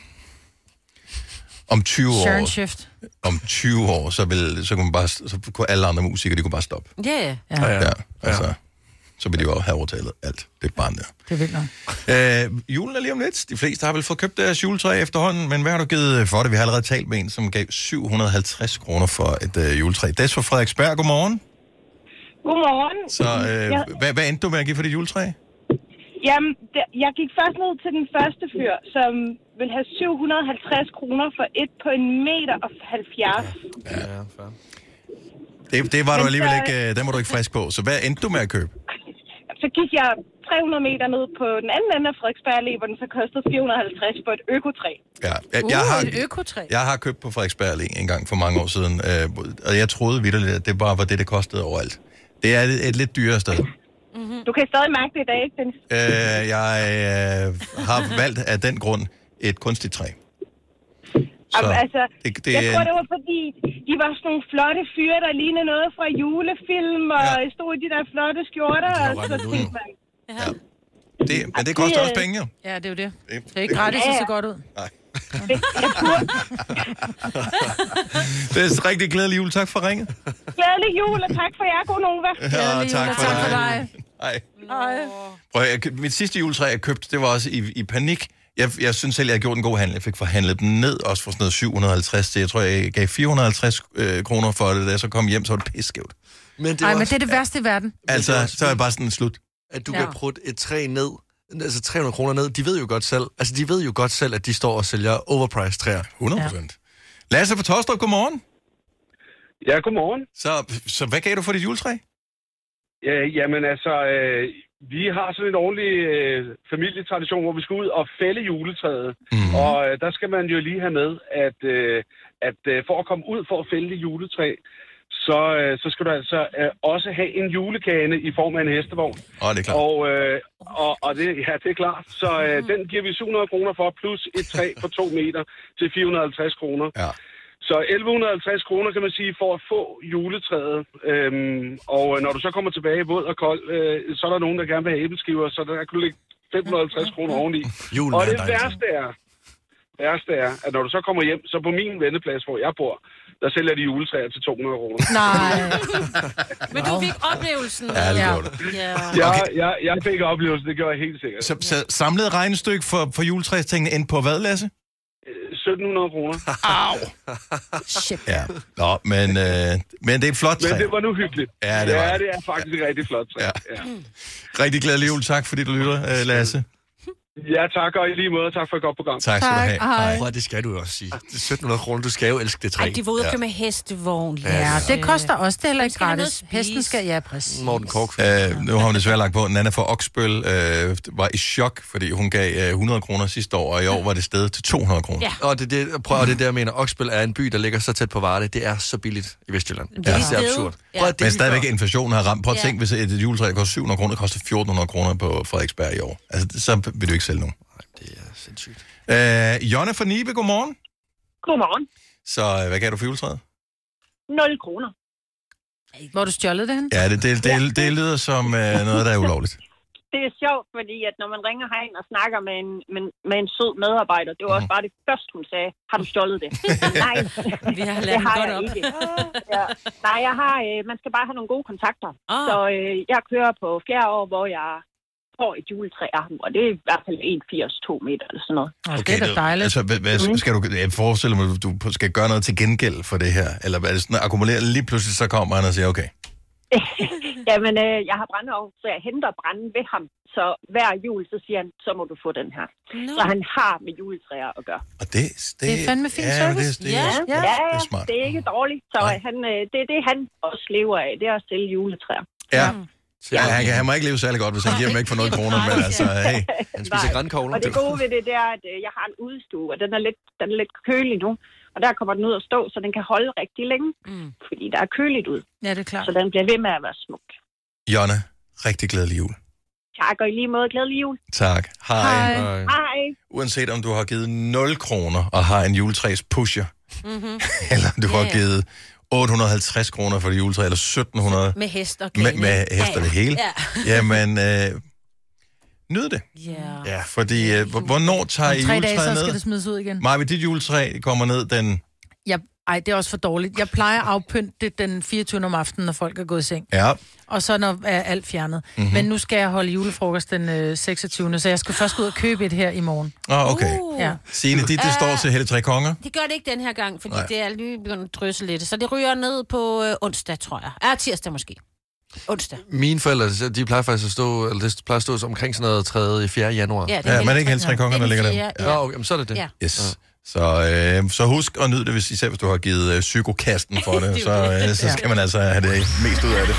Speaker 1: Om 20
Speaker 4: Sharon
Speaker 1: år,
Speaker 4: Shift.
Speaker 1: om 20 år så, ville, så, kunne man bare, så kunne alle andre musikere, de kunne bare stoppe.
Speaker 3: Ja,
Speaker 4: ja.
Speaker 1: Ja, altså, så ville de jo have overtaget alt det barn der.
Speaker 4: Det er vildt nok.
Speaker 1: Øh, julen er lige om lidt. De fleste har vel fået købt deres juletræ efterhånden, men hvad har du givet for det? Vi har allerede talt med en, som gav 750 kroner for et øh, juletræ. Des fra Frederiksberg, godmorgen.
Speaker 7: Godmorgen.
Speaker 1: Så øh,
Speaker 7: Ja.
Speaker 1: ja. hvad, hvad endte du med at give for det juletræ?
Speaker 7: Jamen, det, jeg gik først ned til den første fyr, som vil have 750 kroner for et på en meter og 70.
Speaker 1: Ja, det, det var du
Speaker 7: Men
Speaker 1: alligevel
Speaker 7: så-
Speaker 1: ikke, øh, den var du ikke frisk på. Så hvad endte du med at købe?
Speaker 7: Så gik jeg 300 meter ned på den anden ende af Frederiksberg Allé, hvor den så kostede 450 for et økotræ.
Speaker 1: Ja, jeg,
Speaker 7: Uh,
Speaker 1: jeg, har,
Speaker 7: et økotræ.
Speaker 1: jeg har købt på Frederiksberg Allé en gang for mange år siden, øh, og jeg troede vidderligt, at det bare var det, det kostede overalt. Det er et, et lidt dyrere sted.
Speaker 7: Mm-hmm. Du kan stadig mærke det i dag, ikke? Den...
Speaker 1: Øh, jeg øh, har valgt af den grund et kunstigt træ. Så,
Speaker 7: Jamen, altså,
Speaker 1: det, det,
Speaker 7: jeg
Speaker 1: er-
Speaker 7: tror, det var fordi, de var sådan nogle flotte fyre, der lignede noget fra julefilm, og ja. stod i de der flotte skjorter, og så tænkte man...
Speaker 1: det, men det koster
Speaker 7: det,
Speaker 1: også
Speaker 7: øh,
Speaker 1: penge, jo.
Speaker 4: Ja, det er jo det.
Speaker 1: Det,
Speaker 4: Det er ikke gratis, det ser godt ud.
Speaker 1: Det er rigtig glædelig jul. Tak for ringet.
Speaker 7: Glædelig jul, og tak for jer, god Nova.
Speaker 1: Ja, tak for
Speaker 4: tak for
Speaker 1: dig.
Speaker 4: dig.
Speaker 1: Hej.
Speaker 7: Hej.
Speaker 1: Prøv, at høre, jeg, køb- mit sidste juletræ, jeg købte, det var også i, i panik. Jeg, jeg synes selv, jeg har gjort en god handel. Jeg fik forhandlet dem ned, også for sådan noget 750 til. Jeg tror, jeg gav 450 øh, kroner for det, da jeg så kom hjem, så var det pissegævt.
Speaker 2: Men det,
Speaker 4: Nej,
Speaker 2: er
Speaker 4: men
Speaker 2: også,
Speaker 4: det er det værste i verden.
Speaker 1: Altså, så er jeg bare sådan slut.
Speaker 2: at du
Speaker 4: Ja.
Speaker 2: ja. kan prutte et træ ned, altså 300 kroner ned, de ved jo godt selv, altså de ved jo godt selv, at de står og sælger overpriced træer.
Speaker 1: 100 procent. Ja. Lasse fra Tostrup, godmorgen.
Speaker 22: Ja, godmorgen.
Speaker 1: Så, så hvad gav du for dit juletræ?
Speaker 22: Øh, jamen altså, øh, vi har sådan en ordentlig øh, familietradition, hvor vi skal ud og fælde juletræet.
Speaker 1: Mhm.
Speaker 22: Mm. Og øh, der skal man jo lige have med, at, øh, at øh, for at komme ud for at fælde det juletræ, så, øh, så skal du altså øh, også have en julekane i form af en hestevogn.
Speaker 1: Åh, det er klart.
Speaker 22: Og, øh, og, og det, ja, det er klart. Så øh, den giver vi 700 kroner for, plus et træ på 2 meter til 450 kroner.
Speaker 1: Ja.
Speaker 22: Så 1150 kroner, kan man sige, for at få juletræet. Øhm, og øh, når du så kommer tilbage våd og kold, øh, så er der nogen, der gerne vil have æbleskiver, så der kan du lægge 550 kroner oveni.
Speaker 23: Julen
Speaker 22: og
Speaker 23: er
Speaker 22: det
Speaker 23: dejlig.
Speaker 22: værste er, værste er, at når du så kommer hjem, så på min venneplads, hvor jeg bor, der sælger de juletræer til 200 kroner.
Speaker 4: Nej.
Speaker 3: Men du fik oplevelsen.
Speaker 22: Ja, det gjorde
Speaker 3: ja.
Speaker 22: Jeg, jeg, jeg fik oplevelsen, det gjorde jeg helt sikkert.
Speaker 1: Så, så samlet regnestykke for, for juletræstingene endte på hvad, Lasse?
Speaker 22: 1700 kroner.
Speaker 1: Au!
Speaker 22: Shit.
Speaker 1: Ja. Nå, men, øh, men det er et flot træ.
Speaker 22: Men det var nu hyggeligt.
Speaker 1: Ja, det var
Speaker 22: ja,
Speaker 1: det.
Speaker 22: det er faktisk ja. rigtig flot træ. Ja. Ja.
Speaker 1: Rigtig glædelig jul. Tak, fordi du lytter, øh, Lasse.
Speaker 22: ja, tak, og i lige måde, tak for et godt program.
Speaker 1: Tak skal du have.
Speaker 2: Ej, prøv at, det skal du jo også sige. Det er 1700 kroner, du skal jo elske det træ.
Speaker 3: Ej, de var ude og køre med hestevogn.
Speaker 4: Ja,
Speaker 3: Lasse.
Speaker 4: det koster også. Det er heller ikke
Speaker 3: skal have noget at
Speaker 4: gratis. Hesten skal, ja, præcis.
Speaker 2: Morten Kork.
Speaker 1: Øh, nu har hun desværre lagt på, Nana fra Oksbøl øh, var i chok, fordi hun gav øh, 100 kroner sidste år, og i år var det stedet til 200 kroner.
Speaker 2: Ja. Og det, er det, prøv, og det er det, jeg mener. Oksbøl er en by, der ligger så tæt på Varde. Det er så billigt i Vestjylland.
Speaker 1: Det
Speaker 2: Det
Speaker 1: er
Speaker 2: er
Speaker 1: lige
Speaker 2: så
Speaker 1: stedet.
Speaker 2: absurd.
Speaker 1: Ja.
Speaker 2: Prøv, at det er
Speaker 1: Men
Speaker 2: lige
Speaker 1: stadigvæk
Speaker 2: før.
Speaker 1: inflationen har ramt. Prøv at
Speaker 2: Ja.
Speaker 1: tænk, hvis et juletræ koster 700 kroner, det koster 1400 kroner på Frederiksberg i år. Altså, så vil du ikke sælge nogen. Nej, det er sindssygt. Øh, Jonna fra Nibe, godmorgen.
Speaker 7: Godmorgen.
Speaker 1: Så øh, hvad gav du for juletræet?
Speaker 7: 0 kroner.
Speaker 4: Hvor du stjålet det hen?
Speaker 1: Ja, det, det, det, det lyder som øh, noget, der er ulovligt.
Speaker 7: Det er sjovt, fordi at når man ringer herind og snakker med en, med, med en sød medarbejder, det var
Speaker 1: Mhm.
Speaker 7: også bare det første, hun sagde. Har du stjålet det? Nej,
Speaker 3: Vi har
Speaker 7: det
Speaker 3: lavet
Speaker 7: har
Speaker 3: godt
Speaker 7: jeg
Speaker 3: op.
Speaker 7: ikke. Ja. Nej, jeg har, øh, man skal bare have nogle gode kontakter.
Speaker 3: Ah.
Speaker 7: Så øh, jeg kører på fjerde år, hvor jeg
Speaker 19: tror, et juletræ er, og det er i hvert fald 1,80-2 meter eller sådan noget.
Speaker 1: Okay, det er dejligt. Altså, hvad,
Speaker 3: Mm.
Speaker 1: hvad, skal du, jeg forestiller mig, du du skal gøre noget til gengæld for det her, eller er det sådan, at akkumulere lige pludselig, så kommer han og siger, okay.
Speaker 19: Jamen, øh, jeg har brændeovn, så jeg henter branden ved ham. Så hver jul, så siger han, så må du få den her. No. Så han har med juletræer at gøre.
Speaker 1: Og det, det,
Speaker 19: Det er fandme fin
Speaker 1: ja,
Speaker 19: service.
Speaker 1: Det, det, ja.
Speaker 19: ja,
Speaker 1: det er smart.
Speaker 19: det er ikke dårligt. Så han, øh, det er det, han også lever af, det er at stille juletræer.
Speaker 1: Ja. Ja, han, kan, han må ikke leve særlig godt, hvis han giver dem væk for 0 kroner, men altså, hey, han
Speaker 19: Nej. Og det gode ved det, det er, at øh, jeg har en udstue, og den er lidt, den er lidt kølig nu. Og der kommer den ud at stå, så den kan holde rigtig længe, mm. fordi der er køligt ud.
Speaker 4: Ja, det er klart.
Speaker 19: Så den bliver ved med at være smuk.
Speaker 1: Jonna, rigtig glædelig jul.
Speaker 19: Tak, og i lige måde glædelig jul.
Speaker 1: Tak. Hej.
Speaker 19: Hej.
Speaker 1: Uanset om du har givet 0 kroner og har en juletræs pusher,
Speaker 3: Mm-hmm.
Speaker 1: eller om du yeah.
Speaker 3: Ja,
Speaker 1: har
Speaker 3: ja.
Speaker 1: givet 850 kroner for det juletræ, eller 1700
Speaker 3: Med hest og
Speaker 1: med,
Speaker 3: grene.
Speaker 1: med hest og det hele,
Speaker 3: Ja.
Speaker 1: jamen, øh, nyd det.
Speaker 3: Ja.
Speaker 1: Ja, fordi øh, hvor- hvornår tager
Speaker 4: Om
Speaker 1: I
Speaker 4: tre dage,
Speaker 1: juletræet
Speaker 4: så skal
Speaker 1: ned?
Speaker 4: det smides ud igen.
Speaker 1: Maja, dit juletræ kommer ned den...
Speaker 4: Jeg, ej, det er også for dårligt. Jeg plejer at afpynte det den 24. om aftenen, når folk er gået i seng.
Speaker 1: Ja,
Speaker 4: Og så når er alt fjernet.
Speaker 1: Mhm.
Speaker 4: Mm-hmm. Men nu skal jeg holde julefrokost den øh, 26. Så jeg skal først gå ud og købe et her i morgen.
Speaker 1: oh, okay.
Speaker 3: Uh,
Speaker 4: Ja.
Speaker 1: Signe, dit det
Speaker 4: Ah.
Speaker 1: står til Helle Tre Konger.
Speaker 3: Det gør det ikke den her gang, fordi
Speaker 1: Nej.
Speaker 3: Nej. det er lige begyndt at drysse lidt. Så det ryger ned på øh, onsdag, tror jeg. Ja, tirsdag måske. Onsdag.
Speaker 2: Mine forældre, de plejer faktisk at stå, eller det plejer at stå omkring sådan noget 3. 4. januar.
Speaker 3: Ja, det er Ja, men Helle
Speaker 1: ikke Helle Tre Konger, der ligger der.
Speaker 2: Ja, ja. okay, men så er det det.
Speaker 3: Ja.
Speaker 2: Ah.
Speaker 1: Yes. Så, øh, så husk at nyde det, hvis, især hvis du har givet øh, psykokasten for
Speaker 2: Det er
Speaker 1: det,
Speaker 2: jo
Speaker 1: så, øh,
Speaker 2: det.
Speaker 1: så
Speaker 2: Ja.
Speaker 1: skal man altså have det mest ud af det.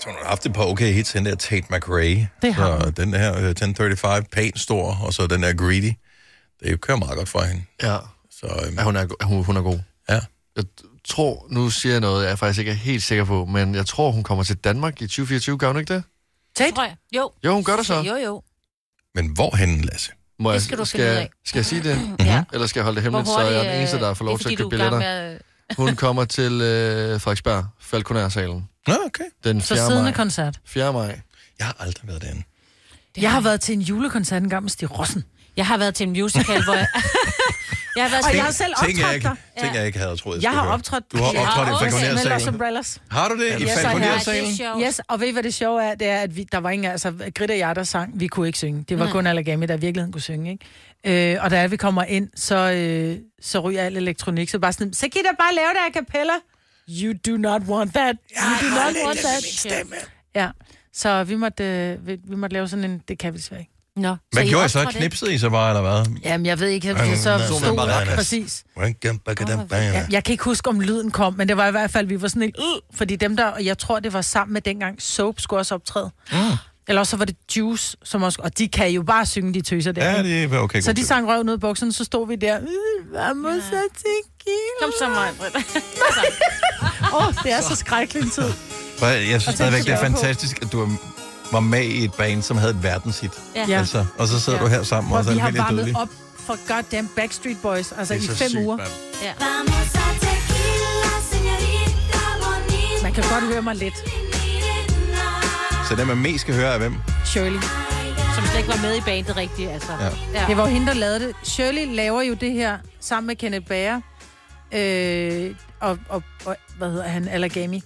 Speaker 1: Så hun har haft et par okay hits, den der Tate McRae.
Speaker 4: Det har
Speaker 1: så den her øh, 1035, pænt stor, og så den der Greedy. Det kører meget godt for hende.
Speaker 2: Ja.
Speaker 1: Så, øhm,
Speaker 2: ja hun, er, go- hun, hun er god.
Speaker 1: Ja.
Speaker 2: Jeg tror, nu siger jeg noget, jeg er faktisk ikke er helt sikker på, men jeg tror, hun kommer til Danmark i 2024, gør hun ikke det?
Speaker 4: Tate?
Speaker 3: Tror jeg. Jo.
Speaker 2: Jo, hun gør det så.
Speaker 3: Jo, jo.
Speaker 1: Men hvorhen, Lasse?
Speaker 2: Må
Speaker 3: Det
Speaker 2: jeg,
Speaker 3: skal du
Speaker 2: skal,
Speaker 3: finde ud
Speaker 2: jeg-
Speaker 3: af.
Speaker 2: Skal jeg sige det?
Speaker 3: Ja.
Speaker 2: Eller skal jeg holde det hemmeligt, så
Speaker 3: hurtigt,
Speaker 2: jeg er den
Speaker 3: øh,
Speaker 2: eneste, der får lov til at
Speaker 3: det er,
Speaker 2: købe
Speaker 3: fordi du er i gang
Speaker 2: billetter?
Speaker 3: med
Speaker 2: Hun kommer til øh, Frederiksberg, Falconer-salen.
Speaker 1: Nå, okay.
Speaker 2: Den
Speaker 4: Så
Speaker 2: 4.
Speaker 4: siddende
Speaker 2: maj.
Speaker 4: koncert.
Speaker 2: 4. maj.
Speaker 1: Jeg har aldrig været derinde.
Speaker 4: Jeg har været til en julekoncert engang med Stig Rossen.
Speaker 3: Jeg har været til en musical, hvor jeg... jeg har været
Speaker 4: Og
Speaker 3: til-
Speaker 4: jeg har selv
Speaker 1: Ting, jeg
Speaker 4: optrådt
Speaker 1: ikke,
Speaker 4: der.
Speaker 1: ting, jeg ikke havde troet,
Speaker 4: Jeg
Speaker 1: skulle
Speaker 4: har
Speaker 1: høre.
Speaker 4: optrådt...
Speaker 1: Du har optrådt i
Speaker 4: Los
Speaker 1: Falconer-salen.
Speaker 4: Umbrellas.
Speaker 1: Har du det? I
Speaker 4: Yes, I
Speaker 1: Falconer-salen?
Speaker 4: have. yes, og ved I, hvad det sjove er? Det er, at vi, der var ingen... Altså, Grit og jeg, der sang, vi kunne ikke synge. Det var
Speaker 3: Nej.
Speaker 4: kun Allergami, der i virkeligheden kunne synge, ikke? Øh, og da vi kommer ind, så, øh, så ryger al elektronik. Så bare sådan, så kan I da bare lave det a cappella. You do not want that. You do not want that. Ja, så vi måtte, øh, vi, vi måtte lave sådan en... Det kan vi desværre ikke.
Speaker 3: Nå.
Speaker 1: Hvad gjorde I så? Knipsede I så bare, eller hvad? altså,
Speaker 4: Jamen, jeg ved ikke, jeg, så stod præcis. Ja, jeg kan ikke huske, om lyden kom, men det var i hvert fald, vi var sådan en, øh, fordi dem der, og jeg tror, det var sammen med dengang, Soap skulle også optræde. Mm. Eller også så var det Juice, som også, og de kan jo bare synge de tøser der.
Speaker 1: Ja,
Speaker 4: ikke?
Speaker 1: det var okay.
Speaker 4: så
Speaker 1: god
Speaker 4: de
Speaker 1: tid.
Speaker 4: sang røven ud af bukserne, så stod vi der. Øh, vamos a tequila.
Speaker 3: Kom så, mig.
Speaker 4: Åh, oh, det er så skrækkelig en tid.
Speaker 1: For Jeg synes
Speaker 4: Og tænk
Speaker 1: stadigvæk, det er
Speaker 4: sjovt på.
Speaker 1: fantastisk, at du var med i et band, som havde et verdenshit.
Speaker 4: Ja.
Speaker 1: Altså, og så sidder
Speaker 4: Ja.
Speaker 1: du her sammen, og så
Speaker 4: Hvor
Speaker 1: er
Speaker 4: vi
Speaker 1: det
Speaker 4: har
Speaker 1: helt
Speaker 4: varmet
Speaker 1: dødeligt.
Speaker 4: op for goddamn Backstreet Boys, altså i
Speaker 1: Det er så
Speaker 4: fem
Speaker 1: sygt,
Speaker 4: uger.
Speaker 1: mand.
Speaker 3: Ja.
Speaker 4: Man kan godt høre mig lidt.
Speaker 1: Så den, man mest skal høre, er hvem?
Speaker 4: Shirley.
Speaker 3: Som slet ikke var med i bandet rigtigt, altså.
Speaker 1: Ja.
Speaker 4: Ja. Det var jo hende, der lavede det. Shirley laver jo det her sammen med Kenneth Bager. Øh, og, og, og, hvad hedder han? Allergami.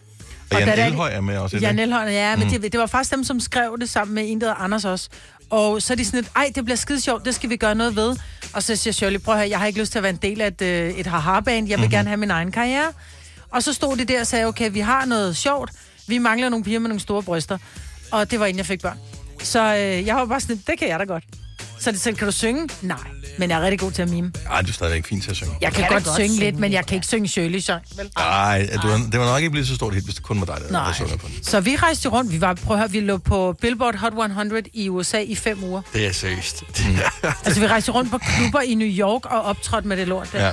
Speaker 1: Og Jan
Speaker 4: da det-
Speaker 1: Elhøj er med også, ikke?
Speaker 4: Jan Elhøj, ja, men
Speaker 1: Mm.
Speaker 4: mm. det, det var faktisk dem, som skrev det sammen med en, der hedder Anders også. Og så er de sådan lidt, ej, det bliver skide sjovt, det skal vi gøre noget ved. Og så siger Shirley, prøv her, jeg har ikke lyst til at være en del af et, øh, et haha-band, jeg vil
Speaker 6: Mhm.
Speaker 4: mm-hmm. gerne have min egen karriere. Og så stod de der og sagde, okay, vi har noget sjovt, vi mangler nogle piger med nogle store bryster. Og det var inden jeg fik børn. Så øh, jeg var bare sådan, lidt, det kan jeg da godt. Så det sådan, kan du synge? Nej, men jeg er rigtig god til at mime.
Speaker 1: Ej, du er stadigvæk fint til at synge.
Speaker 4: Jeg kan, kan godt, godt synge, lidt, men jeg kan ikke synge Shirley sang.
Speaker 1: Nej, du, det var nok ikke blevet så stort hit, hvis det kun var dig, der, Øh, der
Speaker 4: Nej.
Speaker 1: sunger på den.
Speaker 4: Så vi rejste rundt. Vi var, prøv at høre, vi lå på Billboard Hot 100 i USA i fem uger.
Speaker 2: Det er seriøst.
Speaker 1: Mm.
Speaker 4: Altså, vi rejste rundt på klubber i New York og optrådte med det lort der.
Speaker 1: Ja.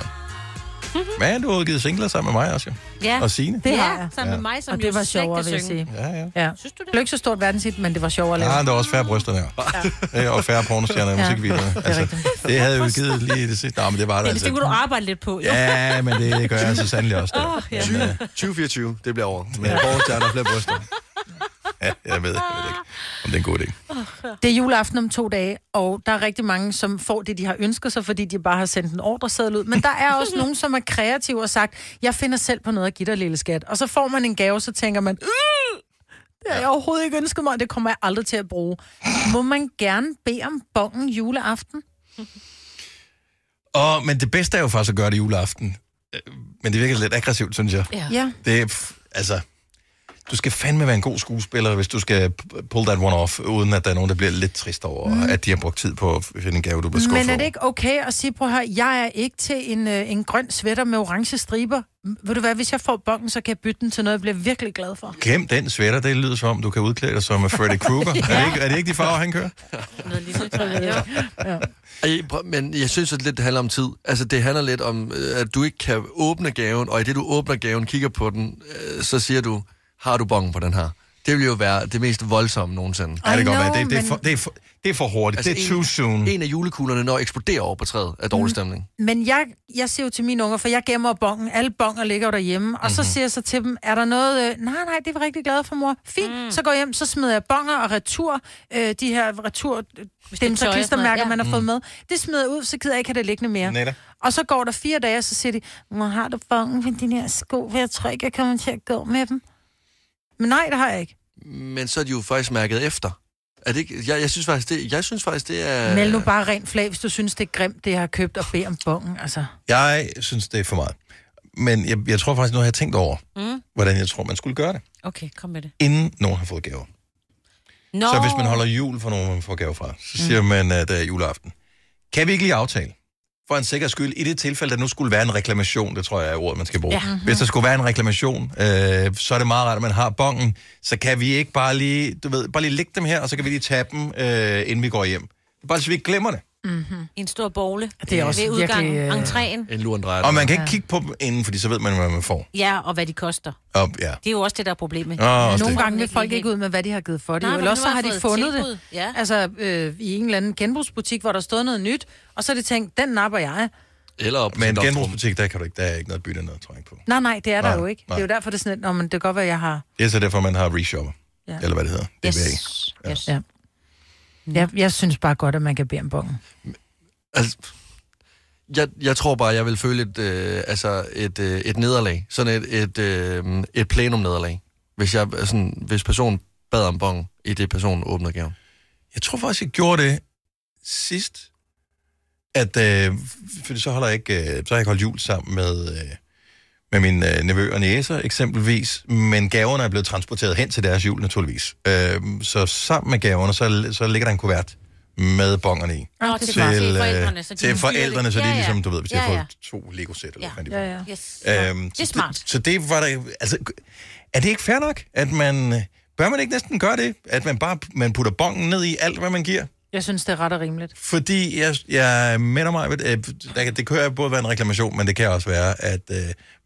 Speaker 1: Men du har udgivet singler sammen med mig også, jo. Og Signe.
Speaker 4: Det har jeg.
Speaker 1: sammen med Ja.
Speaker 3: mig, som
Speaker 4: og
Speaker 3: jo
Speaker 4: det var
Speaker 3: slet ikke
Speaker 4: sjovere,
Speaker 3: kan
Speaker 4: vil jeg
Speaker 3: synge.
Speaker 4: sige.
Speaker 1: Ja, ja. Ah,
Speaker 4: ja. Synes du det? Blev ikke så stort verdenshit, men det var sjovere at lave.
Speaker 1: Ja, der var også færre bryster der. Ja. og færre pornostjerner i
Speaker 4: Ja.
Speaker 1: musikvideoerne.
Speaker 4: Det er
Speaker 1: Altså, det havde jo givet lige det sidste. Nej, men det var der altså-
Speaker 3: Det, det kunne du arbejde lidt på. jo.
Speaker 1: Ja, men det øh, gør jeg så sandelig også. Der.
Speaker 3: Åh, ja.
Speaker 2: 2024, det bliver over. Men
Speaker 1: Ja.
Speaker 2: ja. flere bryster.
Speaker 1: Ja, jeg ved, jeg ved ikke, om det er en god idé.
Speaker 3: Åh.
Speaker 4: Det er juleaften om to dage, og der er rigtig mange, som får det, de har ønsket sig, fordi de bare har sendt en ordreseddel ud. Men der er også nogen, som er kreative og har sagt, jeg finder selv på noget at give dig, lille skat. Og så får man en gave, så tænker man, "Øh, det har jeg overhovedet ikke ønsket mig, og det kommer jeg aldrig til at bruge. Må man gerne bede om bongen juleaften?
Speaker 1: Og, men det bedste er jo faktisk at gøre det juleaften. Øh, Men det virker lidt aggressivt, synes jeg.
Speaker 4: Ja. Ja.
Speaker 1: Det er, pff, altså, du skal fandme være en god skuespiller, hvis du skal p- pull that one off, uden at der er nogen, der bliver lidt trist over,
Speaker 4: Mm.
Speaker 1: mm. at de har brugt tid på at finde en gave, du bliver skuffet
Speaker 4: Men er det ikke okay at sige, prøv at høre, jeg er ikke til en, øh, en grøn sweater med orange striber. M- Ved du hvad, hvis jeg får bongen, så kan jeg bytte den til noget, jeg bliver virkelig glad for.
Speaker 1: over. Glem den sweater, det lyder som om, du kan udklæde dig som Freddy Krueger. ja.
Speaker 4: Ja.
Speaker 1: er, det ikke, er det ikke de farver, han kører?
Speaker 2: Ej, prøv- Men jeg synes, at lidt det handler om tid. Altså, det handler lidt om, øh, at du ikke kan åbne gaven, og i det, du åbner gaven, kigger på den, øh, så siger du, har du bongen på den her? Det vil jo være det mest voldsomme nogensinde. Altså,
Speaker 1: Ja, det kan godt know, være. Det- det er men- for- det er for, det er for hurtigt. Det er too soon.
Speaker 2: En af julekuglerne når eksploderer over på træet af dårlig stemning.
Speaker 4: Men jeg, jeg siger jo til mine unger, for jeg gemmer bongen. Alle bonger ligger jo derhjemme. Og mm-hmm. så
Speaker 2: Mhm.
Speaker 4: siger jeg så til dem, er der noget... Øh, nej, nej, det er vi rigtig glade for, mor. Fint, mm. så går jeg hjem, så smider jeg bonger og retur. Øh, de her retur...
Speaker 3: Hvis det er tøj og
Speaker 4: Dem så
Speaker 3: sådan noget,
Speaker 4: klistermærker,
Speaker 3: ja.
Speaker 4: man har fået
Speaker 3: Mm.
Speaker 4: med. Det smider jeg ud, så gider jeg ikke have det liggende mere.
Speaker 1: Netop.
Speaker 4: Og så går der fire dage, og så siger de, hvor har du bongen med dine her sko? For jeg tror ikke, jeg kommer til at gå med dem. Men nej, det har jeg ikke.
Speaker 2: Men så er de jo faktisk mærket efter. Er det ikke? Jeg, jeg, synes faktisk, det, jeg synes faktisk, det er...
Speaker 4: Øh. Meld nu bare rent flag, hvis du synes, det er grimt, det jeg har købt og bed om bongen. Altså.
Speaker 1: Jeg synes, det er for meget. Men jeg, jeg tror faktisk, nu har jeg tænkt over,
Speaker 3: Mm.
Speaker 1: hvordan jeg tror, man skulle gøre det,
Speaker 3: Okay, kom med det.
Speaker 1: inden nogen har fået gaver.
Speaker 3: Nå.
Speaker 1: No. Så hvis man holder jul for nogen, man får gave fra, så siger mm. man, at det er juleaften. Kan vi ikke lige aftale? For en sikker skyld, i det tilfælde, der nu skulle være en reklamation, det tror jeg er ordet, man skal bruge.
Speaker 2: Ja.
Speaker 1: Ja. Mhm. Hvis der skulle være en reklamation, øh, så er det meget rart, at man har bongen. Så kan vi ikke bare lige, du ved, bare lige lægge dem her, og så kan vi lige tage dem, øh, inden vi går hjem. Bare så vi ikke glemmer det.
Speaker 4: Mhm.
Speaker 3: Mm-hmm. En stor bogle.
Speaker 1: Det er også
Speaker 3: Ved udgangen,
Speaker 1: virkelig, øh,
Speaker 3: entréen.
Speaker 2: En luren drejer
Speaker 1: Og man kan
Speaker 3: Ja.
Speaker 1: ikke kigge på dem inden, fordi så ved man, hvad man får.
Speaker 3: Ja, og hvad de koster.
Speaker 1: Og, ja.
Speaker 3: Det er jo også det, der er problemet.
Speaker 1: Åh, også
Speaker 4: Nogle
Speaker 1: det.
Speaker 4: gange vil folk ikke ud med, hvad de har givet for det.
Speaker 3: Nej,
Speaker 4: Nej,
Speaker 3: men
Speaker 4: Eller også
Speaker 3: nu
Speaker 4: så
Speaker 3: har
Speaker 4: har
Speaker 3: jeg
Speaker 4: de
Speaker 3: fået
Speaker 4: fundet
Speaker 3: tilbud,
Speaker 4: det.
Speaker 3: ja.
Speaker 4: Altså øh, i en eller anden genbrugsbutik, hvor der stod noget nyt, og så har de tænkt, den napper jeg.
Speaker 2: Eller op
Speaker 1: Men en genbrugsbutik, der, kan du ikke, der er ikke noget bytte noget, tror jeg ikke på.
Speaker 4: Nej, nej, det er der
Speaker 1: Nej,
Speaker 4: jo ikke.
Speaker 1: nej.
Speaker 4: Det er jo derfor, det er sådan lidt, "Nå, men det kan godt være, jeg har...
Speaker 1: Det er så derfor, man har reshopper.
Speaker 4: Ja.
Speaker 1: Ja. Eller hvad det hedder. Det yes.
Speaker 3: Ja. Yes.
Speaker 4: Ja. Jeg, jeg synes bare godt, at man kan bede om bongen.
Speaker 2: Altså, jeg, jeg tror bare, jeg vil føle et, øh, altså et, øh, et nederlag. Sådan et, et, øh, et plenum nederlag. Hvis, jeg, sådan, hvis personen bad om bong, i det personen åbner gaven.
Speaker 1: Jeg tror faktisk, jeg gjorde det sidst, at, øh, fordi så, holder jeg ikke, øh, så har jeg ikke holdt jul sammen med, øh, med min øh, nevø og næser eksempelvis, men gaverne er blevet transporteret hen til deres jul naturligvis. Øh, så sammen med gaverne, så, så ligger der en kuvert med bongerne i. øh,
Speaker 3: Nå, til far- til forældrene, så de
Speaker 1: til
Speaker 3: kan styre
Speaker 1: forældrene,
Speaker 3: det.
Speaker 1: så de
Speaker 3: Ja, ja.
Speaker 1: ligesom, du ved, hvis de
Speaker 3: Ja,
Speaker 1: har
Speaker 3: ja.
Speaker 1: fået to Lego-sæt, eller
Speaker 3: Ja.
Speaker 1: hvad de
Speaker 3: Ja, ja. Yes.
Speaker 1: Øhm,
Speaker 3: Det er smart.
Speaker 1: Så, så det var der... Altså, er det ikke fair nok, at man... øh, Bør man ikke næsten gøre det? At man bare man putter bongen ned i alt, hvad man giver?
Speaker 4: Jeg synes, det er ret og rimeligt.
Speaker 1: Fordi jeg, jeg mener mig, at øh, der kan- det kan jo både være en reklamation, men det kan også være, at øh,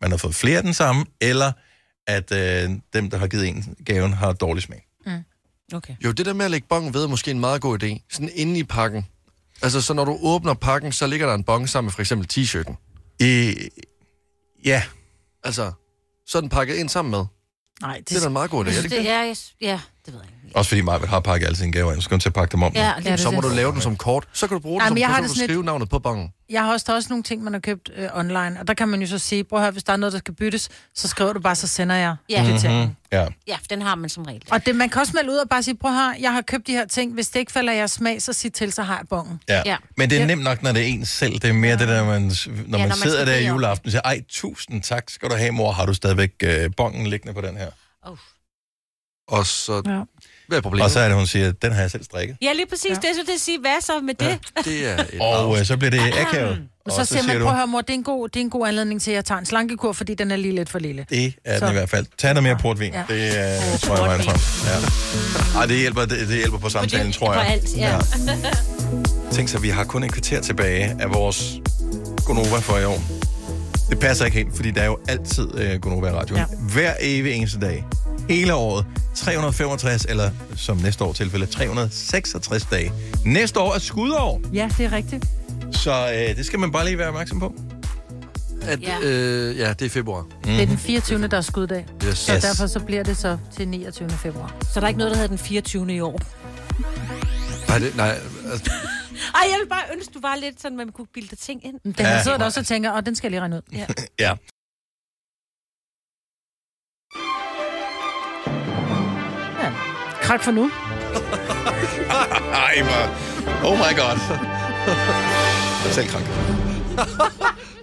Speaker 1: man har fået flere af den samme, eller at øh, dem, der har givet en gaven, har dårlig smag.
Speaker 3: Okay.
Speaker 2: Jo, det der med at lægge bongen ved er måske en meget god idé. Sådan inde i pakken. Altså, så når du åbner pakken, så ligger der en bong sammen med for eksempel t-shirten.
Speaker 1: I... Ja.
Speaker 2: Altså, så er den pakket ind sammen med.
Speaker 4: Nej,
Speaker 2: det, det er da en meget god idé.
Speaker 3: Jeg
Speaker 2: er
Speaker 3: synes,
Speaker 2: det ikke
Speaker 3: det, ja, jeg, ja, det ved jeg ikke.
Speaker 1: Også fordi Marvitt har pakket alle sine gaver ind, så skal hun til at pakke dem om.
Speaker 4: Ja,
Speaker 1: nu.
Speaker 4: det er det,
Speaker 2: så må
Speaker 4: det.
Speaker 2: du lave den som kort. Så kan du bruge
Speaker 4: Ej,
Speaker 2: den som
Speaker 4: men jeg har
Speaker 2: så kan
Speaker 4: det
Speaker 2: du
Speaker 4: sådan
Speaker 2: skrive navnet på bongen.
Speaker 4: Jeg har også, der er også nogle ting, man har købt øh, online, og der kan man jo så sige, prøv at høre, hvis der er noget, der skal byttes, så skriver du bare, så sender jeg
Speaker 3: Ja.
Speaker 4: kvitteringen."
Speaker 1: Mhm. Ja.
Speaker 3: Ja, den har man som regel.
Speaker 4: Og det, man kan også melde ud og bare sige, prøv her, jeg har købt de her ting. Hvis det ikke falder i jeres smag, så sig til, så har jeg bongen.
Speaker 1: Ja. ja. Men det er nemt nok, når det er en selv. Det er mere ja. det der, man, s- når, ja,
Speaker 4: når
Speaker 1: man,
Speaker 4: man
Speaker 1: sidder
Speaker 4: skal
Speaker 1: der
Speaker 4: bede
Speaker 1: i
Speaker 4: om
Speaker 1: juleaften og siger, ej, tusind tak skal du have, mor. Har du stadigvæk øh, bongen liggende på den her?
Speaker 3: Oh.
Speaker 2: Og så...
Speaker 4: Ja.
Speaker 2: Hvad er problemet?
Speaker 1: Og så er det, hun siger, den har jeg selv strikket.
Speaker 3: Ja, lige præcis. Ja. Det er så det at sige, hvad så med det? Ja.
Speaker 2: Det er et
Speaker 1: Og øh, så bliver det akavet.
Speaker 4: Men Ah. så, så siger man, prøv at høre, mor, det er, en god, det er en god anledning til, at jeg tager en slankekur, fordi den er lige lidt for lille.
Speaker 1: Det er
Speaker 4: Så.
Speaker 1: den i hvert fald. Tag noget mere portvin.
Speaker 4: Ja.
Speaker 1: Ja. Det øh, tror jeg er vejen frem. Ja. Ej, det hjælper, det, det hjælper på samtalen, tror jeg.
Speaker 3: For alt, ja.
Speaker 1: Tænk så, vi har kun et kvarter tilbage af vores Gonova for i år. Det passer ikke helt, fordi der er jo altid øh, Gonova i radioen.
Speaker 4: Ja.
Speaker 1: Ja. Hver evig eneste dag. Hele året. 365, eller som næste år tilfælde, 366 dage. Næste år er skudår,
Speaker 4: Ja, det er rigtigt.
Speaker 1: så øh, det skal man bare lige være opmærksom på. Mm.
Speaker 2: At,
Speaker 4: Ja.
Speaker 2: øh, ja, det er februar.
Speaker 4: Det er den 24. der er skuddag.
Speaker 2: Yes.
Speaker 4: Så
Speaker 2: Yes.
Speaker 4: derfor så bliver det så til 29. februar.
Speaker 3: Så der er ikke noget, der hedder den 24. i uh, år.
Speaker 2: Nej, det, nej. altså,
Speaker 3: Ej, jeg vil bare ønske, du var lidt sådan, man kunne bilde dig ting ind.
Speaker 4: Den ja. sidder der også og tænker, og den skal jeg lige regne ud.
Speaker 3: Ja.
Speaker 1: Ja.
Speaker 4: ja. Krak for nu.
Speaker 1: Ej, hvor- Oh my god. Jeg er selv krank.